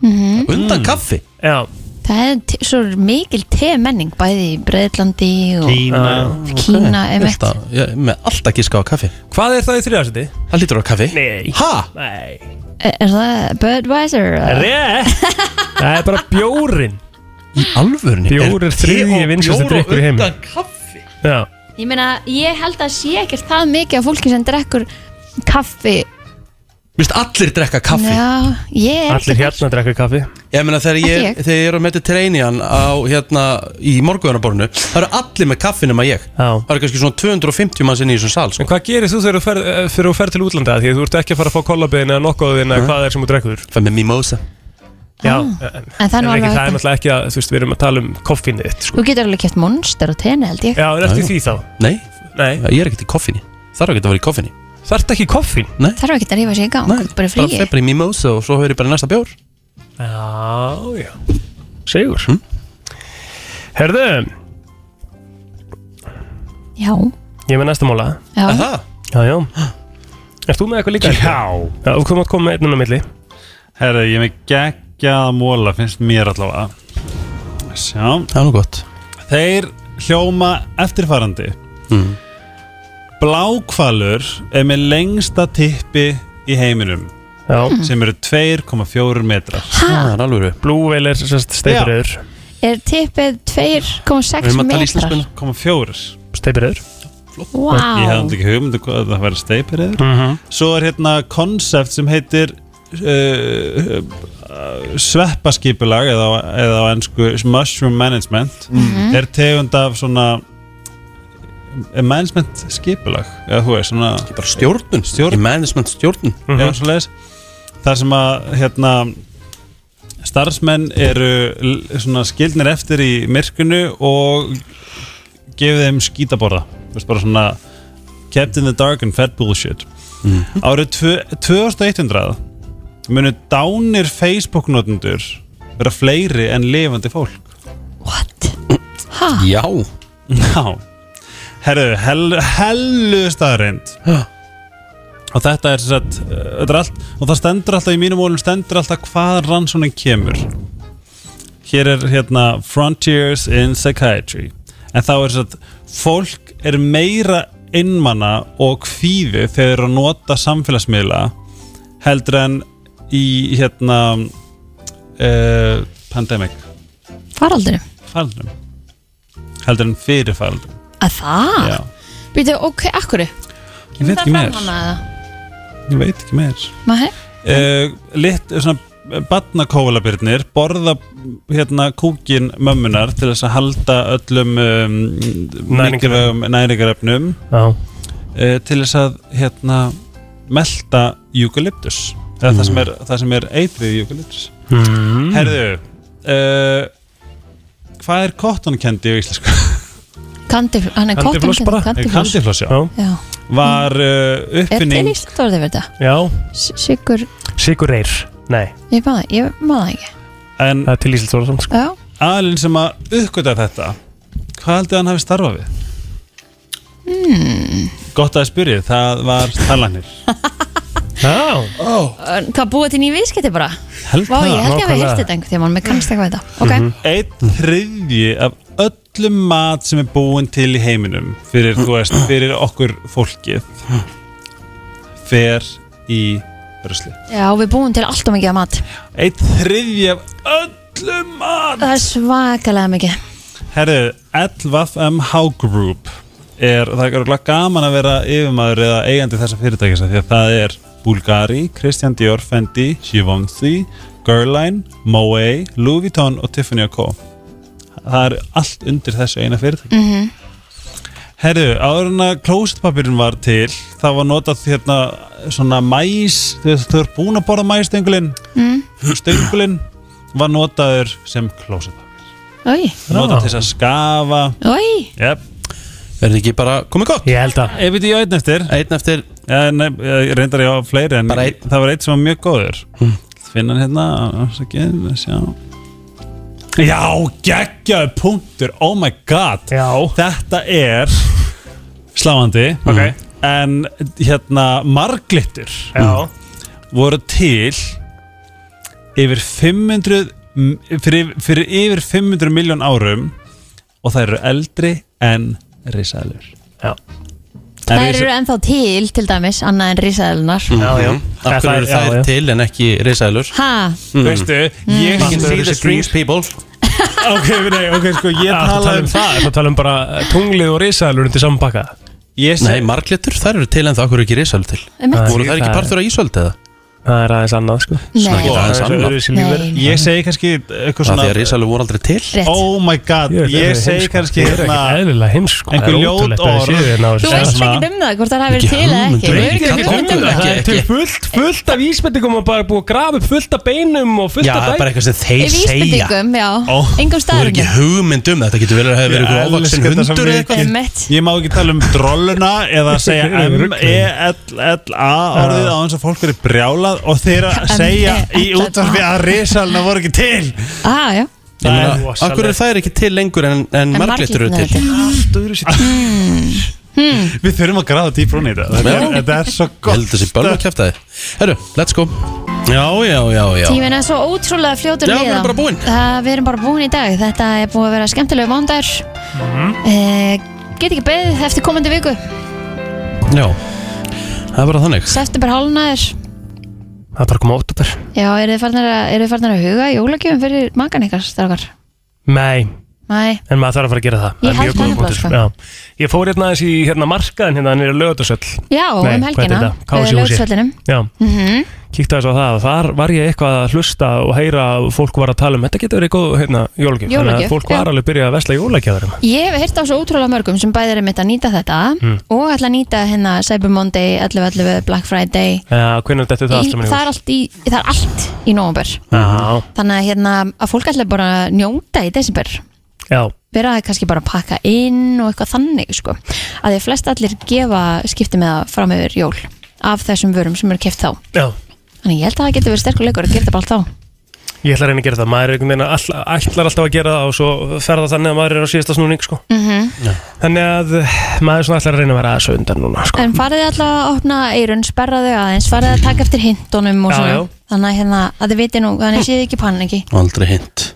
S2: Mhm.
S3: Mm.
S14: Undan kaffi?
S3: Já
S2: Það er te- svo mikil temenning bæði í Breitlandi og
S14: Já,
S2: Kína,
S14: ok.
S2: einmitt.
S14: Ég held að- ég- Með alltaf gíska á kaffi
S3: Hvað er það í þriðarsæti?
S14: Það lítur á kaffi
S3: Nei
S14: Ha?
S3: Nei
S2: Er er það Budweiser?
S3: Rétt Það er bara bjórin
S14: Í alvörni
S3: Bjór er þriðji vinsælusti drikkur í heimi
S14: Undan kaffi
S3: Já
S2: Ég meina, ég held að sé ekkert það mikið af fólki sem drekkur kaffi
S14: Vist allir drekka kaffi
S2: Já, ég er
S3: Allir hérna drekka kaffi
S14: Ég meina þegar ég,
S2: Ekki ég.
S14: þegar ég er að meti treynian á hérna í morgunarborinu Það eru allir með kaffi nema ég
S3: Já Það
S14: eru kannski svona 250 manns inn í þessum sal sko.
S3: En hvað gerir þú þegar þú fer, eh, þegar þú fer til útlanda? Því að þú ert ekki að fara að fá kollabiðin eða nokkoðin eða hvað það er sem þú drekkur
S14: Það með mimosa
S3: Já,
S2: Ah.
S3: en,
S2: En það er nú alveg
S3: ekki, það er
S2: hægt.
S3: náttúrulega ekki að, þú veist, við erum að tala um koffínið þitt, sko.
S2: Þú getur alveg kæft monster og tenni, held ég
S3: Já, en ertu í
S14: Já,
S3: því
S14: já.
S3: þá?
S14: Nei,
S3: Nei.
S14: ég er ekkert í koffinni Þarf ekki að vera í koffinni
S3: Þarft ekki koffín?
S14: Nei,
S2: Þarf ekki að rífa sér í gang, bara í
S14: bara
S2: fríi
S14: fer bara í mimosa og svo höfður ég bara í næsta bjór
S3: Já, já Sigur Herðu
S2: Já,
S3: Ég er með næsta móla
S2: Já. Er
S14: það?
S3: Já, já Erst þú með eitthvað líka? Já Já, þú komum að koma með einnum á milli
S7: Herra, ég er með geggjaða móla finnst mér allavega Sjá
S14: Það er nú gott
S7: Þeir hljóma eftirfarandi mm. Blákvalur er með lengsta tippi í heiminum
S3: Já.
S7: sem eru 2,4 metrar
S14: Það er alveg
S3: Blúvel er steipiröður
S2: er tippið 2,6 metrar
S7: 1,4
S3: Steipiröður
S2: Vá.
S7: Ég hefði ekki hugmyndu um hvað það væri steipiröður Svo er hérna konsept sem heitir uh, uh, sveppaskipulag eða, á- eða á ennsku mushroom management
S14: Mhm.
S7: er tegund af svona eh, management skipulag eða þú veist svona
S14: stjórnun,
S7: stjórn.
S14: management stjórnun
S7: mm -hmm. þar sem að hérna starfsmenn eru l- svona skildnir eftir í myrkunu og gefið þeim skítaborða þú veist bara svona kept in the dark and fed bullshit árið tvö- 2100 munu dánir Facebook-notendur vera fleiri en lifandi fólk
S2: Ha?
S14: Já
S7: Já Herru, hel, hellu staðreind Og þetta er sem sagt, uh, Þetta er allt Og það stendur alltaf í mínum ólum Stendur alltaf hvaðan rannsónin kemur Hér er hérna Frontiers in Psychiatry En þá er satt Fólk er meira innmanna Og kvífi þegar þeir eru að nota samfélagsmiðla Heldur en Í hérna uh, Pandemic
S2: Faraldur
S7: Faldrum Heldur en fyrir faldrum
S2: Að það?
S7: Já.
S2: Býtu, ok, akkur
S7: Ég veit ekki meir. Ég veit ekki meir
S2: Nei.
S7: uh, Litt svona Batnakóvalabirnir borða hérna kúkin mömmunar til þess að halda öllum um, mikilvægum næringarefnum eh,
S3: uh,
S7: til þess að hérna melta eukalyptus eða það, sem er, það sem er eitrið eukalyptus
S3: Mm.
S7: Herðu uh, Hvað er kottonkendi í íslensku?
S2: Kandi, hann er
S7: Kandifloss bara?
S2: Kandifloss
S7: Kandifloss, já.
S2: Já.
S7: Var uh,
S2: Er til
S7: uppfinning
S2: íslensk orðið fyrir þetta?
S3: Já
S2: Sigur,
S3: Sigur Reyr Nei
S2: ég maður það, ég maður það ekki
S7: en,
S3: Það er til Íslands Þórðarsson
S2: Já,
S7: aðlinn sem að uppgöta þetta hvað heldur hann hafi starfað við?
S2: mm.
S7: Gott að spyrja, það var talanir
S3: Já
S14: oh.
S2: Hvað búið til nýju viðskipti bara?
S7: Held
S2: Vá,
S7: það,
S2: ég held ég að við
S7: nákvæmlega. Mhm.
S2: hirti þetta einhvern tímann, mér kannast eitthvað við þetta Ok,
S7: Einn þriðji af öllum mat sem er búin til í heiminum fyrir, þú veist, fyrir okkur fólkið fer í brösli
S2: já, við búum til alltaf mikið af mat
S7: Einn þriðji af öllum mat
S2: Það er svakalega mikið
S7: Herðu, LVFMH Group er, það er örugglega gaman að vera yfirmaður eða eigandi þessa fyrirtækis af því að það er Bulgari, Christian Dior, Fendi, Givenchy, Guerlain, Moe, Louis Vuitton og Tiffany Co. Það er allt undir þessu eina fyrirtæki.
S2: Mhm.
S7: Herru, áður en að klósetpapirinn var til það var notað hérna svona mæs, þú veist, þú er búin að borða mæstöngulinn
S2: Mm.
S7: stöngulinn var notaður sem klósetpapir
S2: Oi,
S7: notað til þess að skafa
S2: oi
S7: Jep
S14: Er þetta ekki bara komið gott?
S3: Ég held að
S7: Ég veit ég á einn eftir
S14: Einn eftir
S7: ja, nei, Ég reyndar ég á fleiri en það var einn sem var mjög góður mm. Finna hann hérna afsakið, sjá. Já, geggjaður punktur Oh my god
S3: Já.
S7: Þetta er sláandi okay. En hérna marglittur
S3: Já.
S7: voru til yfir 500 m- fyrir, fyrir yfir 500 miljón árum og það eru eldri en risaðlur
S3: Já
S2: Það eru ennþá til, til dæmis, annað en risaðelunar
S7: Mm.
S14: Mhm. Af hverju eru þær til en ekki risaðilur?
S2: Ha?
S7: Veistu, ég
S14: You can see the
S1: (laughs)
S14: strings people
S7: Ok, nei, ok, sko, ég
S3: tala um það Það tala um bara tunglið og risaðlur undir saman pakka
S14: Nei, marglitur, þær eru til en það okkur ekki risaðilur til
S3: Einmitt.
S14: Voru þær ekki partur af ísöld eða?
S3: Það er aðeins annað sko
S2: Mm.
S14: Svona ekki aðeins annað
S7: Ég segi kannski eitthvað
S14: Það
S7: svona
S14: því að risaðilur voru aldrei til
S7: Oh my god,
S3: Ég
S7: ég,
S3: veit, þetta er
S7: segi
S3: heimsko.
S7: kannski hérna-
S3: Ég er ekki eðlilega heimsko.
S7: einhver
S3: Það er
S7: ljót
S3: ótrúlegt að þið séu hérna á
S7: orð
S3: þessu.
S2: Þú veist ekki um það, hvort það hafi verið til eða ekki Við erum ekki hugmynd um það.
S3: Það er til fullt, fullt af ísbendingum og bara búið að grafa upp fullt af beinum og fullt
S14: Já,
S3: af
S14: það er bara eitthvað sem
S2: Í
S14: þeir segja
S2: vísbendingum, já,
S14: Ó, Þú
S2: engum
S14: er ekki
S2: staðurinn
S14: hugmynd um þetta, getur verið að hafa verið
S7: Ég
S14: einhver
S7: elska
S14: ofvaxin
S7: þetta svo
S14: hundur eða
S7: mikið.
S14: eitthvað
S2: Einmitt.
S7: Ég má ekki tala um drolluna eða segja E, M-E-L-L-A orðið á hans að fólk verið brjálað og þeir að segja í útvarfi að risalna voru ekki til
S2: Ah, já
S14: Ég meina,
S7: rosalegt.
S14: Akkur er þær ekki til lengur en, en marglitur eru til
S7: Við þurfum að grafa dýpr hún í þetta Þetta er- Þetta er svo gott
S14: Heldur þessi bölva kæfta þið Herru, let's go Já, já, já, já
S2: Tíminn er svo ótrúlega fljótur
S14: Já, við
S2: liða.
S14: erum bara búin.
S2: Það- Við erum bara búin í dag Þetta er búið að vera skemmtilegu mándagur
S14: Mhm.
S2: eh, Get ekki beðið eftir komandi viku
S14: Já, það er bara þannig
S2: September hálnaður
S3: Það er bara komið óttúber
S2: Já, eru þið farnar að, eru þið farnar að huga jólagjöfum fyrir makan ykkar, strákar?
S3: Nei,
S2: Nei,
S3: en maður þarf að fara að gera það
S2: Ég held það nefnilega, sko.
S3: sko. Ég fór hérna aðeins í hérna markaðin hérna nýra lögutasöll
S2: já, um helgina Laugardalsvellinum.
S3: Já,
S2: Mhm.
S3: kíkta þess á það og Þar var ég eitthvað að hlusta og heyra að fólk var að tala um Þetta getur verið góð hérna, jólagjöf Þannig
S2: Jólagjöf,
S3: að fólk
S2: já.
S3: var alveg byrjað að vesla jólagjafir
S2: Ég hef heyrt á svo ótrúlega mörgum sem bæðir einmitt að nýta þetta
S14: Hmm.
S3: Mm.
S2: og ætla að nýta hérna Cyber Monday, 11.11, Black Friday
S3: Já, hvernig þetta það
S2: í,
S3: allt saman í
S2: það, er allt í, það er allt í nóvumber
S3: hús?
S2: Þannig að, hérna, að fólk ætla bara að njóta í desember
S3: Já, já
S2: vera kannski bara að pakka inn og eitthvað þannig sko. að því að flest allir gefa skipti með að fram yfir jól af þessum vörum sem eru keft þá
S3: Já.
S2: Þannig ég held að það getur verið sterkur leikur að gera þetta bara allt þá
S3: Ég ætla að reyna að gera það, maður er einhvern veginn að all- ætlar alltaf að gera það og svo fer það þannig að maður er á síðasta snúning sko.
S2: Mhm.
S3: Þannig að maður er svona ætlar að reyna að vera aðeins á undan núna sko.
S2: En farið þið alltaf að opna eirun, sperra þau aðeins farið þið að taka eftir hintunum og
S3: Já,
S2: svona
S3: já.
S2: Þannig að, hérna, að þið viti nú, þannig séð ekki pann ekki
S14: Aldrei hint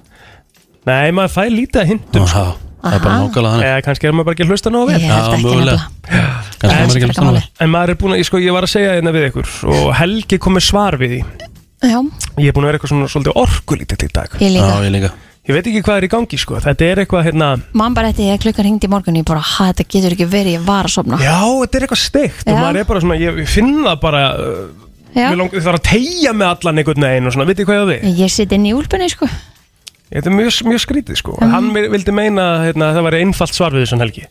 S3: Nei, maður fæ lítið að hindum
S14: sko. Það er bara
S2: Aha.
S14: nákvæmlega þannig
S3: Eða kannski er maður bara ekki að hlusta nógu vel
S14: Ég held Já, ekki mögulega. nefnilega. Kannski er maður
S2: eh,
S14: ekki að hlusta nógu vel.
S3: En maður er búin að, ég, sko, ég var að segja hérna við ykkur og Helgi kom með svar við því
S2: Já,
S3: Ég er búin að vera eitthvað svona svolítið orkulítið í dag
S2: Ég líka. Já,
S14: ég líka
S3: Ég veit ekki hvað er í gangi sko, þetta er eitthvað hérna
S2: mann bara eftir því að klukkan hringdi í morgun ég bara, hæ, þetta getur ekki verið, ég var að sofna
S3: Já, þetta er eitthvað steikt og
S2: Já.
S3: maður er bara svona, ég, ég finn það bara uh,
S2: Já.
S3: mig lang- Ég þarf að tegja með allan einhvern veginn og svona, veit hvað ég á við?
S2: Ég sitt inn í úlpunni, sko
S3: Þetta er mjög, mjög skrítið sko
S2: Mm.
S3: Hann mér- vildi meina hérna, að það væri einfalt svar við þessum helgi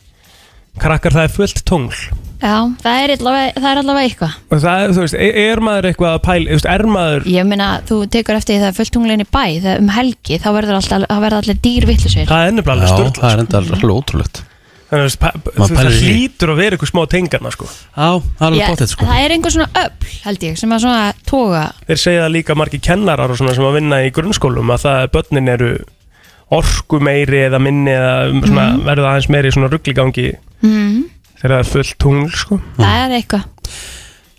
S3: Krakkar það er fullt tungl
S2: Já, það er allavega, það er allavega eitthvað
S3: Og það, er, þú veist, e- er er maður eitthvað að pæla þú veist, Er maður
S2: Ég meina, þú tekur eftir því það er fullt tunglein í bæ þegar um helgi, þá verður alltaf, það verður allir dýr vittlusir
S3: Það er nefnilega alveg
S14: Já,
S3: störtla
S14: það er enda alveg ótrúlegt
S3: Þannig að þú veist, pa- þú
S14: Maður
S3: veist, það
S14: pælir í því.
S3: hlýtur að vera eitthvað smá tengarna sko
S14: Já, það sko.
S2: Það er sko. einhver svona öfl, held ég, sem að svona toga
S3: Þeir segja það líka margir kennarar og svona sem að vinna í grunnskólum að það börnin eru orku meiri eða minni eða svona, verða aðeins meiri í svona ruggligangi
S2: mm.
S3: þegar það er fullt tungl sko
S2: Það er eitthvað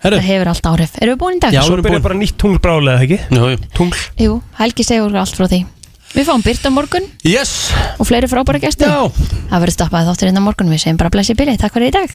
S2: Það hefur allt áhrif Erum við búin í dag?
S3: Svo byrja bara nýtt tungl brálega, ekki?
S14: Jú, jú
S3: Tungl
S2: Jú, Helgi segur okkur allt frá því Við fáum byrt á morgun
S14: Yes
S2: Og fleiri frábæra gæsti Já Það verður stoppaði þáttur inn á morgun Við segjum bara blessi bili Takk fyrir í dag